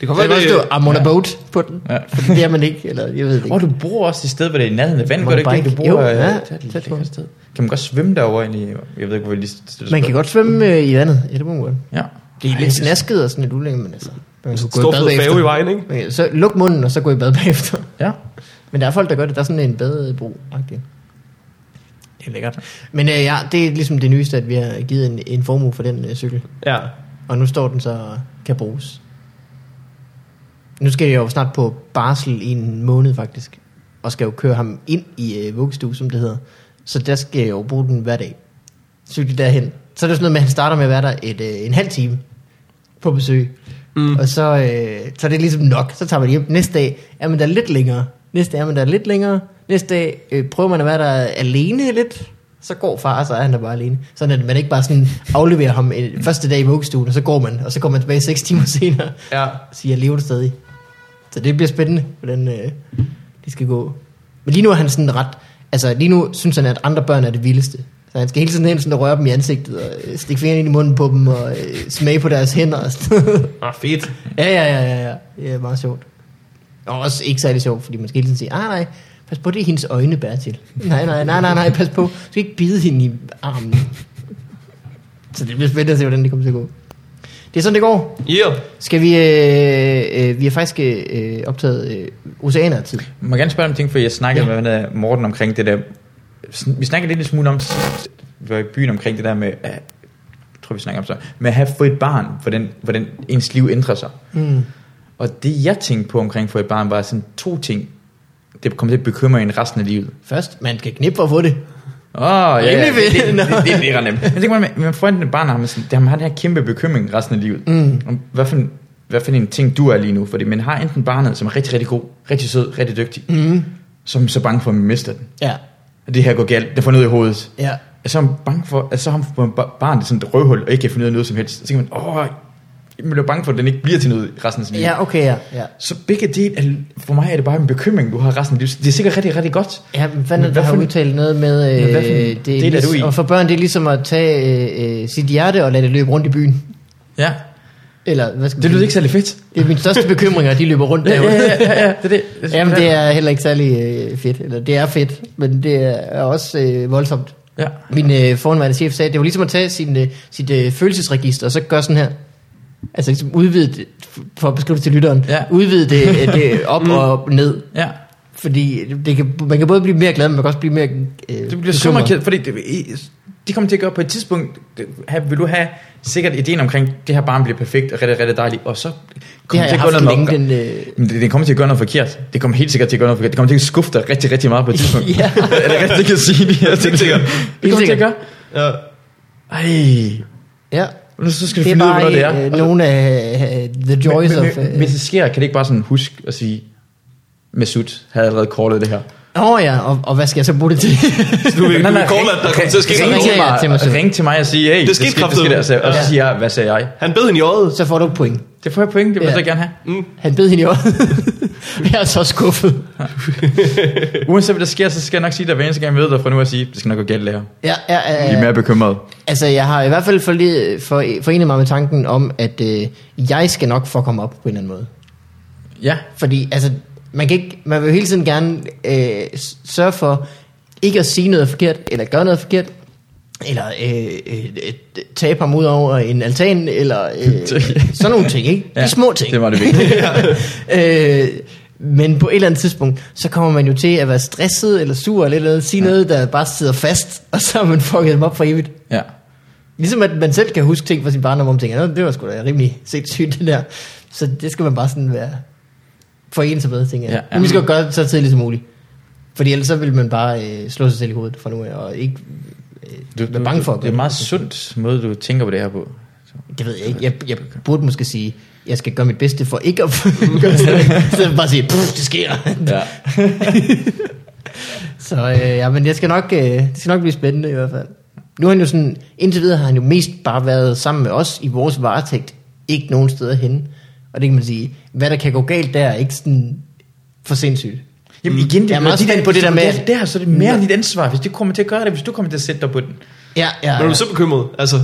S3: kan
S2: Så
S3: godt
S2: det
S3: være,
S2: kan stå,
S3: det,
S2: I'm on a boat på den.
S4: Ja.
S2: Ja. Fordi det er man ikke, eller jeg ved det
S4: Åh,
S2: ikke.
S4: du bor også et sted, hvor det er i nærheden af vand,
S2: Man
S4: gør det ikke
S2: bare
S4: det? Du
S2: ikke-
S4: bor
S2: jo, ja,
S4: øh, det er et
S2: tæt på.
S4: lækkert sted. Kan man godt svømme derovre egentlig? Jeg ved ikke, hvor jeg lige stiller
S2: Man kan godt svømme øh, i vandet, ja, det må man godt.
S4: Ja.
S2: Det er
S4: Ej,
S2: lidt snasket og sådan lidt ulækkert, men altså. Man kan
S3: Stor fed færge i vejen, ikke?
S2: Okay, så luk munden, og så gå i bad bagefter.
S4: Ja.
S2: Men der er folk, der gør det. Der er sådan en badebro -agtig. Det er lækkert. Men øh, ja, det er ligesom det nyeste, at vi har givet en, en formue for den øh, cykel.
S3: ja.
S2: Og nu står den så og kan bruges. Nu skal jeg jo snart på barsel i en måned faktisk. Og skal jo køre ham ind i øh, vuggestue, som det hedder. Så der skal jeg jo bruge den hver dag. Cykle derhen. Så er det sådan noget med, at han starter med at være der et, øh, en halv time på besøg.
S3: Mm.
S2: Mm. Og så, øh, så er det ligesom nok. Så tager man hjem næste dag. Er man der lidt længere? Næste dag er man der lidt længere. Næste dag øh, prøver man at være der alene lidt. Så går far, og så er han der bare alene. Sådan at man ikke bare sådan afleverer ham øh, første dag i vuggestuen, og så går man, og så kommer man tilbage seks timer senere.
S3: Ja.
S2: Og siger, jeg lever det stadig. Så det bliver spændende, hvordan øh, det skal gå. Men lige nu er han sådan ret... Altså lige nu synes han, at andre børn er det vildeste. Så han skal hele tiden hen sådan og røre dem i ansigtet, og øh, stikke fingrene ind i munden på dem, og øh, smage på deres hænder og sådan noget.
S3: Ah, fedt.
S2: Ja, ja, ja, ja, ja. Det er meget sjovt. Og også ikke særlig sjovt, fordi man skal hele tiden sige, ah nej, pas på, det er hendes øjne bærer til. Nej, nej, nej, nej, nej, pas på. Du skal ikke bide hende i armen. Så det bliver spændende at se, hvordan det kommer til at gå. Det er sådan, det går.
S3: Yeah.
S2: Skal vi... Øh, øh, vi har faktisk øh, optaget øh, oceaner af tid.
S4: Må jeg gerne spørge om en ting, for jeg snakkede ja. med øh, Morten omkring det der. Sn- Vi snakkede lidt en smule om, s- vi var i byen omkring det der med, øh, jeg tror vi snakker om så, med at have fået et barn, hvordan, hvordan ens liv ændrer sig.
S2: Mm.
S4: Og det jeg tænkte på omkring for et barn, var sådan to ting, det kommer til at bekymre en resten af livet.
S2: Først, man skal knippe for at få det.
S4: Åh, oh, ja, ja,
S2: Rimelig
S4: det, det,
S2: vel.
S4: det, det, det, det er nemt. Men tænker man, man får enten et barn, og har man, sådan, det- man har den her kæmpe bekymring resten af livet.
S2: Mm.
S4: Om, hvad, for en, hvad for en ting du er lige nu? Fordi man har enten barnet, som er rigtig, rigtig god, rigtig sød, rigtig dygtig,
S2: Mm.
S4: som er så bange for, at man mister den.
S2: Ja,
S4: At det her går galt, det får noget i hovedet.
S2: ja.
S4: Og så er man bange for, at så har man fået bar- barnet sådan et røvhul, og ikke kan finde ud af noget som helst. Så tænker man, åh, man bliver bange for, at den ikke bliver til noget resten af sin liv.
S2: Ja, okay, ja. ja.
S4: Så begge dele, er, for mig er det bare en bekymring, du har resten af livet. Det er sikkert rigtig, rigtig godt.
S2: Ja, men
S4: Men
S2: fanden, der
S4: hvad
S2: har
S4: for en-
S2: udtalt noget med,
S4: Men
S2: øh,
S4: hvad for en
S2: det,
S4: del er
S2: er
S4: du i?
S2: ligesom, og for børn, det er ligesom at tage øh, øh, sit hjerte og lade det løbe rundt i byen.
S4: Ja,
S2: Eller, hvad skal man
S4: det lyder
S2: sige?
S4: ikke særlig fedt.
S2: Det er min største bekymring, at de løber rundt
S4: Ja,
S2: derude.
S4: ja, ja, ja, ja, det er det. Jeg synes,
S2: Jamen, det er heller ikke særlig øh, fedt. Eller, det er fedt, men det er også øh, voldsomt.
S4: Ja.
S2: Min øh, forhenværende chef sagde, at det var ligesom at tage sin, øh, sit øh, følelsesregister, og så gøre sådan her. Altså ligesom udvide det, for at beskrive det til lytteren,
S4: Ja. Mm.
S2: udvide det, øh, det op og ned.
S4: Ja.
S2: Fordi det kan, man kan både blive mere glad, men man kan også blive mere øh,
S4: Du bliver så
S2: bekymret.
S4: meget ked, fordi det, i- de kommer til at gøre på et tidspunkt, det- have, vil du have sikkert ideen omkring, det her barn bliver perfekt og rigtig, rigtig dejligt, og så
S2: Det
S4: kommer
S2: har
S4: det til
S2: jeg
S4: at gøre
S2: haft
S4: noget
S2: længe,
S4: med
S2: den... Øh,
S4: Men det, det kommer til at gøre noget forkert. Det kommer helt sikkert til at gøre noget forkert. Det kommer til at skuffe dig rigtig, rigtig meget på et tidspunkt.
S2: Ja.
S4: er det rigtigt, jeg kan sige det her?
S3: Helt sikkert.
S4: Det kommer til at gøre.
S3: Ja.
S4: Ej,
S2: ja,
S4: nu så skal vi
S2: det er
S4: finde ud af,
S2: bare
S4: hvornår det
S2: øh,
S4: er.
S2: øh, nogle af øh, the joys
S4: men,
S2: of... øh,
S4: men, hvis det sker, kan det ikke bare sådan huske at sige, Mesut havde allerede kortet det her.
S2: Åh oh, ja, og, og hvad skal jeg så bruge det til?
S3: Så du vil du
S4: Nej, nej,
S3: vil call,
S4: ring-
S3: at der kommer til at ske
S4: ring,
S3: noget.
S2: til jer,
S4: til mig,
S2: Timothy.
S4: ring til mig og sige, hey, det
S3: skete
S4: det
S3: kraftedeme.
S4: skete altså. Og så
S2: Ja.
S4: siger jeg, hvad sagde jeg?
S3: Han bed hende i øjet.
S2: så får du et point.
S4: Det får jeg point, det vil jeg
S2: Ja.
S4: så gerne have.
S2: Han bed hende i øjet. jeg er så skuffet.
S4: Uanset hvad der sker, så skal jeg nok sige dig hver eneste gang, jeg ved dig fra nu at sige, det skal nok gå galt det her.
S2: Ja, ja, ja,
S4: Vi er
S2: ja.
S4: mere bekymrede.
S2: Altså, jeg har i hvert fald for, for, forenet mig med tanken om, at øh, jeg skal nok fuck ham op på en eller anden måde.
S4: Ja,
S2: Fordi, altså, man, kan ikke, man vil jo hele tiden gerne øh, s- sørge for ikke at sige noget forkert, eller gøre noget forkert, eller øh, øh, øh, tabe ham ud over en altan, eller øh, sådan nogle ting, ikke? De
S4: Ja,
S2: små ting.
S4: det var det vigtige.
S2: øh, men på et eller andet tidspunkt, så kommer man jo til at være stresset, eller sur, eller et eller andet, sige ja. noget, der bare sidder fast, og så har man fucket dem op for evigt.
S4: ja.
S2: Ligesom at man selv kan huske ting fra sin barndom, hvor man tænker, "Nå, det var sgu da rimelig sindssygt det der. Så det skal man bare sådan være forene sig med, tænker jeg.
S4: Ja,
S2: Ja,
S4: ja.
S2: ja. Men vi skal jo gøre det så tidligt som muligt. Fordi ellers så vil man bare øh, slå sig selv i hovedet fra nu af, og ikke øh, du, være bange for at
S4: Det er
S2: gøre
S4: en meget sundt måde, du tænker på det her på.
S2: Det ved jeg ikke. Jeg, jeg burde måske sige, jeg skal gøre mit bedste for ikke at gøre sådan. Så bare sige, "Pff, det sker.
S4: Ja.
S2: Så øh, ja, men det skal, nok, øh, det skal nok blive spændende i hvert fald. Nu har han jo sådan, indtil videre har han jo mest bare været sammen med os i vores varetægt, ikke nogen steder henne. Og det kan man sige, hvad der kan gå galt der, er ikke sådan for sindssygt.
S4: Jamen igen, det,
S2: Jeg er meget
S4: dit
S2: spændt på det
S4: ansvar.
S2: der med- Mm.
S4: Det, er- det her, så er det mere dit ansvar, hvis det kommer til at gøre det, hvis du kommer til at sætte dig på den.
S2: Ja, ja,
S3: Men er
S2: ja.
S3: du så bekymret? Altså,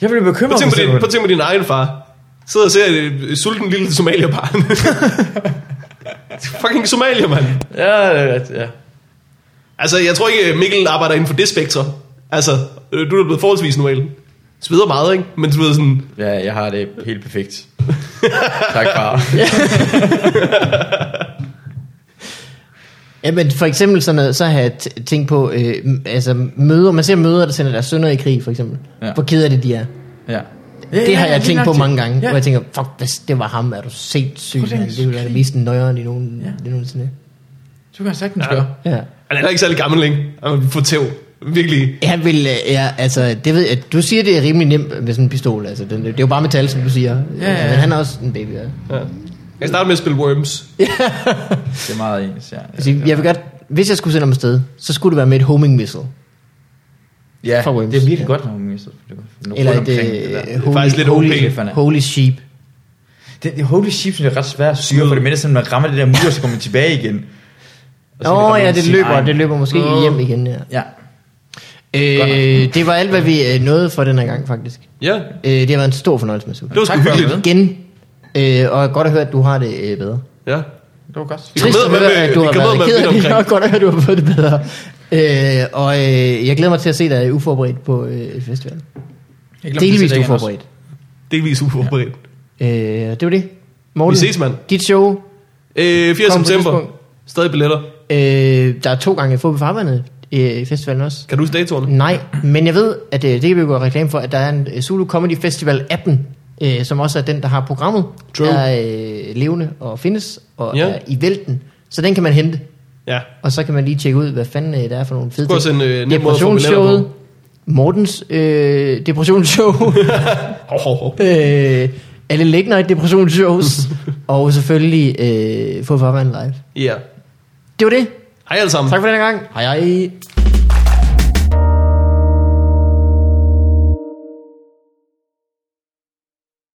S4: Jeg bliver
S3: prøv
S4: bekymret,
S3: at tænke
S4: hvis
S3: på
S4: jeg
S3: din,
S4: sætter
S3: prøv at tænke på din egen far. Sidder og ser et, et sulten lille somalierbarn. Fucking somalier, mand.
S4: den. Ja, ja, ja.
S3: Altså, jeg tror ikke, Mikkel arbejder inden for det spektrum. Altså, øh, du er da blevet forholdsvis normal. Sveder meget, ikke? Men du ved sådan,
S4: Ja, jeg har det helt perfekt. tak, far.
S2: Ja, men for eksempel sådan noget, så har jeg t- tænkt på, øh, m- altså møder, man ser møder, der sender deres sønner i krig, for eksempel.
S4: Ja.
S2: Ja. Hvor ked af det de er.
S4: Ja.
S2: Det har jeg tænkt på mange gange,
S4: Ja.
S2: hvor jeg tænker, fuck, hvis det var ham, er du sindssyg,
S4: Prøv at
S2: mand.
S4: tænke,
S2: Det ville være det
S4: krig.
S2: mest nøjeren i nogen,
S4: Ja.
S2: ja. nogensinde.
S4: Du kan sagtens
S3: Ja.
S4: gøre.
S2: Ja.
S3: han er heller ikke særlig gammel, ikke? Han vil få tæv. Virkelig.
S2: Han vil, øh, ja, altså, det ved jeg, du siger, det er rimelig nemt med sådan en pistol, altså, den, det er jo bare metal, som du siger.
S4: Ja, ja, ja.
S2: Men han er også en baby, ja.
S3: Ja. Jeg starter med at spille Worms.
S4: Det er meget ens, ja.
S2: Altså, jeg vil godt, hvis jeg skulle sende ham afsted, så skulle det være med et homing missile.
S4: Ja,
S2: fra Worms.
S4: det er virkelig
S2: Ja.
S4: godt, når hun mister det. Rundt
S2: Eller et,
S4: omkring det der.
S2: øh,
S3: er faktisk lidt
S2: holy,
S3: OP.
S2: holy, holy sheep.
S4: Det, det holy shit, synes jeg er ret svært at styre, for det mindste, når man rammer det der mur, så kommer man tilbage igen. Og så kan
S2: Åh oh,
S4: ramme
S2: ja,
S4: sin
S2: det løber,
S4: egen-
S2: det løber måske
S3: Åh.
S2: hjem igen, ja.
S4: Ja.
S2: Øh, det var alt, hvad vi øh, nåede for den her gang, faktisk.
S3: Ja,
S2: Øh, det har været en stor fornøjelse med
S3: det var sgu
S4: Tak for at være
S3: hyggeligt.
S4: med.
S2: Igen. Øh, og godt at høre, at du har det øh, bedre.
S3: Ja.
S4: Det var godt.
S3: Vi
S2: Trist
S3: kommer
S2: at
S3: med,
S2: høre,
S3: med-
S2: at du
S3: vi
S2: har
S3: kommer
S2: været
S3: med
S2: ked af det,
S3: vidt omkring.
S2: og godt at høre, at du har fået det bedre. Øh, og øh, jeg glæder mig til at se dig uforberedt på øh, festivalen.
S4: Jeg glemte at
S2: Delvis
S4: sige det igen også.
S2: uforberedt.
S3: Delvis uforberedt.
S2: Øh, det var det. Morten,
S3: Vi ses, mand.
S2: dit show,
S3: Øh, 4.
S2: Kom på
S3: september.
S2: tidspunkt.
S3: Stadig billetter.
S2: øh, der er to gange fået på farvandet øh, i festivalen også.
S3: Kan du huske datoerne?
S2: Nej, men jeg ved, at øh, det kan vi jo gøre reklame for, at der er en øh, Zulu Comedy Festival appen, øh, som også er den, der har programmet,
S3: True.
S2: der er øh, levende og findes, og
S3: Ja.
S2: ja. er i vælten. Så den kan man hente,
S3: Ja.
S2: og så kan man lige tjekke ud, hvad fanden øh, der er for nogle fede
S3: Prøv at
S2: ting.
S3: sende øh, nem måde at få billetter
S2: Depressionsshowet,
S3: på.
S2: Mortens øh, depressionsshow,
S3: Hov, hov, hov.
S2: øh, alle Late Night depressionsshows, og selvfølgelig øh, Få Farvand Live.
S3: Ja.
S2: Det var det.
S3: Hej alle sammen.
S2: Tak for denne gang. Hej hej.